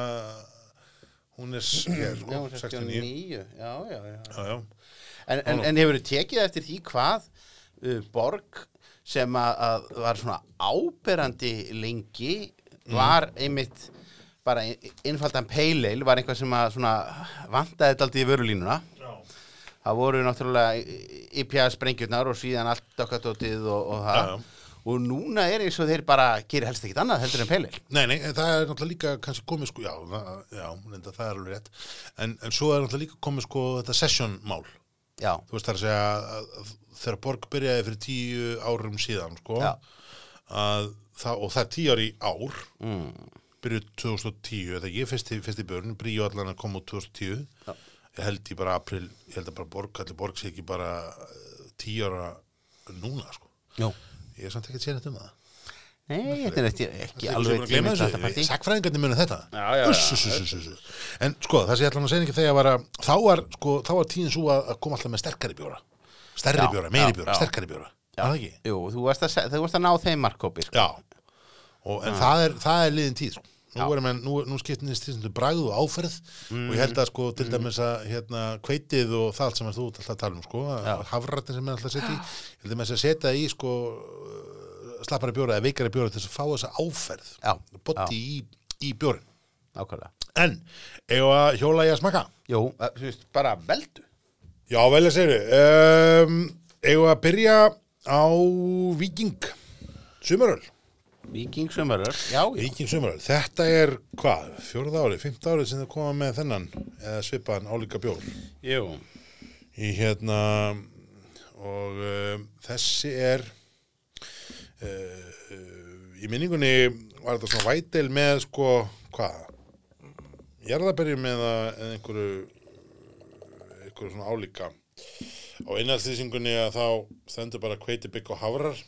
[SPEAKER 1] hún er s- hér,
[SPEAKER 2] Já,
[SPEAKER 1] sko, 69
[SPEAKER 2] 69. Já, já, já.
[SPEAKER 1] Já, já,
[SPEAKER 2] En, en, en hefur tekið eftir því hvað uh, borg sem að, að var svona áberandi lengi
[SPEAKER 1] Mm.
[SPEAKER 2] var einmitt bara ein- einfaldan peileil var einhvað sem að svona vantaði þetta aldrei í vörulínuna það voru náttúrulega IPA sprengjurnar og síðan allt dokkadótið og, og það
[SPEAKER 1] Já, já.
[SPEAKER 2] og núna er eins og þeir bara gerir helst ekkit annað heldur en peileil
[SPEAKER 1] Nei, nei, en það er náttúrulega líka kannski komið sko, já, það- já, linda, það er alveg rétt en, en svo er náttúrulega líka komið sko þetta sessionmál
[SPEAKER 2] já,
[SPEAKER 1] þú veist það að segja að- að þegar Borg byrjaði fyrir tíu árum síðan sko,
[SPEAKER 2] Já.
[SPEAKER 1] að það, og það er tíu ári í ár mm. byrjuð 2010 eða ekki, fyrsti, fyrsti börn, bríu allan að koma úr 2010 Já. ég held í bara april, ég held að bara Borg, allir Borg sé ekki bara eh, tíu ára núna sko,
[SPEAKER 2] já.
[SPEAKER 1] ég er samt ekki að sé þetta um það
[SPEAKER 2] Nei, þetta er ekki, ekki alveg tími skattapartí.
[SPEAKER 1] Sækfræðingarnir munu þetta
[SPEAKER 2] Já, já, já.
[SPEAKER 1] Uss, uss, uss, uss, uss. En sko, það sem ég ætla hann að segja ekki þegar var að þá var, sko, þá var tíðin svo að að koma alltaf með sterkari bjóra Stærri
[SPEAKER 2] Já,
[SPEAKER 1] bjóra, meiri
[SPEAKER 2] já,
[SPEAKER 1] bjóra,
[SPEAKER 2] já.
[SPEAKER 1] sterkari bjóra Já, það ekki?
[SPEAKER 2] Jú, þú varst að, se- þú varst að ná þeim markkópi sko.
[SPEAKER 1] Já og, En það er, það er liðin tíð sko. Nú,
[SPEAKER 2] Ah. Já.
[SPEAKER 1] er, menn, nú, nú skiptinist tíðsendur bragð og áferð og ég held að sko
[SPEAKER 2] Mm.
[SPEAKER 1] til dæmis að hérna, kveitið og það allt sem er þú ert alltaf að tala um sko, hafrættin sem er alltaf að setja í ég held að með þess að setja í sko uh, slappari bjóra eða veikari bjóra til þess að fá þessa áferð
[SPEAKER 2] Já,
[SPEAKER 1] botti í, í bjórin
[SPEAKER 2] Nákvæmlega.
[SPEAKER 1] En, eigum við að hjóla í að smaka?
[SPEAKER 2] Jú, að, þú veist, bara veldu.
[SPEAKER 1] Já, vel að segja við. Um, eigum við að byrja á Viking Sumaröl.
[SPEAKER 2] Viking sömurur. Já, já.
[SPEAKER 1] Viking Sumaröl. Þetta er hvað? Fjórða árið, fimmta árið sem þau koma með þennan eða svipaðan álíka bjór.
[SPEAKER 2] Jú.
[SPEAKER 1] Í hérna og um, þessi er uh, í minningunni var þetta svona vætel með sko, hvað? Jarðaberjum eða eða einhverju einhverju svona álíka á innastýsingunni að þá stendur bara kveiti bygg og hafrar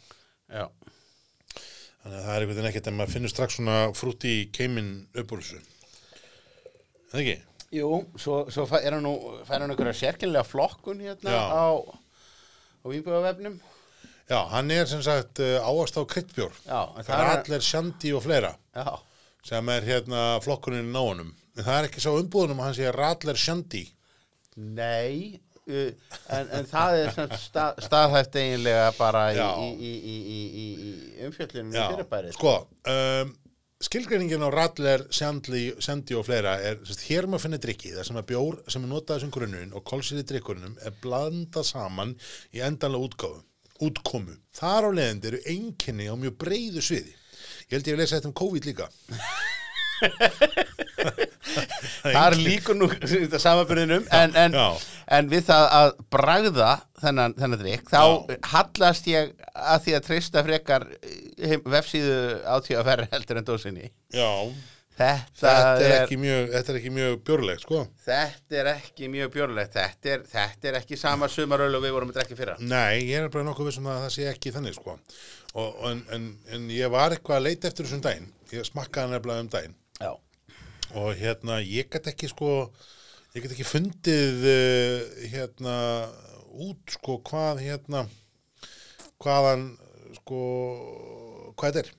[SPEAKER 2] Já.
[SPEAKER 1] þannig að það er einhvern veginn ekkert en maður finnur strax svona frúti í keimin upp úr þessu eða ekki?
[SPEAKER 2] Jú, svo, svo fa- er hann nú, fær hann einhverja sérkennilega flokkun hérna
[SPEAKER 1] Já.
[SPEAKER 2] á, á Vínbjöðavefnum.
[SPEAKER 1] Já, hann er sem sagt uh, áast á kryddbjór
[SPEAKER 2] Já, en
[SPEAKER 1] það er allir sjandi og fleira
[SPEAKER 2] Já.
[SPEAKER 1] sem er hérna flokkunin á honum en það er ekki sá umbúðunum að hann sé Radler Shandy
[SPEAKER 2] Nei, uh, en, en það er sem stað, staðhæft eiginlega bara í,
[SPEAKER 1] Já.
[SPEAKER 2] í, í, í, í, í, í umfjöllunum í
[SPEAKER 1] Já,
[SPEAKER 2] fyrirbærið.
[SPEAKER 1] sko um, skilgreiningin á Radler Shandy, Shandy og fleira er sem sagt, hér maður finna drikki þar sem að bjór sem er notað sem grunnun og kolsýri drikkunum er blanda saman í endanlega útgáfu útkomu. Þar á leiðandi eru einkenni á mjög breiðu sviði Ég held ég að lesa þetta um COVID líka.
[SPEAKER 2] Þar líkur nú þetta samanbyrðinum en, en,
[SPEAKER 1] já.
[SPEAKER 2] en við það að bragða þennan, þennan drikk þá
[SPEAKER 1] Já.
[SPEAKER 2] hallast ég að því að treysta frekar eh, heim, vefsíðu átíu að verra heldur en dósinni
[SPEAKER 1] Já,
[SPEAKER 2] Þetta,
[SPEAKER 1] þetta
[SPEAKER 2] er,
[SPEAKER 1] er, ekki mjög, þetta er ekki mjög bjórlegt, sko.
[SPEAKER 2] þetta er ekki mjög björnlegt þetta er, þetta er ekki sama sumaröl og við vorum að drekka í fyrra
[SPEAKER 1] Nei, ég er bara nokkuð vissum að það sé ekki þannig sko. og, og, en, en, en ég var eitthvað að leita eftir þessum daginn ég smakkaði hann nefnilega um daginn
[SPEAKER 2] Já,
[SPEAKER 1] og hérna, ég get ekki sko ég get ekki fundið uh, hérna út sko hvað hérna hvaðan sko hvað þetta er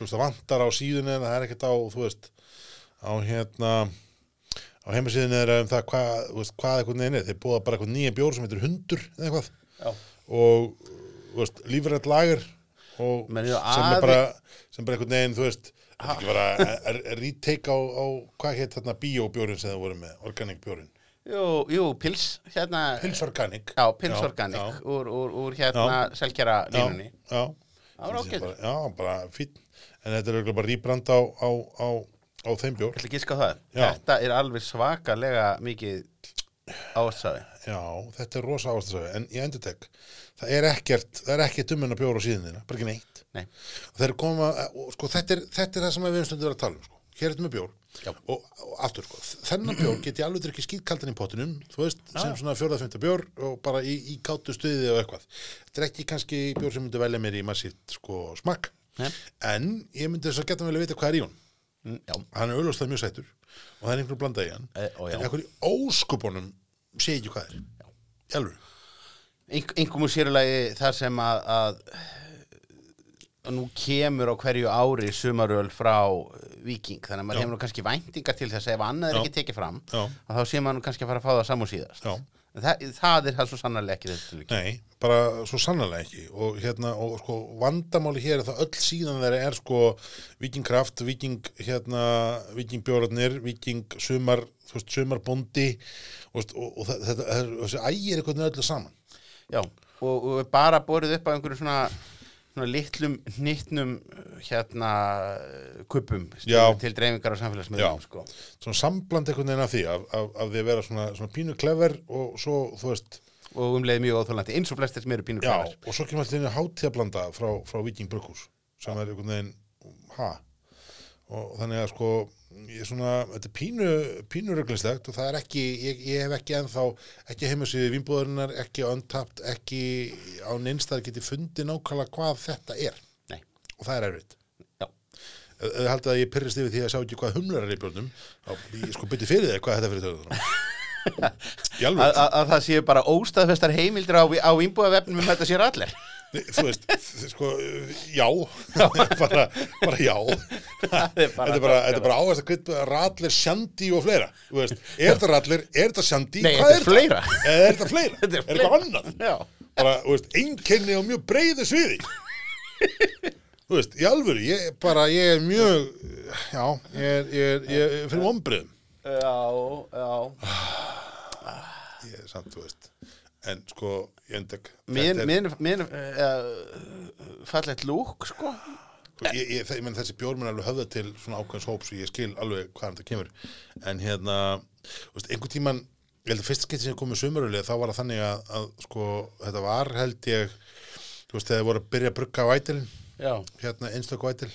[SPEAKER 1] þú veist, það vantar á síðunni en það er ekkert á, þú veist á hérna á heimasíðunni er um það hvað, þú veist, hvað eitthvað neðin er, þeir búða bara eitthvað nýja bjór sem heitir hundur eða eitthvað
[SPEAKER 7] Já.
[SPEAKER 1] og, þú veist, lífrætt lager og
[SPEAKER 2] Menn
[SPEAKER 1] sem
[SPEAKER 2] eru
[SPEAKER 1] er
[SPEAKER 2] aðeins-
[SPEAKER 1] bara sem bara eitthvað neðin, þú veist þetta er ekki bara er- er- er retake á, á hvað heit þarna bíóbjórin sem það voru með organic bjórin,
[SPEAKER 2] Jú, jú, pils, hérna
[SPEAKER 1] pils organic
[SPEAKER 2] Já, pils
[SPEAKER 1] Já, já.
[SPEAKER 2] organic úr, úr, úr hérna selkjara línunni
[SPEAKER 1] já, já.
[SPEAKER 2] Það var
[SPEAKER 1] Þetta er
[SPEAKER 2] ágætur.
[SPEAKER 1] bara- Já, bara fín En þetta er auðvitað bara rýbrand á, á, á, á þeim bjór
[SPEAKER 2] Ætli gíska á það
[SPEAKER 1] Já.
[SPEAKER 2] Þetta er alveg svakalega mikið ásafi
[SPEAKER 1] Já, þetta er rosa ástasafi En ég endur tek, það er ekkert það er ekkert um hennar bjór á síðinina, bara ekki neitt
[SPEAKER 2] Nei,
[SPEAKER 1] og þeir koma, og sko, þetta er, þetta er það sem við umstundum vera að tala um, sko, hér er þetta með bjór
[SPEAKER 2] Já.
[SPEAKER 1] og, og aftur, sko, þennan bjór get ég alveg ekki skýtkaldan í pottinum, þú veist sem svona fjórða, fymta bjór og bara í, í kátu stuði og eitthvað, þetta er ekki kannski bjór sem myndi velja mér í massíft, sko, smakk
[SPEAKER 2] Nei.
[SPEAKER 1] en ég myndi þess að geta vel að vita hvað er í hún
[SPEAKER 2] Mm, já
[SPEAKER 1] hann er auðvitað mjög sætur og það er einhver blanda í hann
[SPEAKER 2] E, ó, já.
[SPEAKER 1] en einhver í óskupunum sé ekki hvað er í alveg
[SPEAKER 2] Engum úr sérulegi þar sem að, að að nú kemur á hverju ári sumaröl frá eh, Víking þannig að maður
[SPEAKER 1] Já.
[SPEAKER 2] hefur nú kannski væntingar til þess að ef annað er
[SPEAKER 1] Já.
[SPEAKER 2] ekki tekið fram
[SPEAKER 1] Já.
[SPEAKER 2] að þá sé maður nú kannski að fara að fá það saman síðast
[SPEAKER 1] Já.
[SPEAKER 2] En það, það er það svo sannarlega ekki þetta tilviki
[SPEAKER 1] nei, bara svo sannlega ekki og hérna, og sko, vandamáli hér er það öll síðan þeirra er sko vikingkraft, viking, hérna vikingbjórarnir, viking sumar, þú veist, sumarbondi og, veist, og, og það- þetta, það- þessi ægir einhvern veginn öllu saman
[SPEAKER 2] Já, og, og bara borið upp á einhverjum svona, svona litlum hnittnum hérna kupum
[SPEAKER 1] Já.
[SPEAKER 2] til dreifingar á samfélagsmiðlum
[SPEAKER 1] Já.
[SPEAKER 2] sko.
[SPEAKER 1] svona sambland einhvern veginn af því af, af, af því að vera svona, svona pínu klever og svo, þú veist,
[SPEAKER 2] og um leið mjög óþólandi eins og flestir sem eru pínu
[SPEAKER 1] Já,
[SPEAKER 2] fæðar
[SPEAKER 1] og svo kemur alltaf einu hátíðablanda frá, frá Viking Brukkús sem er einhvern veginn, ha og þannig að sko ég er svona, þetta er pínu, pínu rögglislegt og það er ekki, ég, ég hef ekki ennþá ekki heimasíðu vínbúðarinnar, ekki untapt, ekki á neinstæðar geti fundið nákvæmlega hvað þetta er
[SPEAKER 2] Nei,
[SPEAKER 1] og það er erfitt
[SPEAKER 2] já,
[SPEAKER 1] Ef ef þið haldið að ég pyrrist yfir því að sjá ekki hvað humlar er í björnum þá ég sko byrti fyrir þig hvað þetta er fyrir töðunum Í
[SPEAKER 2] að,
[SPEAKER 1] alveg,
[SPEAKER 2] að, að það séu bara óstaðfestar heimildir á, á innbúðavefnum um þetta sér allir
[SPEAKER 1] Nei, þú veist, þ- sko, já, bara, bara já, þetta er bara, þetta
[SPEAKER 2] sko.
[SPEAKER 1] er bara áherslu að kvita ratlir sjandi og fleira, þú veist, er þetta ratlir, er þetta sjandi,
[SPEAKER 2] Nei,
[SPEAKER 1] hvað
[SPEAKER 2] þetta er fleira.
[SPEAKER 1] Eða er þetta fleira,
[SPEAKER 2] Þetta er
[SPEAKER 1] er eitthvað annað,
[SPEAKER 2] Já.
[SPEAKER 1] bara, þú veist, einkenni á mjög breiðu sviði, þú veist, í alvöru, ég bara, ég er mjög, já, ég er, ég er, ég er fyrir ombriðum,
[SPEAKER 2] Já, já
[SPEAKER 1] ég er samt, þú veist, en sko, ég endek,
[SPEAKER 2] Minn, minn, minn uh, fallegt lúk sko
[SPEAKER 1] Sko, ég, ég, ég, menn, þessi bjór mun alveg höfða til svona ákveðins hóps og ég skil alveg hvaðan þetta kemur en hérna, þú veist, einhvern tíman ég held að fyrsta skeitt sem ég kom með sömurölu þá var það þannig að, að sko, þetta var held ég, þú veist, þegar voru að byrja að brugga á ætilin,
[SPEAKER 2] Já,
[SPEAKER 1] hérna einstök vætil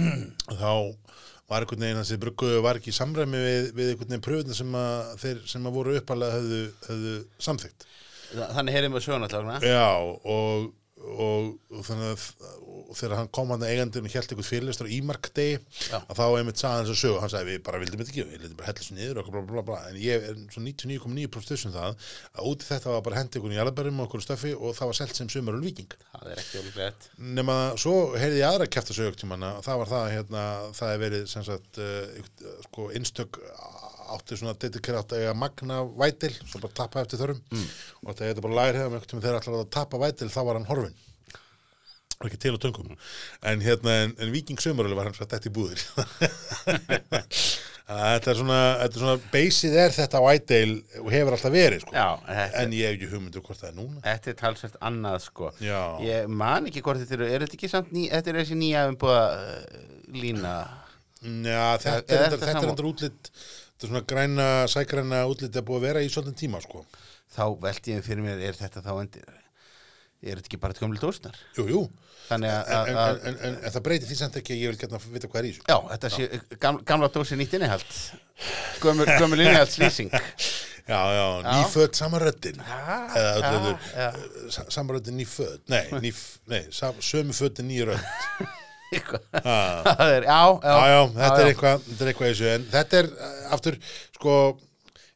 [SPEAKER 1] þá var einhvern veginn þessi brugguðu var ekki í samræmi við, við einhvern veginn pröfuna sem að þeir sem að voru uppalega höfðu, höfðu samþykkt
[SPEAKER 2] Þa- þannig heyrðum við söguna allagna
[SPEAKER 1] Já, og, og, og þannig að og þegar hann kom hann eigandinn og hélt einhvern fyrirlestur á Ímarkdegi
[SPEAKER 2] Já.
[SPEAKER 1] að þá einmitt sagði hans að sögu, hann sagði við bara vildum þetta ekki, við vildum bara hella þessu niður og eitthvað bla bla bla, en ég er svo 99,9% þessum það að út í þetta var bara hendi einhvern í jarðberðum og einhvern stöffi og það var selt sem sömur og viking
[SPEAKER 2] Það er ekki ólíklegt
[SPEAKER 1] nema svo heyrði ég aðra kæfta sögjöktímana og það var það að hérna, það er verið sem sagt, uh, ykkur- sko, einstök átti svona dedikerað að eiga magna vætil, svo bara tappa eftir þörfum og þetta er bara lærið um einhvern tímann þegar allar að tappa vætil, þá var hann horfinn og ekki til á töngum en hérna, en, en Viking Sömarölu var hann satt eftir búðir þetta er svona, þetta er svona beysið er þetta vætil og hefur alltaf verið, sko
[SPEAKER 2] Já, þetta-
[SPEAKER 1] en ég hef ekki hugmyndu hvort það er núna
[SPEAKER 2] Þetta er talsvært annað sko
[SPEAKER 1] Já.
[SPEAKER 2] Ég man ekki hvort þetta eru Er þetta ekki samt ný, þetta er þessi nýja umbúða uh, lína
[SPEAKER 1] Já, þetta,
[SPEAKER 2] eða
[SPEAKER 1] er,
[SPEAKER 2] þetta
[SPEAKER 1] þetta, þetta er
[SPEAKER 2] sama?
[SPEAKER 1] endur útlit þetta er svona græna, sægræna útlit að búið að vera í svolítið tíma, sko
[SPEAKER 2] Þá velti ég fyrir mér, er þetta þá endir Er þetta ekki bara gömlu dósnar?
[SPEAKER 1] Jú, jú,
[SPEAKER 2] Þannig að-
[SPEAKER 1] en, en,
[SPEAKER 2] að
[SPEAKER 1] en, en, en, það breytir því samt ekki að ég vil geta að vita hvað er í þessu
[SPEAKER 2] Já, þetta sé gamla, gamla dósi nýtt innihald Gömul, gömul innihald slýsing
[SPEAKER 1] Já, já, nýföld samaröddin eða
[SPEAKER 2] já,
[SPEAKER 1] öllu
[SPEAKER 2] já.
[SPEAKER 1] ja. samaröddin nýföld, nei, nýf, nei sam, sömu fötin nýrödd
[SPEAKER 2] Það
[SPEAKER 1] Já,
[SPEAKER 2] er, já, já
[SPEAKER 1] já, já, þetta
[SPEAKER 2] já.
[SPEAKER 1] er eitthvað þetta er eitthvað í þessu, en þetta er eh, aftur, sko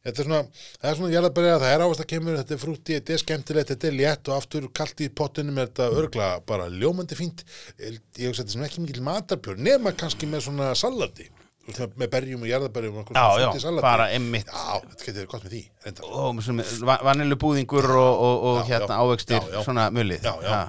[SPEAKER 1] þetta er svona, það er svona jarðabæri það er ávast að kemur, þetta er frúti, þetta er skemmtilegt þetta er létt og aftur kalt í pottinum er þetta örgla bara ljómandi fínt ég hugsa þetta er svona ekki mikil matarbjörn nema kannski með svona salati Þú veist, með berjum og jarðabæri og
[SPEAKER 2] Já, já, bara einmitt.
[SPEAKER 1] já, þetta getur verið gott með því reynda.
[SPEAKER 2] og vanilu búðingur og, og, og
[SPEAKER 1] Já, já.
[SPEAKER 2] hérna ávextir,
[SPEAKER 1] Já, já.
[SPEAKER 2] svona mulið
[SPEAKER 1] já, já,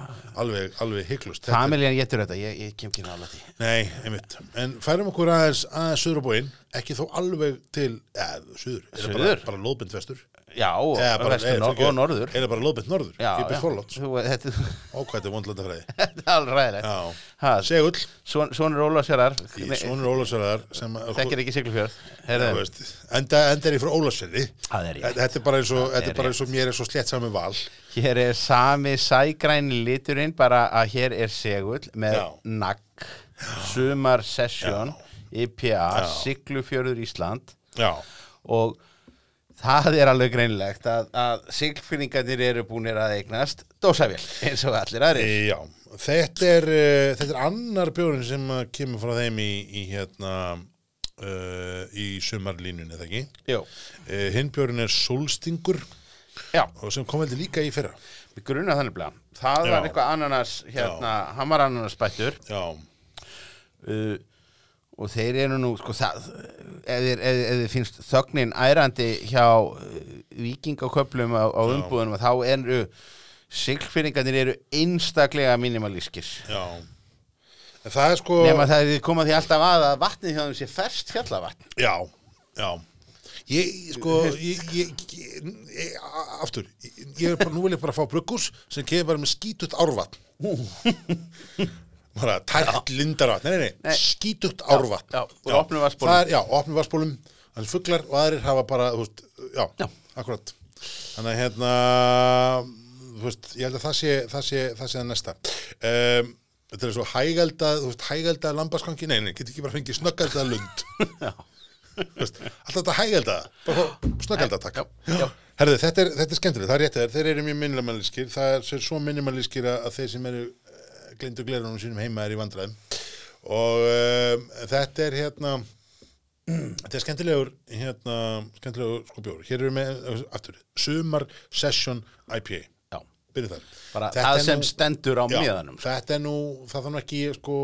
[SPEAKER 1] alveg, alveg hygglust
[SPEAKER 2] Familjan getur þetta, ég, ég kem ekki nála því
[SPEAKER 1] Nei, einmitt. En færum okkur aðeins aðeins söður á bóin, ekki þó alveg til, eða, söður. Er það Bara,
[SPEAKER 2] Suður?
[SPEAKER 1] bara lóðbind vestur.
[SPEAKER 2] Já, og,
[SPEAKER 1] Eða bara-
[SPEAKER 2] Sko, vestur,
[SPEAKER 1] eða,
[SPEAKER 2] nor
[SPEAKER 1] fyrirgefðu,
[SPEAKER 2] og norður
[SPEAKER 1] Er það bara lóðbind norður?
[SPEAKER 2] Já,
[SPEAKER 1] Upp
[SPEAKER 2] já.
[SPEAKER 1] í Þorlóts.
[SPEAKER 2] Þú- Þetta
[SPEAKER 1] Ó, hvað þetta sko. er vondlanda fræði.
[SPEAKER 2] þetta er alveg ræðilegt
[SPEAKER 1] Já.
[SPEAKER 2] Ha,
[SPEAKER 1] Segull,
[SPEAKER 2] son- Sonur Ólafsfjörðar
[SPEAKER 1] í sonur Ólafsverðar sem... að-
[SPEAKER 2] Þekkir ekki Siglufjörð
[SPEAKER 1] Þú
[SPEAKER 2] Herðu,
[SPEAKER 1] veist, Enda, enda er ég frá Ólafsverði.
[SPEAKER 2] Það er rétt.
[SPEAKER 1] Þetta er bara eins og, þetta
[SPEAKER 2] er
[SPEAKER 1] er bara eins og mér er svo slett saman með val.
[SPEAKER 2] Hér er sami sægræni liturinn bara að hér er segull með
[SPEAKER 1] Já.
[SPEAKER 2] nagg Sumar Session IPA, Siglufjörður Ísland
[SPEAKER 1] Já.
[SPEAKER 2] og það er alveg greinlegt að, að siglfinningarnir eru búinir að eignast dósavél eins og allir aðrir
[SPEAKER 1] E, já. Þetta er, uh, þetta er annar bjórin sem að kemur frá þeim í, í hérna, uh, í sumarlínunni, eða ekki?
[SPEAKER 2] Jú.
[SPEAKER 1] Uh, Hinnbjörn er Solstingur
[SPEAKER 2] Já,
[SPEAKER 1] og sem kom heldur líka í fyrra.
[SPEAKER 2] við grunum þannig blá það var
[SPEAKER 1] Já.
[SPEAKER 2] eitthvað ananas hérna, hann var ananasbættur
[SPEAKER 1] Já,
[SPEAKER 2] uh, og þeir eru nú sko það, ef þið, ef, ef þið finnst þögnin ærandi hjá uh, vikingaköplum á, á umbúðunum þá eru siglfinningarnir eru einstaklega mínimalískir
[SPEAKER 1] já. En það er sko...
[SPEAKER 2] nema það er komað því alltaf að að vatnið hjá þeim sé ferst fjallavatn
[SPEAKER 1] Já, já. Ég, sko, ég, ég, ég, ég a- aftur, ég, ég er bara, nú vil ég bara fá brugghús sem kemur bara með skítutt árvatn. bara tært lindarvatn, nei, nei, nei,
[SPEAKER 2] Nei.
[SPEAKER 1] skítutt árvatn.
[SPEAKER 2] já, og opnum vatnsbólum.
[SPEAKER 1] Það er, já, og opnum vassbólum, þannig fuglar og aðrir hafa bara, þú veist, já,
[SPEAKER 2] Já.
[SPEAKER 1] akkurat. Þannig að hérna, þú veist, ég held að það sé, það sé, það sé það næsta. Um, þetta er svo hægælda, þú veist, hægælda lambaskangi, nei, nei, getur ekki bara fengið snöggalda lund. Þú veist, Alltaf þetta hægælda, bara snöggalda takk.
[SPEAKER 2] Já, já.
[SPEAKER 1] Herðu, þetta er, þetta er skemmtileg, það er rétt að þeir eru mjög minimalískir, það er svo minimalískir að að þeir sem eru glindu glerunum sínum heima er í vandræðum og um, þetta er hérna þetta er skemmtilegur hérna, skemmtilegur sko bjór hér eru með, aftur, Sumar Session IPA,
[SPEAKER 2] Já.
[SPEAKER 1] byrju þar
[SPEAKER 2] bara
[SPEAKER 1] Þetta
[SPEAKER 2] það
[SPEAKER 1] er
[SPEAKER 2] sem
[SPEAKER 1] nú-
[SPEAKER 2] stendur á
[SPEAKER 1] Já,
[SPEAKER 2] miðanum sko.
[SPEAKER 1] þetta er nú, það þarf nú ekki sko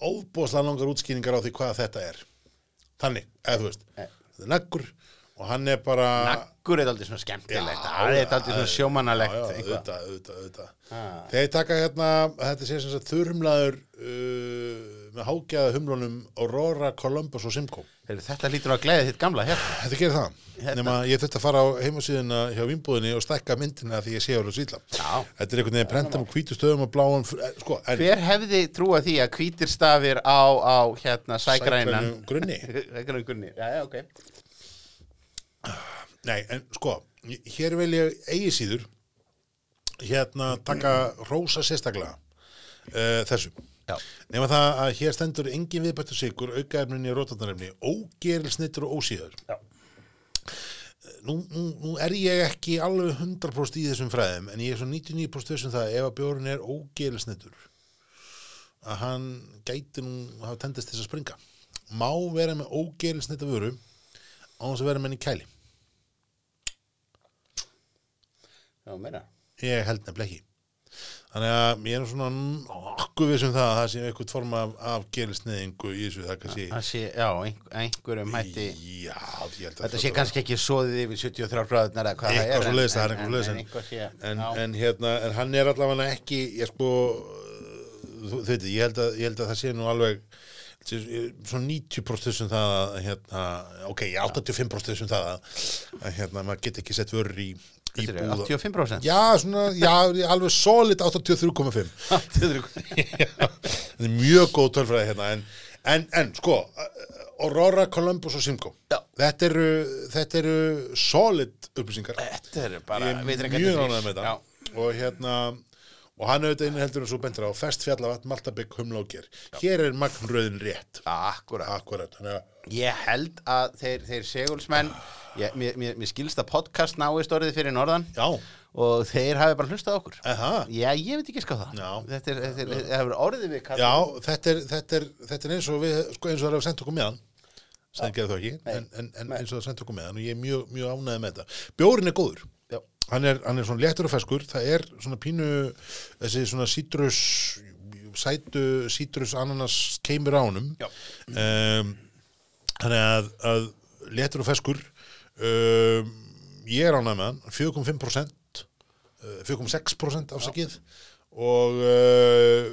[SPEAKER 1] óbúðslega langar útskýringar á því hvað þetta er þannig, eða þú veist
[SPEAKER 2] Eh.
[SPEAKER 1] þetta er naggur og hann er bara
[SPEAKER 2] Naggur er aldrei svona skemmtilegt
[SPEAKER 1] Já,
[SPEAKER 2] Það er aldrei svona sjómanalegt
[SPEAKER 1] já, já,
[SPEAKER 2] eitthvað.
[SPEAKER 1] auðvitað, auðvitað, auðvitað
[SPEAKER 2] Ah.
[SPEAKER 1] þeir taka hérna, þetta sé sem sagt þurrumlaður uh, með hágjaða humlunum Aurora, Columbus og Simcoe
[SPEAKER 2] Heyrðu, Þetta lítur að gleði þitt gamla hér
[SPEAKER 1] þetta gerir það,
[SPEAKER 2] Hérna.
[SPEAKER 1] nema ég þurfti að fara á heimasíðuna hjá vinnbúðinni og stækka myndina því ég sé ára svíla
[SPEAKER 2] Já.
[SPEAKER 1] þetta er einhvern veginn prentam og hvítu stöðum og bláum fr- eh, sko, en
[SPEAKER 2] Hver hefði trúað því að hvítir stafir á, á hérna sægrænan
[SPEAKER 1] Sægrænum grunni.
[SPEAKER 2] Sægrænum grunni, já, já, ok
[SPEAKER 1] Nei, en sko, hér vil ég eigi síður hérna taka rósa sérstaklega uh, þessu.
[SPEAKER 2] Já.
[SPEAKER 1] Nefna það að hér stendur engin viðbættu sigur, aukaefninni og rótarnarefni, ógerilsnittur og ósíður.
[SPEAKER 2] Já.
[SPEAKER 1] Nú, nú, nú er ég ekki alveg 100% í þessum fræðum, en ég er svo 99% þessum um það ef að bjórun er ógerilsnittur að hann gæti nú hafa tendist þess að springa. Má vera með ógerilsnitta vöru á þess að vera með henni í kæli.
[SPEAKER 2] Já, meira
[SPEAKER 1] Ég held nefnilega ekki. Þannig að ég er nú svona nokkuð við sem það að það sé eitthvað form af, af gerilsneiðingu í þessu, það kannski...
[SPEAKER 2] Það sé, já, einhver, einhverjum hætti
[SPEAKER 1] Já, ég held að
[SPEAKER 2] Þetta sé kannski ekki soðið yfir 73 gráðunar eða hvað það er
[SPEAKER 1] Eitthvað svo leiðist, það er
[SPEAKER 2] en-
[SPEAKER 1] eitthvað
[SPEAKER 2] en- en
[SPEAKER 1] svo
[SPEAKER 2] eitthvað sé,
[SPEAKER 1] leiðist. En,
[SPEAKER 2] já.
[SPEAKER 1] en hérna, en hann er allavega ekki, ég sko, þú þú veit, ég held að, ég held að það sé nú alveg svona 90% sem það að, hérna, ok, 85% sem það að, að hérna, maður get ekki sett vörur í, í
[SPEAKER 2] Þetta eru
[SPEAKER 1] búða.
[SPEAKER 2] 85%
[SPEAKER 1] Já, svona, já, alveg solid 83,5. það er mjög góð tölfræði hérna en, en, en sko Aurora, Columbus og Simcoe
[SPEAKER 2] Já.
[SPEAKER 1] þetta eru, þetta eru solid upplýsingar
[SPEAKER 2] Þetta er bara
[SPEAKER 1] ég er mjög
[SPEAKER 2] vitringarnir þrír.
[SPEAKER 1] ánægð með
[SPEAKER 2] Já.
[SPEAKER 1] þetta og hérna og hann auðvitað inni heldur eins og bentur á fest fjallavatn, maltabygg, humlókir hér er magnröðin rétt
[SPEAKER 2] Akkúrat.
[SPEAKER 1] akkurat, þannig að
[SPEAKER 2] Ég held að þeir, þeir segulsmenn ég, mér, mér, mér skilst að podcast náist orðið fyrir norðan
[SPEAKER 1] já,
[SPEAKER 2] og þeir hafi bara hlustað á okkur
[SPEAKER 1] eða
[SPEAKER 2] Já, ég veit ekki ská það
[SPEAKER 1] Já.
[SPEAKER 2] Þetta er, þetta er, þetta er orðið við kallum
[SPEAKER 1] Já, þetta er, þetta, er, þetta er eins og við, sko, eins og það er að senda okkur meðan sem þið gerðu þá ekki,
[SPEAKER 2] Nei.
[SPEAKER 1] en, en, en
[SPEAKER 2] Nei.
[SPEAKER 1] eins og það sendt okkur með hann og ég er mjög, mjög ánæði með þetta. Bjórin er góður.
[SPEAKER 2] Já.
[SPEAKER 1] Hann er, hann er svona léttur og feskur, það er svona pínu, þessi svona sítrus, sætu sítrus ananas keimur ánum.
[SPEAKER 2] Já.
[SPEAKER 1] Um, þannig að, að léttur og feskur, um, ég er ánæði með hann, 4,5%, eh, 4,6% afsakið og uh,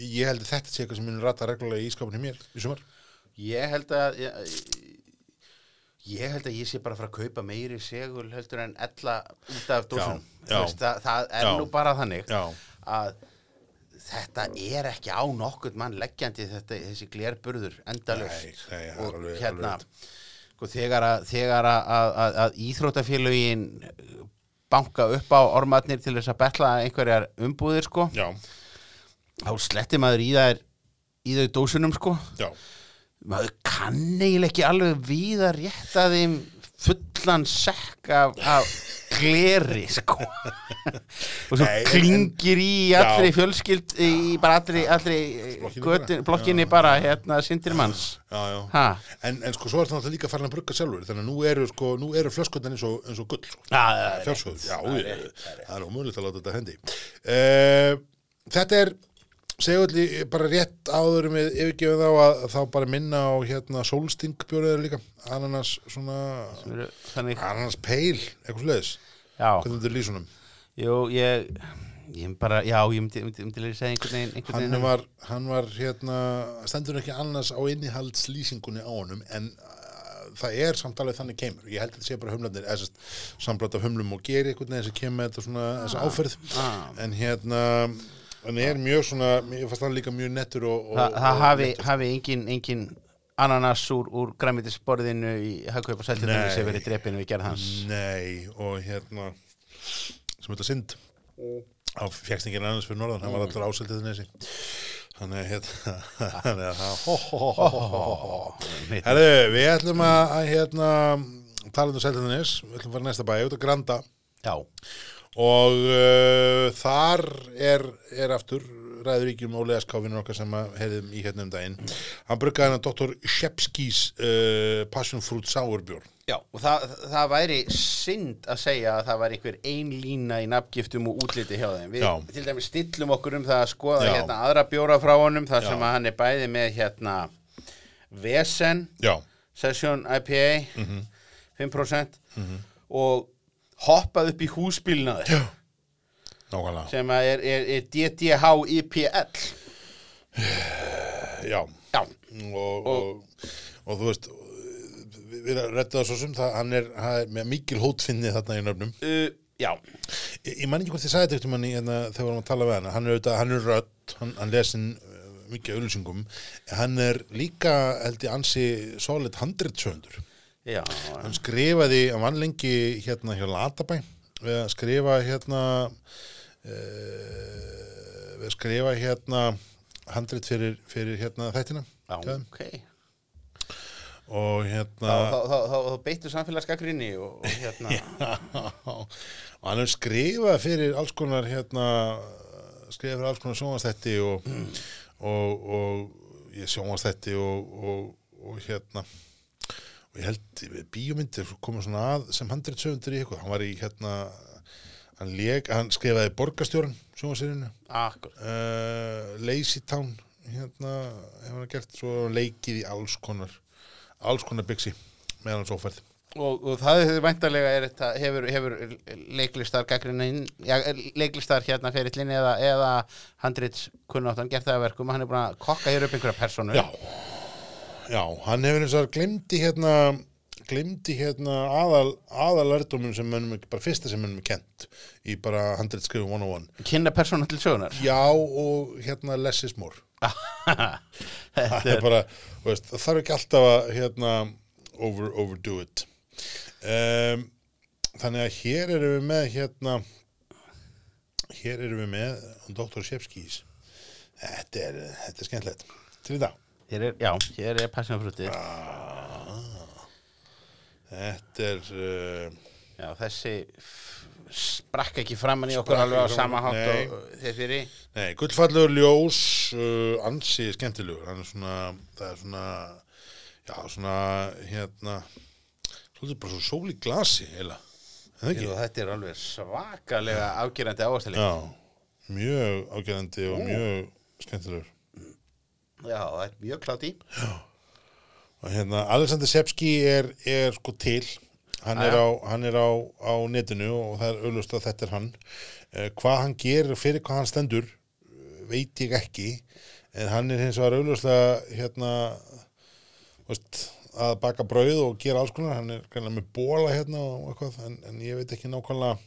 [SPEAKER 1] ég held að þetta sé eitthvað sem minn rata reglulega í ískapinu mér í sumar.
[SPEAKER 2] Ég held að ég, ég held að ég sé bara að fara að kaupa meiri segul heldur en ella út af dósunum
[SPEAKER 1] Já, já.
[SPEAKER 2] Þú veist, það, það er
[SPEAKER 1] Já.
[SPEAKER 2] nú bara þannig
[SPEAKER 1] Já.
[SPEAKER 2] að þetta er ekki á nokkurn mann leggjandi þetta, þessi glerburður endalaust
[SPEAKER 1] Nei, nei, það er
[SPEAKER 2] og
[SPEAKER 1] alveg-
[SPEAKER 2] hérna
[SPEAKER 1] alveg
[SPEAKER 2] sko, þegar, að, þegar að, að, að, að íþróttafélögin banka upp á ormatnir til þess að betla einhverjar umbúðir sko,
[SPEAKER 1] Já,
[SPEAKER 2] þá sletti maður í þær í þau dósunum sko
[SPEAKER 1] já,
[SPEAKER 2] maður kann eiginlega ekki alveg við að rétta þeim fullan sekk af, af gleri sko og svo
[SPEAKER 1] Nei, en-
[SPEAKER 2] klingir í allri
[SPEAKER 1] Já.
[SPEAKER 2] fjölskyld í bara allri, allri
[SPEAKER 1] Blokkinni
[SPEAKER 2] götin,
[SPEAKER 1] bara.
[SPEAKER 2] blokkinni bara hérna Sindirmanns
[SPEAKER 1] já, já.
[SPEAKER 2] ha,
[SPEAKER 1] En, en sko, svo er það náttúrulega líka farin að brugga sjálfur þannig að nú eru, sko, nú eru flöskundan eins og, eins og gull sko.
[SPEAKER 2] að,
[SPEAKER 1] fjársöður, já, ég, það er ómöðulegt að láta þetta hendi uh, Þetta er segulli bara rétt áðurum við yfirgefum þá að að þá bara minna á hérna sólsting bjóriður líka ananas svona
[SPEAKER 2] þannig,
[SPEAKER 1] ananas peil, eitthvað svoleiðis
[SPEAKER 2] já,
[SPEAKER 1] hvernig þetta er lýsunum
[SPEAKER 2] jú, ég ég bara, já, ég myndi, myndi, myndi leysa einhvern veginn, einhvern
[SPEAKER 1] hann
[SPEAKER 2] veginn
[SPEAKER 1] var, hann var hérna stendur ekki annars á innihaldslýsingunni á honum en uh, það er samt alveg þannig kemur ég held að þetta sé bara humlarnir eða sest, samblat af humlum og geri einhvern veginn sem kemur með þetta svona þessa áferð
[SPEAKER 2] Ah.
[SPEAKER 1] en hérna en er mjög svona, ég fannst það líka mjög nettur og, og,
[SPEAKER 2] Þa, það
[SPEAKER 1] og
[SPEAKER 2] hafi, hafi engin, engin ananas úr, úr græmitisborðinu í hagkaup og sæltunum
[SPEAKER 1] Nei.
[SPEAKER 2] sem verið drepinu í gerð hans
[SPEAKER 1] nei og hérna sem þetta synd á fjækstingin annars fyrir norðan, hann var alltaf áseldið nesi þannig að hérna þannig að það ho ho ho ho ho ho
[SPEAKER 2] Mitt.
[SPEAKER 1] Herðu, við ætlum að, að hérna, tala um Seltjarnis, við ætlum að fara í næsta bæ, út að Granda
[SPEAKER 2] Já,
[SPEAKER 1] og uh, þar er, er aftur ræður ríkjum Óli S.K. vinnur okkar sem að heyrðum í hérna um daginn. Hann bruggaði hennar Dr. Shepskis uh, Passion Fruit Sauerbjörn.
[SPEAKER 2] já og það, það væri synd að segja að það væri einhver ein lína í nafngiftum og útliti hjá þeim. Við
[SPEAKER 1] Já.
[SPEAKER 2] til dæmis stillum okkur um það að skoða
[SPEAKER 1] Já.
[SPEAKER 2] hérna aðra bjóra frá honum þar
[SPEAKER 1] Já.
[SPEAKER 2] sem að hann er bæði með hérna Vesen,
[SPEAKER 1] Já,
[SPEAKER 2] Session IPA, 5% og hoppað upp í húsbílnaður já.
[SPEAKER 1] nákvæmlega.
[SPEAKER 2] sem að er, er, er DDHIPL.
[SPEAKER 1] Já,
[SPEAKER 2] Já,
[SPEAKER 1] og, og, og þú veist, við, við rettum það svo sem það, hann er, hann er með mikil hótfinni þarna í nöfnum.
[SPEAKER 2] uh, já,
[SPEAKER 1] Ég, ég man ekki hvort ég sagði þetta eftir manni hérna, þegar við varum að tala við hana. Hann er auðvitað, hann er rödd, hann, hann lesin uh, mikið auðlýsingum. Hann er líka, held ég, ansi solid handritsöndur.
[SPEAKER 2] já,
[SPEAKER 1] Hann skrifaði, hann vann lengi hérna hjá Latabæ við að skrifa hérna uh, við að skrifa hérna handrit fyrir, fyrir hérna þættina
[SPEAKER 2] já,
[SPEAKER 1] hjá þeim.
[SPEAKER 2] ok.
[SPEAKER 1] og hérna
[SPEAKER 2] þá, þá, þá, þá, þá beittu samfélagsgagrinni og, og hérna
[SPEAKER 1] og hann er skrifað fyrir alls konar hérna skrifað fyrir alls konar sjónvastætti og, og, og ég sjónvastætti og, og, og hérna og ég held bíómyndir koma svona að sem 100 sögundir í eitthvað hann var í hérna hann, leg, hann skrifaði borgarstjórn sjónvastættinu
[SPEAKER 2] akkur
[SPEAKER 1] uh, Lazy Town hérna hefur hann gert svo hefur hann leikið í alls konar alls konar byggsi meðan hans ófærð
[SPEAKER 2] og, og það er væntalega er þetta, hefur, hefur leiklistar gagrinni já, leiklistar hérna ferillinni eða, eða handrits kunnáttan gert það að verkum hann er búin að kokka hér upp einhverja personu
[SPEAKER 1] Já, já, hann hefur eins og glimti hérna glimti hérna aðal aðalördumum sem mönnum er- bara fyrsta sem mönnum er kent í bara 100 skrifum 101
[SPEAKER 2] kynna personu til sögunar
[SPEAKER 1] já og hérna less is more það
[SPEAKER 2] þetta
[SPEAKER 1] er
[SPEAKER 2] er
[SPEAKER 1] bara, þú veist, það þarf ekki alltaf að hérna over, overdo it um, þannig að hér erum við með hérna hér erum við með Dr. Shepskis þetta er, þetta er skemmtilegt til þetta
[SPEAKER 2] hér er, já, hér er passionfruti
[SPEAKER 1] þetta er uh,
[SPEAKER 2] já, þessi f- sprakk ekki framann í okkur
[SPEAKER 1] Sprakk
[SPEAKER 2] alveg á
[SPEAKER 1] ekki
[SPEAKER 2] sama
[SPEAKER 1] framan,
[SPEAKER 2] hátt
[SPEAKER 1] nei.
[SPEAKER 2] og þeir fyrir
[SPEAKER 1] Nei, gullfallegur ljós, uh, ansi skemmtilegur, hann er svona, það er svona, já, svona, hérna, svolítið bara svo sól í glasi, heila. En það ekki?
[SPEAKER 2] Jú, þetta er alveg svakalega afgerandi
[SPEAKER 1] Já,
[SPEAKER 2] ávastalega.
[SPEAKER 1] mjög ágerandi og mjög skemmtilegur.
[SPEAKER 2] Já. það er mjög klátt í.
[SPEAKER 1] Og hérna, Alexander Sepski er, er sko til, hann er, á, hann er á, á netinu og það er auðlust að þetta er hann. Eh, hvað hann gerir og fyrir hvað hann stendur eh, veit ég ekki, en hann er hins vegar auðlustlega hérna, þú veist, að baka brauð og gera alls konar, hann er kannar með bóla hérna og eitthvað, en, en ég veit ekki nákvæmlega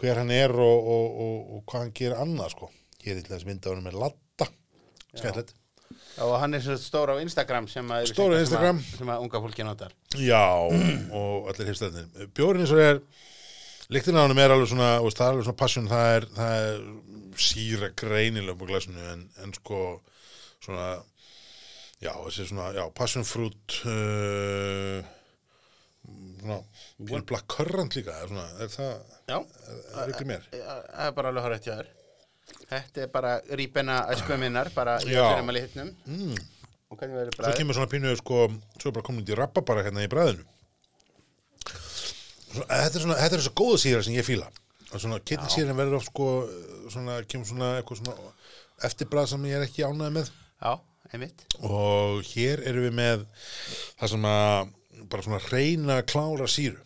[SPEAKER 1] hver hann er og, og, og, og hvað hann gerir annað sko. Hér er til þess mynda honum með latta, skemmtilegt.
[SPEAKER 2] Og hann er svo stór á Instagram sem að...
[SPEAKER 1] Stór á Instagram.
[SPEAKER 2] Sem að, sem að unga fólki notar.
[SPEAKER 1] Já, og allir hefstæðnir. Bjórinn eins og er, lyktin á honum er alveg svona, þú veist, það er alveg svona passion, það er, það er síra greinilega på glasinu, en, en sko, svona, já, þessi svona, já, passion fruit, uh, svona, pínu black currant líka, er svona, er það,
[SPEAKER 2] Já,
[SPEAKER 1] er ykkur mér?
[SPEAKER 2] það er bara alveg horrið hjá þér. Þetta er bara rýpena æskuð minnar, bara í
[SPEAKER 1] Já.
[SPEAKER 2] öllum að litnum. Mm. Og hvernig verður
[SPEAKER 1] Svo
[SPEAKER 2] bræðið?
[SPEAKER 1] kemur svona pínu, sko, svo er bara komin út í rappa bara hérna í bræðinu. Svo, eh, þetta er svona, þetta er þessi góða síra sem ég fíla. Og svona, kittilsýrin verður oft, sko, svona, kemur svona eitthvað svona eftirbræð sem ég er ekki ánæði með.
[SPEAKER 2] Já, einmitt.
[SPEAKER 1] Og hér erum við með það sem að, bara svona reyna klára síru.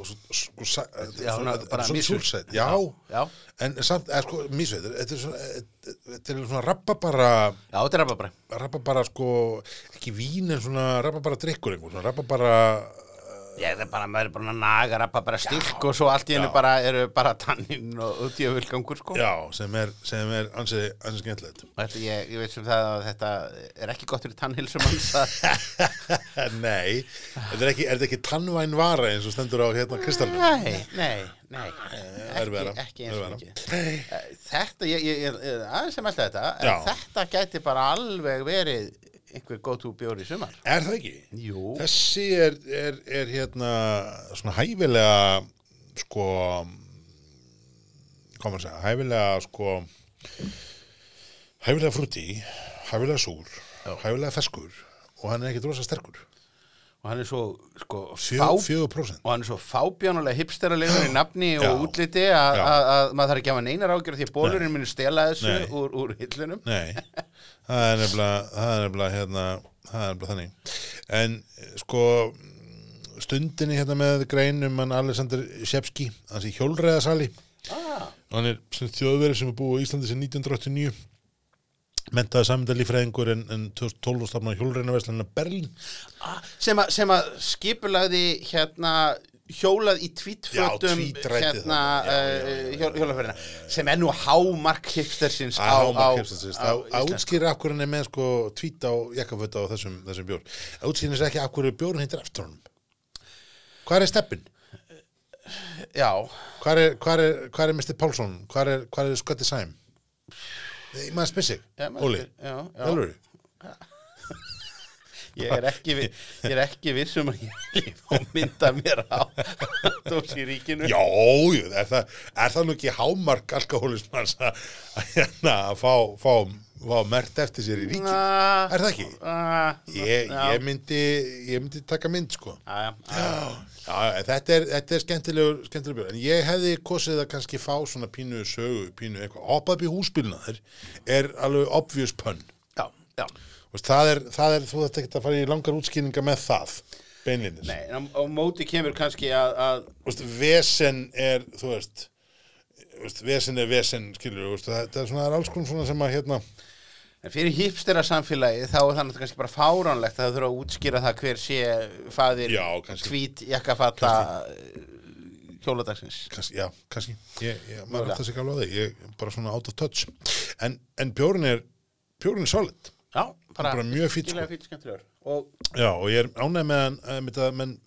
[SPEAKER 1] Og svo, sko, sa- þetta
[SPEAKER 2] Já,
[SPEAKER 1] er svona,
[SPEAKER 2] svona bara
[SPEAKER 1] þetta er svona
[SPEAKER 2] mísur.
[SPEAKER 1] súlsætt. Já,
[SPEAKER 2] Já.
[SPEAKER 1] En samt, eða sko, mísveit, þetta er svona, eh, þetta er svona rappa bara
[SPEAKER 2] Já, þetta er rababræ.
[SPEAKER 1] rababara sko, ekki vín en svona rababara drikkur einhver, svona rababara
[SPEAKER 2] Ég er bara, maður er bara að naga rababræ styrk og svo allt í hennu bara eru bara tannin og útjöfulgangur, sko.
[SPEAKER 1] já, sem er, sem er ansið, ansið skemmtilegt
[SPEAKER 2] Þetta, ég, ég veit sem það að þetta er ekki gott fyrir tannhilsum hans að
[SPEAKER 1] Nei, þetta er ekki, er þetta ekki tannvæn vara eins og stendur á hérna kristallum
[SPEAKER 2] Nei, nei, nei
[SPEAKER 1] Eh, erfiðara,
[SPEAKER 2] ekki, ekki eins og
[SPEAKER 1] erfiðara.
[SPEAKER 2] mikið Eh, Þetta, ég, ég, ég ég- aðeins sem alltaf þetta en
[SPEAKER 1] Já.
[SPEAKER 2] þetta gæti bara alveg verið einhver go-to bjór í sumar
[SPEAKER 1] Er það ekki?
[SPEAKER 2] Jú,
[SPEAKER 1] Þessi er, er, er hérna svona hæfilega sko hvað maður að segja, hæfilega sko hæfilega frutti hæfilega súr, hæfilega feskur og hann er ekki drosa sterkur
[SPEAKER 2] og hann er svo sko, fá,
[SPEAKER 1] 4%
[SPEAKER 2] og hann er svo fábjánulega hipsteralegur í nafni
[SPEAKER 1] Já.
[SPEAKER 2] og útliti að
[SPEAKER 1] Já.
[SPEAKER 2] að- að maður þarf ekki að hafa neinar ágjörð því að bólurinn muni stela þessu
[SPEAKER 1] Nei.
[SPEAKER 2] úr, úr hillunum
[SPEAKER 1] Nei, það er nefnilega, það er nefnilega, hérna, það er nefnilega þannig. En eh, sko, stundinni hérna með greinum hann Alexander Shepski, hans í hjólreðasali,
[SPEAKER 2] ah,
[SPEAKER 1] hann er sem þjóðverið sem er búið á Íslandi sem 1989, mentaði samendalífræðingur en, en 2012 og stafnaði hjólreðinaverslunina Berlín.
[SPEAKER 2] ah, sem, að, sem að skipulagði hérna hjólað í tvítfötum
[SPEAKER 1] Já, tvítrætið
[SPEAKER 2] hérna
[SPEAKER 1] þarna, já, já, já, já, Ah,
[SPEAKER 2] uh, hjól- hjólaferðina sem er nú hámark hipstersins á, á, á, á
[SPEAKER 1] Að
[SPEAKER 2] Ísland
[SPEAKER 1] útskýra af hverju hann er með sko tvít á jakkafötta á þessum, þessum bjór. Að útskýra þess ekki af hverju bjórn heitir eftir honum. Hvað er steppin?
[SPEAKER 2] já,
[SPEAKER 1] Hvar er, hvar er, hvar er Mr. Pálsson? Hvar er, hvar er Scotty Sæm? Nei, maður spyr sig,
[SPEAKER 2] Já, maður
[SPEAKER 1] Óli,
[SPEAKER 2] spyr- já, já.
[SPEAKER 1] alveg
[SPEAKER 2] ég er ekki vi- ég er ekki vissum að ég lif og mynda mér á dósi ríkinu
[SPEAKER 1] Já, jú, er það, er það nú ekki hámark alkohólismans að að hérna, að fá, fá, fá mert eftir sér í ríki?
[SPEAKER 2] Ah,
[SPEAKER 1] Er það ekki?
[SPEAKER 2] ah,
[SPEAKER 1] Ég,
[SPEAKER 2] já.
[SPEAKER 1] ég, myndi, ég myndi taka mynd, sko.
[SPEAKER 2] Já, já, já.
[SPEAKER 1] Já, en þetta er, þetta er skemmtilegur, skemmtilegur bjór, en ég hefði kosið að kannski fá svona pínu sögu, pínu eitthvað, hoppa upp í húsbílnaður er alveg obvious pun.
[SPEAKER 2] já, já.
[SPEAKER 1] Þú veist, Það er, það er, þú þetta ekki að fara í langar útskýringa með það, beinlinnis.
[SPEAKER 2] Nei, en á, á móti kemur kannski að, að
[SPEAKER 1] Þú veist, vesen er, þú veist, þú veist vesen er vesen, skilur, þú veist, það, það er svona, það er alls konar svona sem að, hérna,
[SPEAKER 2] En fyrir hipstera samfélagi þá er það náttúrulega kannski bara fáránlegt að það þurfa að útskýra það hver sé faðir
[SPEAKER 1] Já, kannski.
[SPEAKER 2] tvít jakkafata hjóladagsins.
[SPEAKER 1] kannski, já, kannski, ég, ég, maður
[SPEAKER 2] Mögulega.
[SPEAKER 1] átt að segja alveg á því, ég er bara svona out of touch. En, en bjórinn er, bjórinn er solid,
[SPEAKER 2] Já, bara,
[SPEAKER 1] Bara mjög fínn, sko.
[SPEAKER 2] virkilega fínn skemmtilegur. Og
[SPEAKER 1] já, og ég er ánægð með hann, eh, með það, menn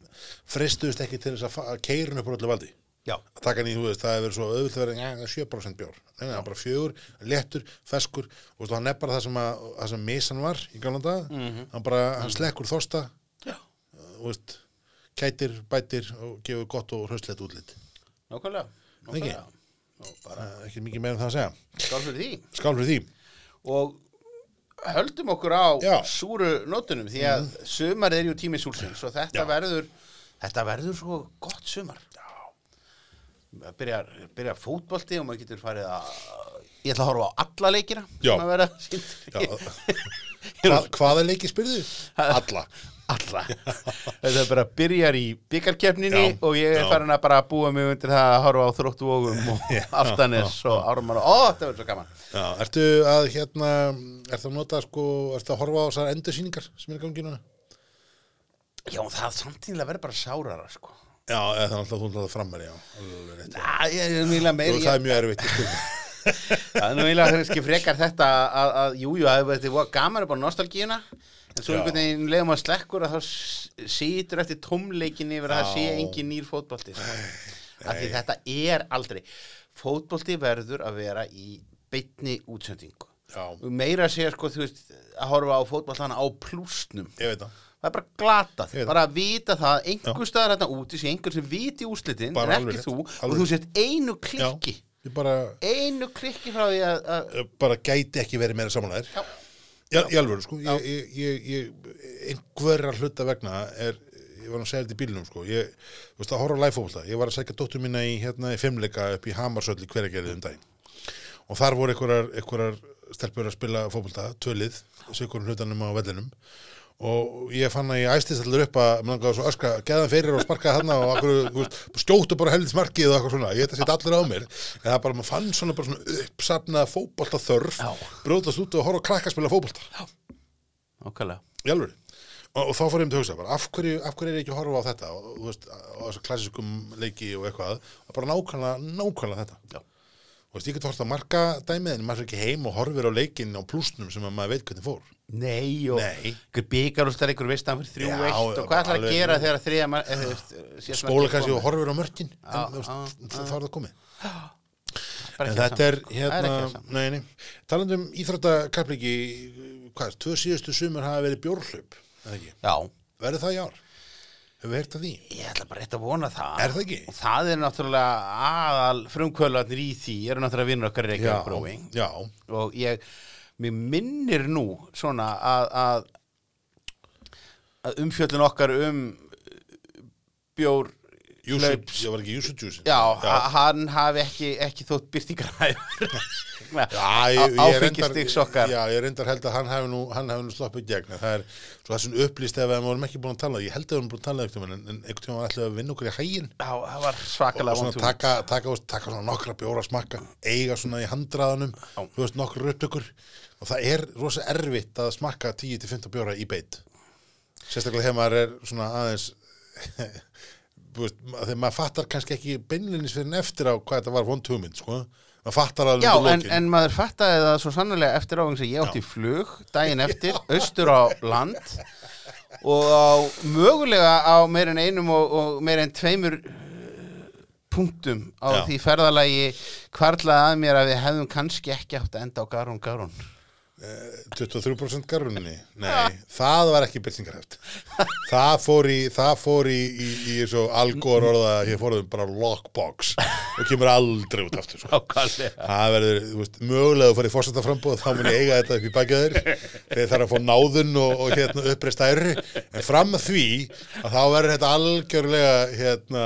[SPEAKER 1] fristuðust ekki til þess að, fa- að keirinu upp úr öllu valdi.
[SPEAKER 2] já,
[SPEAKER 1] að taka hann í, þú veist, það hefur svo auðvitað verið ja, það er 7% bjór, nei, nei, það er bara fjögur léttur, feskur, og veist, hann er bara það sem, að, það sem misan var í gamla dag hann bara, hann slekkur þorsta
[SPEAKER 2] já,
[SPEAKER 1] uh, þú veist, kætir, bætir og gefur gott og hraustlegt útlit
[SPEAKER 2] nákvæmlega. nákvæmlega. Og bara
[SPEAKER 1] uh, ekki mikið meira um það að segja
[SPEAKER 2] skál fyrir því.
[SPEAKER 1] skál fyrir því,
[SPEAKER 2] Og höldum okkur á
[SPEAKER 1] Já. Mhm.
[SPEAKER 2] súru nótunum því að sumar er jú tími súlsins og þetta verður þetta verður svo gott sumar Það byrjar, byrjar fótbolti og maður getur farið að ég ætla að horfa á alla leikina
[SPEAKER 1] Já.
[SPEAKER 2] sem að vera sýndir í-
[SPEAKER 1] Hva, hvaða leiki spyrðu? Alla
[SPEAKER 2] alla þetta bara byrjar í byggarkeppninni
[SPEAKER 1] Já,
[SPEAKER 2] og ég er
[SPEAKER 1] já.
[SPEAKER 2] farin að bara búa mig undir það að horfa á þróttu ógum og aftanis og árumar og ó, þetta verður svo gaman
[SPEAKER 1] Já, ertu að hérna ertu að nota sko, ertu að horfa á þessar endursýningar sem er í gangi núna?
[SPEAKER 2] já, það samtíðlega verður bara sárara sko.
[SPEAKER 1] Já, eða það er alltaf þú náttúrulega framar, já alveg rétt.
[SPEAKER 2] Næ, ég er mjög
[SPEAKER 1] Jú,
[SPEAKER 2] meir
[SPEAKER 1] Það
[SPEAKER 2] ég,
[SPEAKER 1] er mjög erfitt, ég skil það.
[SPEAKER 2] það er nú eiginlega kannski frekar þetta að, að jú, jú, að þetta var gaman upp á nostalgíuna en svo
[SPEAKER 1] Já.
[SPEAKER 2] einhvern veginn um leiðum að slekkur að þá s- situr eftir tómleikinni yfir að það
[SPEAKER 1] Já.
[SPEAKER 2] sé engin nýr fótbolti sko. af því þetta er aldrei fótbolti verður að vera í beinni útsendingu
[SPEAKER 1] Já,
[SPEAKER 2] meira að segja sko, þú veist, að horfa á fótballtana á plúsnum
[SPEAKER 1] ég veit það
[SPEAKER 2] það er bara glatað,
[SPEAKER 1] Ég veit það.
[SPEAKER 2] bara að vita það einhver staðar þetta úti sé einhver sem viti úslitin
[SPEAKER 1] Bara
[SPEAKER 2] en
[SPEAKER 1] alveg
[SPEAKER 2] ekki
[SPEAKER 1] rétt,
[SPEAKER 2] þú
[SPEAKER 1] alveg
[SPEAKER 2] og þú sért einu klikki
[SPEAKER 1] Já, ég bara,
[SPEAKER 2] einu klikki frá því að, að
[SPEAKER 1] bara gæti ekki verið meira samanlæðir
[SPEAKER 2] Já.
[SPEAKER 1] Já, í alvöru, sko ég, ég, ég, ég, einhverja hluta vegna er, ég var nú að segja þetta í bílnum, sko ég, þú veist, að horfa á læfófólta ég var að segja dóttur mína í, hérna, í fimmleika upp í Hamarsöll í hveragerðið um daginn og þar voru einhverjar, einhverjar stelpur að spila fótbolta, tölið sökur hlutanum á vellinum og ég fann að ég æstist allir upp að mér langaði svo öskra, geðan fyrir og sparkaði þarna og akkur, veist, skjóttu bara helvits markið og eitthvað svona, ég ætti að setja allir á mér en það bara, maður fann svona bara svona uppsafnað fótbolta þörf,
[SPEAKER 2] Já.
[SPEAKER 1] brjótast út og horfa á krakka að spila fótbolta
[SPEAKER 2] okkarlega
[SPEAKER 1] í alvöru og, og þá fór ég um til að hugsa bara, af hverju, af hverju er ég ekki að horfa á þetta og, og, veist, á þessu klassiskum leiki og eitthvað og bara nákvæmlega, nákvæmlega þetta
[SPEAKER 2] Já.
[SPEAKER 1] og veist, ég get horft að marka dæmið en maður er ekki heim og horfir á leikin á plúsnum sem að maður veit hvernig fór
[SPEAKER 2] Nei, og
[SPEAKER 1] Nei.
[SPEAKER 2] ykkur byggar og stærleikur veist hann fyrir
[SPEAKER 1] Já,
[SPEAKER 2] 3-1 og hvað
[SPEAKER 1] bara
[SPEAKER 2] ætlar að
[SPEAKER 1] alveg- Ah.
[SPEAKER 2] gera þegar þriða mann- eða, þú veist, síðasta
[SPEAKER 1] skóla
[SPEAKER 2] markið
[SPEAKER 1] kannski
[SPEAKER 2] komið?
[SPEAKER 1] og horfir á mörkin en,
[SPEAKER 2] Já,
[SPEAKER 1] þú veist,
[SPEAKER 2] já,
[SPEAKER 1] þá er það komið
[SPEAKER 2] Bara
[SPEAKER 1] en
[SPEAKER 2] ekki
[SPEAKER 1] þetta
[SPEAKER 2] saman.
[SPEAKER 1] er
[SPEAKER 2] Það ekki
[SPEAKER 1] hérna
[SPEAKER 2] saman.
[SPEAKER 1] nei, nei. talandum íþróttakapliki hvað, tvö síðustu sumur hafa verið bjórhlaup eða ekki,
[SPEAKER 2] Já,
[SPEAKER 1] verður það í ár hefur við heyrt af því,
[SPEAKER 2] Ég ætla bara rétt að vona það.
[SPEAKER 1] Er það ekki?
[SPEAKER 2] Og það er náttúrulega aðal frumkvölarnir í því, eru náttúrulega vinnur okkar í Reykjavík Brewing.
[SPEAKER 1] já,
[SPEAKER 2] Og ég, mér minnir nú svona að, að, að umfjöllun okkar um uh, bjór,
[SPEAKER 1] Júsup,
[SPEAKER 2] Hlaups.
[SPEAKER 1] ég var ekki Júsup Júsup
[SPEAKER 2] já, já. hann hafi ekki, ekki þótt byrtingaræður.
[SPEAKER 1] Já, ég, ég reyndar-
[SPEAKER 2] Áfengistiks okkar.
[SPEAKER 1] Já, ég reyndar held að hann hafi nú, hann hafi nú sloppið gegn en Það er svo þessum upplýst ef við vorum ekki búin að tala Ég held að við vorum búin að tala eitthvað En, en einhvern tímann ætlaði að vinna okkur í hægin
[SPEAKER 2] Já, það var
[SPEAKER 1] og
[SPEAKER 2] svakalega
[SPEAKER 1] svona
[SPEAKER 2] vond hugmynd.
[SPEAKER 1] taka, taka, þú veist, taka svona nokkra bjóra smakka eiga svona í handraðanum þú veist, nokkra ruttökur og það er rosa erfitt að smakka 10-15 bjóra í beitt sérstaklega þegar maður er svona aðeins þú veist, ma- þegar maður fattar kannski ekki beinlinis fyrir en eftir á hvað þetta var vond hugmynd sko. maður fattar alveg
[SPEAKER 2] Já,
[SPEAKER 1] undir
[SPEAKER 2] en,
[SPEAKER 1] lokin.
[SPEAKER 2] en maður fattaði það svo sannlega eftir á eins og ég átti í flug daginn eftir, austur á land og á, mögulega á meir en einum og, og meir en tveimur eh, punktum
[SPEAKER 1] Já.
[SPEAKER 2] á því ferðalagi hvarlaði að mér að við hefðum kannski ekki átt að enda á Garún Garún
[SPEAKER 1] 23% garfunni Nei, það var ekki byrtingarheft Það fór í það fór í, í, í svo algor orða hér fóruðum bara lockbox og kemur aldrei út aftur sko.
[SPEAKER 2] Ákvæmlega
[SPEAKER 1] Það verður, þú veist, mögulega að fara í fórsetta frambúð þá muni eiga þetta upp í bakið þeir þegar þarf að fá náðun og, og hérna uppreist æru en fram að því að þá verður þetta algjörlega hérna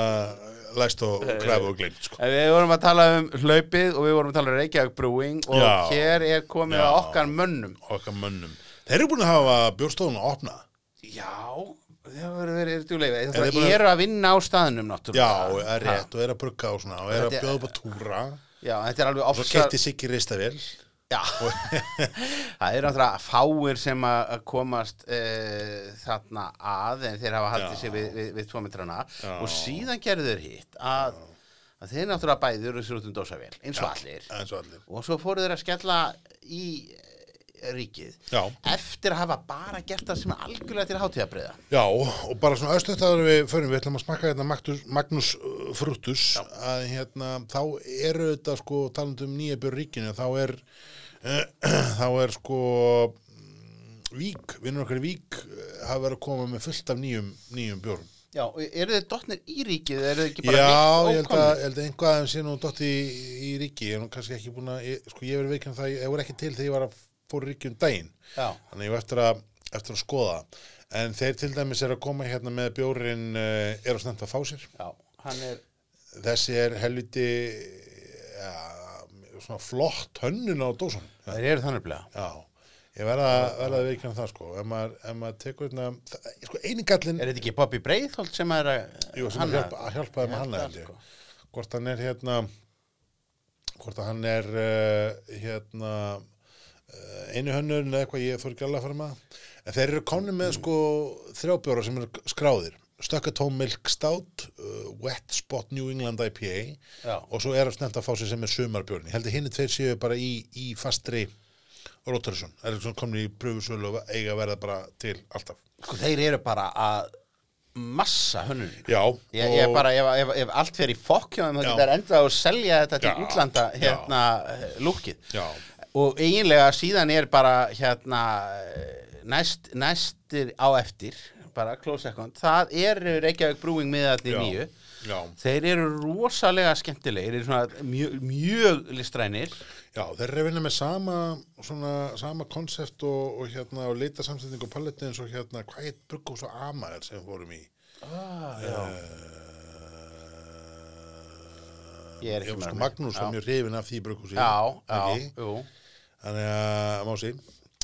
[SPEAKER 1] læst og kræfu og glimt sko.
[SPEAKER 2] Við vorum að tala um hlaupið og við vorum að tala um Reykjavík Brewing og
[SPEAKER 1] Já.
[SPEAKER 2] hér er komið
[SPEAKER 1] Já.
[SPEAKER 2] að okkar mönnum
[SPEAKER 1] okkar mönnum Þeir eru búin að hafa bjórstofun að opna
[SPEAKER 2] Já, það voru verið duglega
[SPEAKER 1] þeir
[SPEAKER 2] Það
[SPEAKER 1] bara-
[SPEAKER 2] eru að vinna á staðnum
[SPEAKER 1] Já,
[SPEAKER 2] náttúrulega
[SPEAKER 1] það er rétt og er að brugga og svona og er að
[SPEAKER 2] Þetta er-
[SPEAKER 1] bjóða upp að túra
[SPEAKER 2] Já, þetta er alveg
[SPEAKER 1] og
[SPEAKER 2] ofsa
[SPEAKER 1] keitti sig í reista vel
[SPEAKER 2] Já, það eru náttúrulega fáir sem að að komast uh, þarna að en þeir hafa haldið
[SPEAKER 1] Já.
[SPEAKER 2] sig við, við, við tvo metrana og síðan gerðu þeir hitt að, að þeir náttúrulega bæður þessu út um dósavél, eins og allir
[SPEAKER 1] eins og allir
[SPEAKER 2] og svo fóru þeir að skella í eh, ríkið
[SPEAKER 1] Já.
[SPEAKER 2] eftir að hafa bara gert það sem er algjörlega til hátíðabriða
[SPEAKER 1] Já, og bara svona östuðt að við förum, við ætlum að smakka hérna Magnus, Magnus uh, Frutus að hérna, þá eru þetta sko talandi um nýja björn ríkinu þá er, þá er sko mm, Vík, vinnur okkar í Vík eh, hafa verið að koma með fullt af nýjum, nýjum björn
[SPEAKER 2] Já, og eru þeir dottnir í ríkið, eru þeir
[SPEAKER 1] Já,
[SPEAKER 2] ekki bara
[SPEAKER 1] ég
[SPEAKER 2] neitt
[SPEAKER 1] held að, ég held að einhvað aðeins sé nú dotti í, í ríki, ég er nú kannski ekki búin að, ég, sko ég verið veikinn það, ég ég voru ekki til þegar ég var að fór ríkjum daginn
[SPEAKER 2] Já.
[SPEAKER 1] þannig ég var eftir að, eftir að skoða það. en þeir til dæmis er að koma hérna með bjórin uh, er að snemmt að fá sér
[SPEAKER 2] Já, hann er
[SPEAKER 1] þessi er helviti ja, svona flott hönnun á dósunum
[SPEAKER 2] Þeir eru þannig bleið
[SPEAKER 1] já, ég verða verða að veikna það sko ef maður, ef maður tekur hérna það- sko einingallin
[SPEAKER 2] Er þetta ekki Bobby Breiðholt sem er að sko.
[SPEAKER 1] Jú, sem að
[SPEAKER 2] hanna-
[SPEAKER 1] hjálpa, að hjálpa þeim að hanna
[SPEAKER 2] Hjálpa,
[SPEAKER 1] held ég. Hvort hann er hérna, hvort að hann er uh, hérna uh, einu hönnurinn eða eitthvað ég þór ekki alveg að fara með. En þeir eru konni með sko þrjábjóra sem eru skráðir. Stökkatóm Milk Stout, uh, Wet Spot New England IPA
[SPEAKER 2] Já.
[SPEAKER 1] og svo er að snemmt að fá sér sem er sumarbjörn. Ég held að hinn þeir séu bara í, í fastri rotation. Það er svona komin í pröfusölu og eiga að verða bara til alltaf.
[SPEAKER 2] Sko þeir eru bara að massa hönnun
[SPEAKER 1] Já.
[SPEAKER 2] Ég, ég
[SPEAKER 1] og-
[SPEAKER 2] bara, ef, ef, ef allt fer í fokk hjá þeim, þá
[SPEAKER 1] Já.
[SPEAKER 2] getur enda að selja þetta til
[SPEAKER 1] Já.
[SPEAKER 2] útlanda
[SPEAKER 1] Já.
[SPEAKER 2] hérna lúkið.
[SPEAKER 1] Já.
[SPEAKER 2] Og eiginlega síðan er bara hérna eh, næst, næstir á eftir, bara close second, það eru Reykjavík Brewing miðarnir
[SPEAKER 1] Já.
[SPEAKER 2] nýju.
[SPEAKER 1] Já.
[SPEAKER 2] Þeir eru rosalega skemmtilegir, þeir eru svona mjög, mjög listrænir.
[SPEAKER 1] Já, þeir eru að vinna með sama svona, sama konsept og, og hérna og leita samsetningu og paletti eins og hérna hvað heit brugg og svo amar sem við fórum í Eh,
[SPEAKER 2] Ah, já.
[SPEAKER 1] uh,
[SPEAKER 2] Ég er ekki
[SPEAKER 1] sko
[SPEAKER 2] með.
[SPEAKER 1] Magnús var
[SPEAKER 2] Já.
[SPEAKER 1] mjög hrifin af því brugghúsi
[SPEAKER 2] Já, já,
[SPEAKER 1] ekki?
[SPEAKER 2] jú,
[SPEAKER 1] Þannig að, mási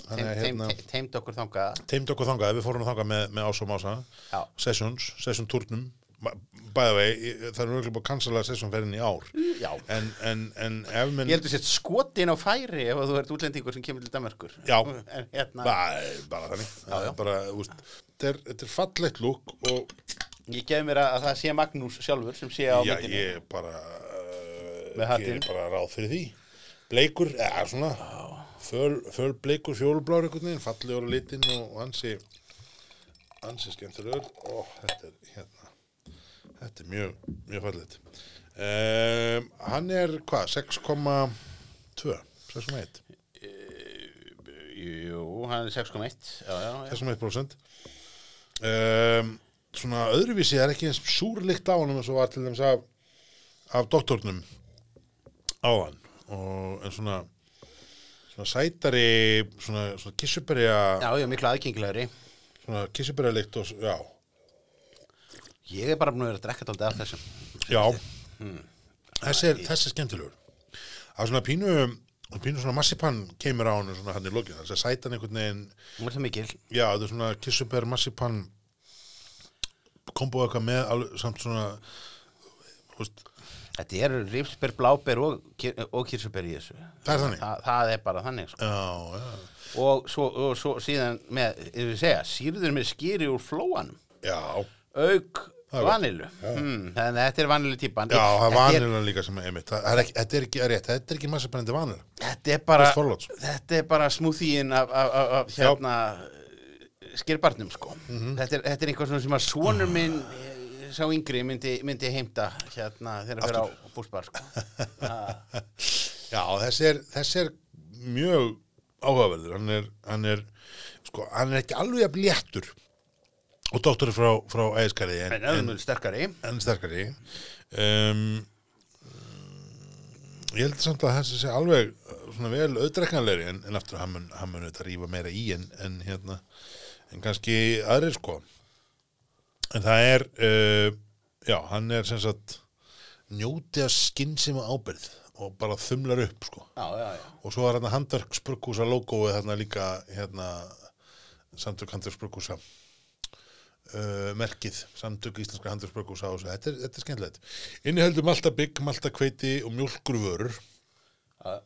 [SPEAKER 1] Þannig að
[SPEAKER 2] Þeim- þeim-
[SPEAKER 1] hérna
[SPEAKER 2] te- teimt okkur þangað.
[SPEAKER 1] Teimt okkur þangað, við fórum þangað með, með Ása og Mása
[SPEAKER 2] Já.
[SPEAKER 1] Sessions, Session turnum By the way, ég- það er mjög bara að cancela Sessionferðin í ár
[SPEAKER 2] Já.
[SPEAKER 1] En, en, en ef minn
[SPEAKER 2] Ég heldur sér skotin á færi ef þú ert útlendingur sem kemur til Danmarkur.
[SPEAKER 1] Já.
[SPEAKER 2] En hérna,
[SPEAKER 1] bara, bara þannig
[SPEAKER 2] Já, já.
[SPEAKER 1] Bara, úst, þetta, er, þetta er fallegt lúk og
[SPEAKER 2] ég gefi mér að að það sé Magnús sjálfur sem sé
[SPEAKER 1] já,
[SPEAKER 2] á
[SPEAKER 1] ég
[SPEAKER 2] myndinni.
[SPEAKER 1] er bara uh,
[SPEAKER 2] Með hattinn.
[SPEAKER 1] ég er bara ráð fyrir því bleikur, eða svona föl, föl bleikur, fjólublár einhvern veginn fallegur á litinn og ansi ansi skemmtilegur og þetta er hérna þetta er mjög, mjög fallegt um, hann er hvað 6,2 6,1
[SPEAKER 2] Jú, hann er 6,1. Já, já, já.
[SPEAKER 1] þessum 1% um, svona öðruvísi er ekki eins súrlikt á honum eins og var til dæmis af, af doktornum á hann og en svona svona sætari svona, svona kissuberja
[SPEAKER 2] Já, já, miklu aðgengilegri.
[SPEAKER 1] svona kissuberja líkt og s- já,
[SPEAKER 2] Ég er bara búin að vera að drekka tóldi af þessum.
[SPEAKER 1] já þessi er, þessi er skemmtilegur að svona pínu pínu svona massipan kemur á hann svona hann í lokin, þess að sætan einhvern veginn
[SPEAKER 2] Nú er það mikil.
[SPEAKER 1] Já, þetta er svona kissuber, massipan kombo eitthvað með alveg, samt svona þú veist,
[SPEAKER 2] Þetta eru rifsber, bláber og, kir- og kirsuber í þessu.
[SPEAKER 1] það er þannig
[SPEAKER 2] Þa, það er bara þannig, sko.
[SPEAKER 1] Já, já,
[SPEAKER 2] Og svo, og svo síðan með, ég vil segja, sírður með skýri úr flóanum.
[SPEAKER 1] já,
[SPEAKER 2] auk
[SPEAKER 1] er gott.
[SPEAKER 2] vanilu hmm, þannig að þetta er vanilu típan
[SPEAKER 1] já það er
[SPEAKER 2] þetta, er,
[SPEAKER 1] vanilan líka sem er einmitt Það er ekki, þetta er ekki rétt, þetta er ekki massipan þetta sko. er vanil
[SPEAKER 2] þetta er bara
[SPEAKER 1] Krist Þorláks.
[SPEAKER 2] þetta er bara smúþíin af, af, af, af hérna skirbarnum sko
[SPEAKER 1] Mhm.
[SPEAKER 2] þetta, er, þetta er einhver svona sem að sonur minn eh, sá yngri myndi, myndi heimta hérna þegar að vera á búsbar sko.
[SPEAKER 1] Já, þessi er, þessi er mjög áhugaverður hann er, hann er, sko, hann er ekki alveg jafn léttur og dóttur frá, frá ægiskariði en,
[SPEAKER 2] en öðrum sterkari
[SPEAKER 1] enn sterkari um, eh, ég held samt að þessi sé alveg uh, svona vel auðdrekkanlegri en, en aftur hann mun, hann mun þetta rífa meira í en, en hérna en kannski aðrir sko en það er uh, já, hann er sem sagt njóti að skinnsima ábyrð og bara þumlar upp sko
[SPEAKER 2] já, já, já.
[SPEAKER 1] og svo var hann handverk spurkúsa logoið þarna líka hérna samtök handverk spurkúsa uh, merkið samtök íslenska handverk spurkúsa og svo þetta er, þetta er skemmtilegt inniheldur malta bygg, malta kveiti og mjólkurvörur
[SPEAKER 2] Já.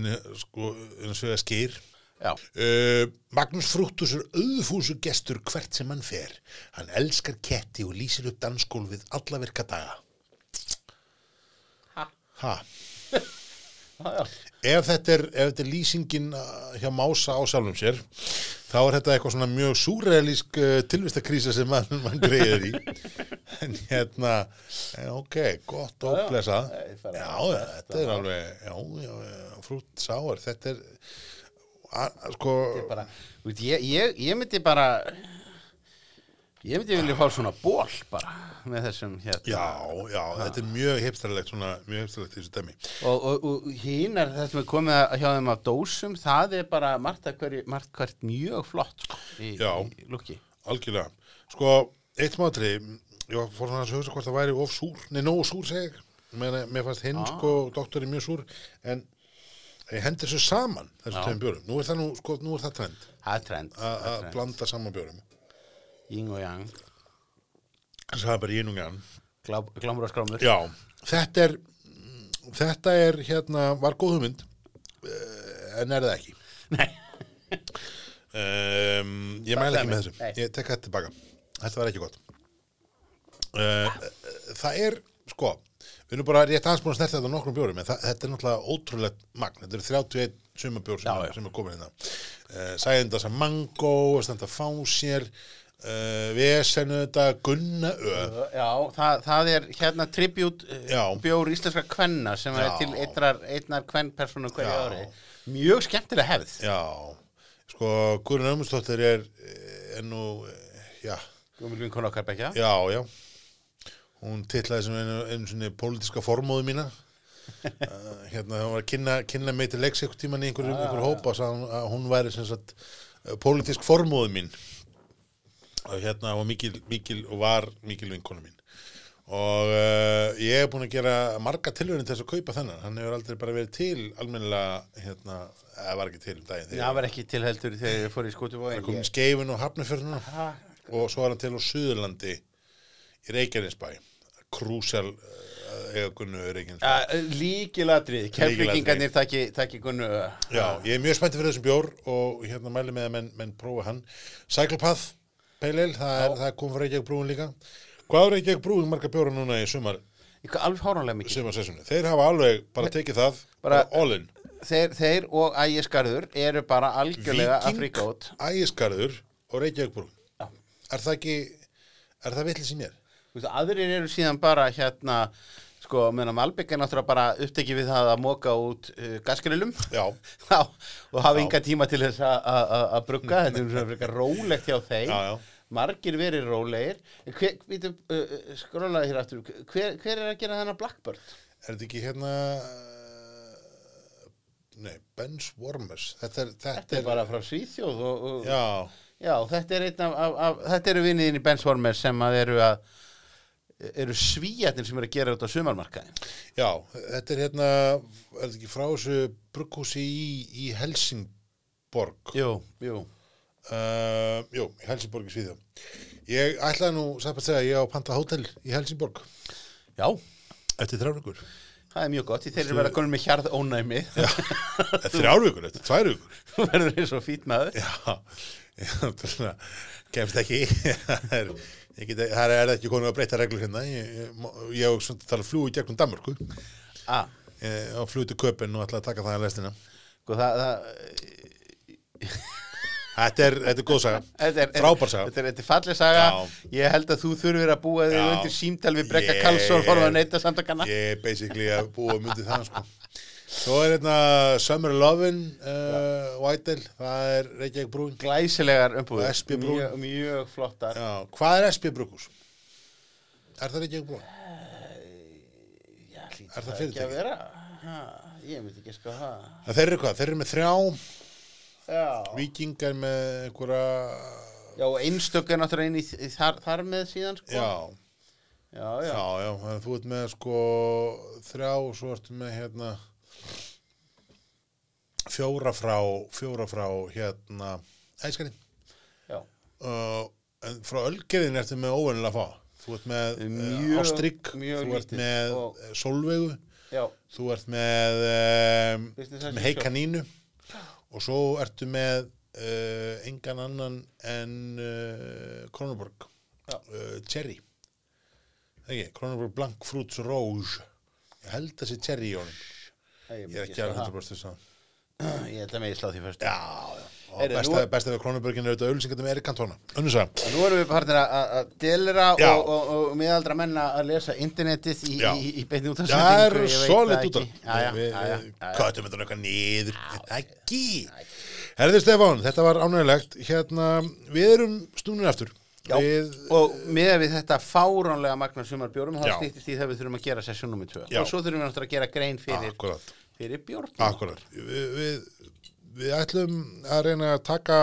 [SPEAKER 1] inni, sko, eins og það skýr
[SPEAKER 2] já.
[SPEAKER 1] Uh, Magnús Frúttus er auðfúsu gestur hvert sem hann fer. Hann elskar ketti og lýsir upp dansgólfið alla virka daga.
[SPEAKER 2] Ha.
[SPEAKER 1] Ha.
[SPEAKER 2] Já, já.
[SPEAKER 1] ef þetta er, ef þetta er lýsingin uh, hjá Mása á sjálfum sér þá er þetta eitthvað svona mjög súrealísk uh, tilvistakrísa sem mann man greiðir í en hérna eh, ok, gott og blessa
[SPEAKER 2] Nei,
[SPEAKER 1] já,
[SPEAKER 2] bara-
[SPEAKER 1] já, þetta er alveg já, já, já, frútt sáar þetta er a, a, sko
[SPEAKER 2] bara, þú veit, ég, ég, ég myndi bara Ég myndi vilja fá svona ból bara með þessum hérna
[SPEAKER 1] Já, já, þetta er mjög hipsterlegt svona, mjög hipsterlegt í þessu dæmi.
[SPEAKER 2] og, og, og hínar það sem er komið að- hjá þeim af dósum það er bara margt, að hverju, margt hvert mjög flott sko, í,
[SPEAKER 1] Já.
[SPEAKER 2] í lukki
[SPEAKER 1] Algjörlega. Sko, eitt mátri, ég fór svona að hugsa hvort það væri of súr, nei, nógu súr segi ég. Mér, mér fannst hinn, sko, doktorinn mjög súr, en ég hendi þessu saman, þessu
[SPEAKER 2] Já.
[SPEAKER 1] tveim björum. Nú er það nú, sko, nú er það trend
[SPEAKER 2] það er trend,
[SPEAKER 1] a-
[SPEAKER 2] það
[SPEAKER 1] að
[SPEAKER 2] er trend.
[SPEAKER 1] blanda saman björum.
[SPEAKER 2] ying og yang,
[SPEAKER 1] Þess að það er bara ínungjan.
[SPEAKER 2] glámur og skrámur
[SPEAKER 1] Já, þetta er, þetta er, hérna, var góð hugmynd, eh, en er það ekki.
[SPEAKER 2] Nei.
[SPEAKER 1] Um, ég
[SPEAKER 2] Takk
[SPEAKER 1] mæla
[SPEAKER 2] fyrir
[SPEAKER 1] ekki með
[SPEAKER 2] mig.
[SPEAKER 1] þessu,
[SPEAKER 2] Nei.
[SPEAKER 1] ég tek þetta tilbaka Þetta var ekki gott uh, Það er, sko Við erum bara rétt aðeins búin að snerta þetta á nokkrum bjórum en það, þetta er náttúrulega ótrúlegt magn Þetta eru 31 sumabjór sem,
[SPEAKER 2] Já, já.
[SPEAKER 1] sem er komin hérna uh, Sæðinda sem mango, standa fá sér uh, Vesenu þetta Gunna Ö
[SPEAKER 2] Já, það, það er hérna tribut
[SPEAKER 1] Já.
[SPEAKER 2] bjór íslenska kvenna sem er
[SPEAKER 1] Já.
[SPEAKER 2] til einnar, einnar kvennpersonu hverju
[SPEAKER 1] Já.
[SPEAKER 2] ári mjög skemmtilega hefð
[SPEAKER 1] Já, sko Guðrun Ömmustóttir er eh, er nú, eh, já
[SPEAKER 2] Guðmjöl vinkona okkar bekja
[SPEAKER 1] Já, já Hún titlaði sem einu, einu sinni pólitíska formóðu mína uh, hérna þegar hún var að kynna, kynna mig til leiks einhver tíman í einhverjum ah, einhver hópa sagði hún að hún væri sem sagt eh, pólitísk formóðu mín og hérna hún var mikil, mikil og var mikil vinkona mín og uh, ég hef búin að gera marga tilhörnum til þess að kaupa þennan hann hefur aldrei bara verið til almennilega hérna, eða var ekki til um daginn
[SPEAKER 2] það
[SPEAKER 1] þegar
[SPEAKER 2] var ekki tilheldur þegar ég fór í skotubóin
[SPEAKER 1] kom í skeifin og hafnafjörnuna og svo er hann til á Suðurlandi í Reykjanesbæ Krúsel eh, eiga gunnu í Reykjanesbæ
[SPEAKER 2] líkilatrið, keflingingarnir takki, takki kunnu
[SPEAKER 1] Já, ég er mjög spænti fyrir þessum bjór og hérna mæli með að menn, menn prófa hann Cyclopath, Pale Ale, það, er, það kom frá Reykjavík brúin líka Hvað er Reykjavík brúin marga bjóra núna í sumar,
[SPEAKER 2] Eitthvað alveg háranlega mikið
[SPEAKER 1] sumar Þeir hafa alveg bara tekið það, bara,
[SPEAKER 2] Bara-
[SPEAKER 1] all in
[SPEAKER 2] þeir, þeir og ægiskarður eru bara algjörlega að fríka út
[SPEAKER 1] Ægiskarður og Reykjavík brúin
[SPEAKER 2] Já.
[SPEAKER 1] Er það ekki, er það vitlis í mér?
[SPEAKER 2] Þú veist, aðrir eru síðan bara hérna sko, meðan Malbygg er náttúrulega bara upptekið við það að móka út uh, gasgrillum
[SPEAKER 1] Já,
[SPEAKER 2] Já, og hafa enga tíma til þess að- að að- að brugga, þetta er svona frekar rólegt hjá þeim
[SPEAKER 1] Já, já.
[SPEAKER 2] margir verið rólegir En hver, við, uh, skrólaði hér aftur hver, hver er að gera þennan Blackbird?
[SPEAKER 1] Er þetta ekki hérna eh, Nei, Benchwarmers Þetta er, þetta
[SPEAKER 2] Þetta er
[SPEAKER 1] er
[SPEAKER 2] bara frá Svíþjóð og, og, já.
[SPEAKER 1] Já,
[SPEAKER 2] þetta er einn af, af, af þetta eru vinniðin í Bensvormer sem að eru að eru svíjarnir sem eru að gera út á sumarmarkaðin
[SPEAKER 1] já, þetta er hérna Er þetta ekki frá þessu brugghúsi í, í Helsingborg
[SPEAKER 2] Jú, jú
[SPEAKER 1] Uh, jú, í Helsingborg í Svíðjá Ég ætlaði nú, sagði bara að segja, ég á að panta hótel í Helsingborg
[SPEAKER 2] Já,
[SPEAKER 1] Eftir þrjár vikur
[SPEAKER 2] það er mjög gott því þeir eru verið að koma með hjarð ónæmi
[SPEAKER 1] Eftir Þrjár vikur, eftir tvær vikur
[SPEAKER 2] þú verður eins og fýt maður
[SPEAKER 1] Já, ég náttúrulega kemst ekki Það er, ég get, það er ekki konum að breyta reglur hérna Ég, ég, má- ég og svona tala flúi gegnum Danmörku
[SPEAKER 2] ah,
[SPEAKER 1] eh, og flutu köpinn og ætla að taka það að lestina
[SPEAKER 2] sko, það, það,
[SPEAKER 1] Þetta er, þetta er góð saga,
[SPEAKER 2] þetta er,
[SPEAKER 1] frábær saga
[SPEAKER 2] þetta er, þetta er falleg saga
[SPEAKER 1] Já.
[SPEAKER 2] ég held að þú þurfir að búa þig
[SPEAKER 1] Já.
[SPEAKER 2] undir símtal við Brekka
[SPEAKER 1] Ég-
[SPEAKER 2] yeah. Karlsson fórum að neyta samtakana
[SPEAKER 1] Ég er basically að búa myndið það sko. Svo er hérna Summer Lovin uh, Whitel, það er Reykjavík brúin
[SPEAKER 2] glæsilegar umbúður
[SPEAKER 1] Og SB brún.
[SPEAKER 2] mjög, mjög flottar
[SPEAKER 1] Já, hvað er SB brúkus? Er það Reykjavík brúin?
[SPEAKER 2] Já, hlýtur
[SPEAKER 1] Er það
[SPEAKER 2] ekki að
[SPEAKER 1] fyrirtæki?
[SPEAKER 2] vera? Ha, ég veit ekki sko það.
[SPEAKER 1] Það þeir eru hvað? Þeir eru með þrjá
[SPEAKER 2] Já.
[SPEAKER 1] vikingar með einhverja
[SPEAKER 2] Já, og einstök er náttúrulega inn í, í þar, þar með síðan sko.
[SPEAKER 1] Já,
[SPEAKER 2] já.
[SPEAKER 1] já,
[SPEAKER 2] já.
[SPEAKER 1] já, þannig að þú ert með sko þrjá og svo ertu með hérna fjóra frá fjóra frá hérna æskarinn
[SPEAKER 2] já.
[SPEAKER 1] uh, en frá ölgerðin ertu með óvennilega fá þú ert með
[SPEAKER 2] Mjög-
[SPEAKER 1] uh, ástrygg
[SPEAKER 2] mjög
[SPEAKER 1] þú ert
[SPEAKER 2] lítið
[SPEAKER 1] með eh,
[SPEAKER 2] og-
[SPEAKER 1] og... sólvegu
[SPEAKER 2] Já,
[SPEAKER 1] þú ert með, um,
[SPEAKER 2] Business
[SPEAKER 1] með
[SPEAKER 2] as usual.
[SPEAKER 1] heikanínu og svo ertu með uh, engan annan en uh, Kronoborg
[SPEAKER 2] Já.
[SPEAKER 1] uh, Cherry ekki, Kronoborg Blanc Fruits Rouge ég held að sé Cherry í honum ég er ekki alveg 100% þess að
[SPEAKER 2] það. Ég held að með ég slá því fyrst.
[SPEAKER 1] já, já og
[SPEAKER 2] Heyrðu,
[SPEAKER 1] besta,
[SPEAKER 2] nú er-
[SPEAKER 1] besta við Kronoborgin er auðvitað auðlýsingatum Erik Cantona önnur sagði
[SPEAKER 2] Og Nú erum við partin að að delera og,
[SPEAKER 1] Já.
[SPEAKER 2] og, og miðaldra menna að lesa internetið í,
[SPEAKER 1] Já.
[SPEAKER 2] í, í beinni út af
[SPEAKER 1] Það er solid út
[SPEAKER 2] út
[SPEAKER 1] af
[SPEAKER 2] Já, já, já, já, já.
[SPEAKER 1] Köttum þetta nú eitthvað niður Ekki Herði Stefán, þetta var ánægilegt Hérna, við erum snúnir aftur
[SPEAKER 2] Já.
[SPEAKER 1] Við,
[SPEAKER 2] og með við þetta fáránlega magna sumarbjórum þá
[SPEAKER 1] Já.
[SPEAKER 2] stýttist í það við þurfum að gera sessjón nummið 2
[SPEAKER 1] Já.
[SPEAKER 2] og svo þurfum við náttúrulega að gera grein fyrir,
[SPEAKER 1] akkurat,
[SPEAKER 2] fyrir bjórnum
[SPEAKER 1] akkurat. Við, við, við ætlum að reyna að taka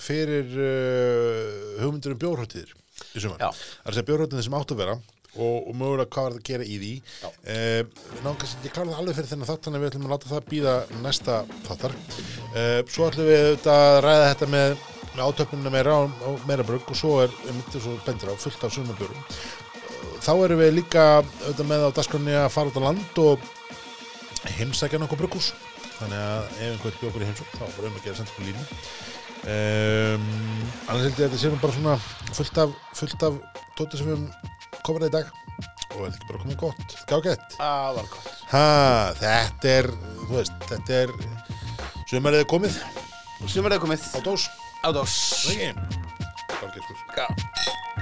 [SPEAKER 1] fyrir uh, hugmyndur um bjórháttíðir í sumar.
[SPEAKER 2] Já.
[SPEAKER 1] Það er að segja bjórháttíðir sem átt að vera og, og mögulega hvað er að gera í því. Uh, ná, kannski, ég klára það alveg fyrir þennan þátt, þannig að við ætlum að láta það býða næsta þáttar. Uh, svo ætlum við auðvitað að ræða þetta með, með átöpunina meira á, á meira brugg og svo er, um yttir svo bendur á, fullt af sumarbjórum. Þá erum við líka auðvitað með á daskunni að fara út á land og heimsækja nokkuð brugghús þannig að ef einhvern bjókur í heimsók þá var um að gera senda okkur línu um, annars held ég að þetta sé nú bara svona fullt af, fullt af tóti sem við höfum komin í dag og þetta er ekki bara komið gott, gágett
[SPEAKER 2] aðal gott
[SPEAKER 1] ha, þetta er, þú veist, þetta er sumarið er komið á
[SPEAKER 2] sumarið er komið
[SPEAKER 1] dós,
[SPEAKER 2] á dós
[SPEAKER 1] ekki? Gágett, sko.
[SPEAKER 2] Gá.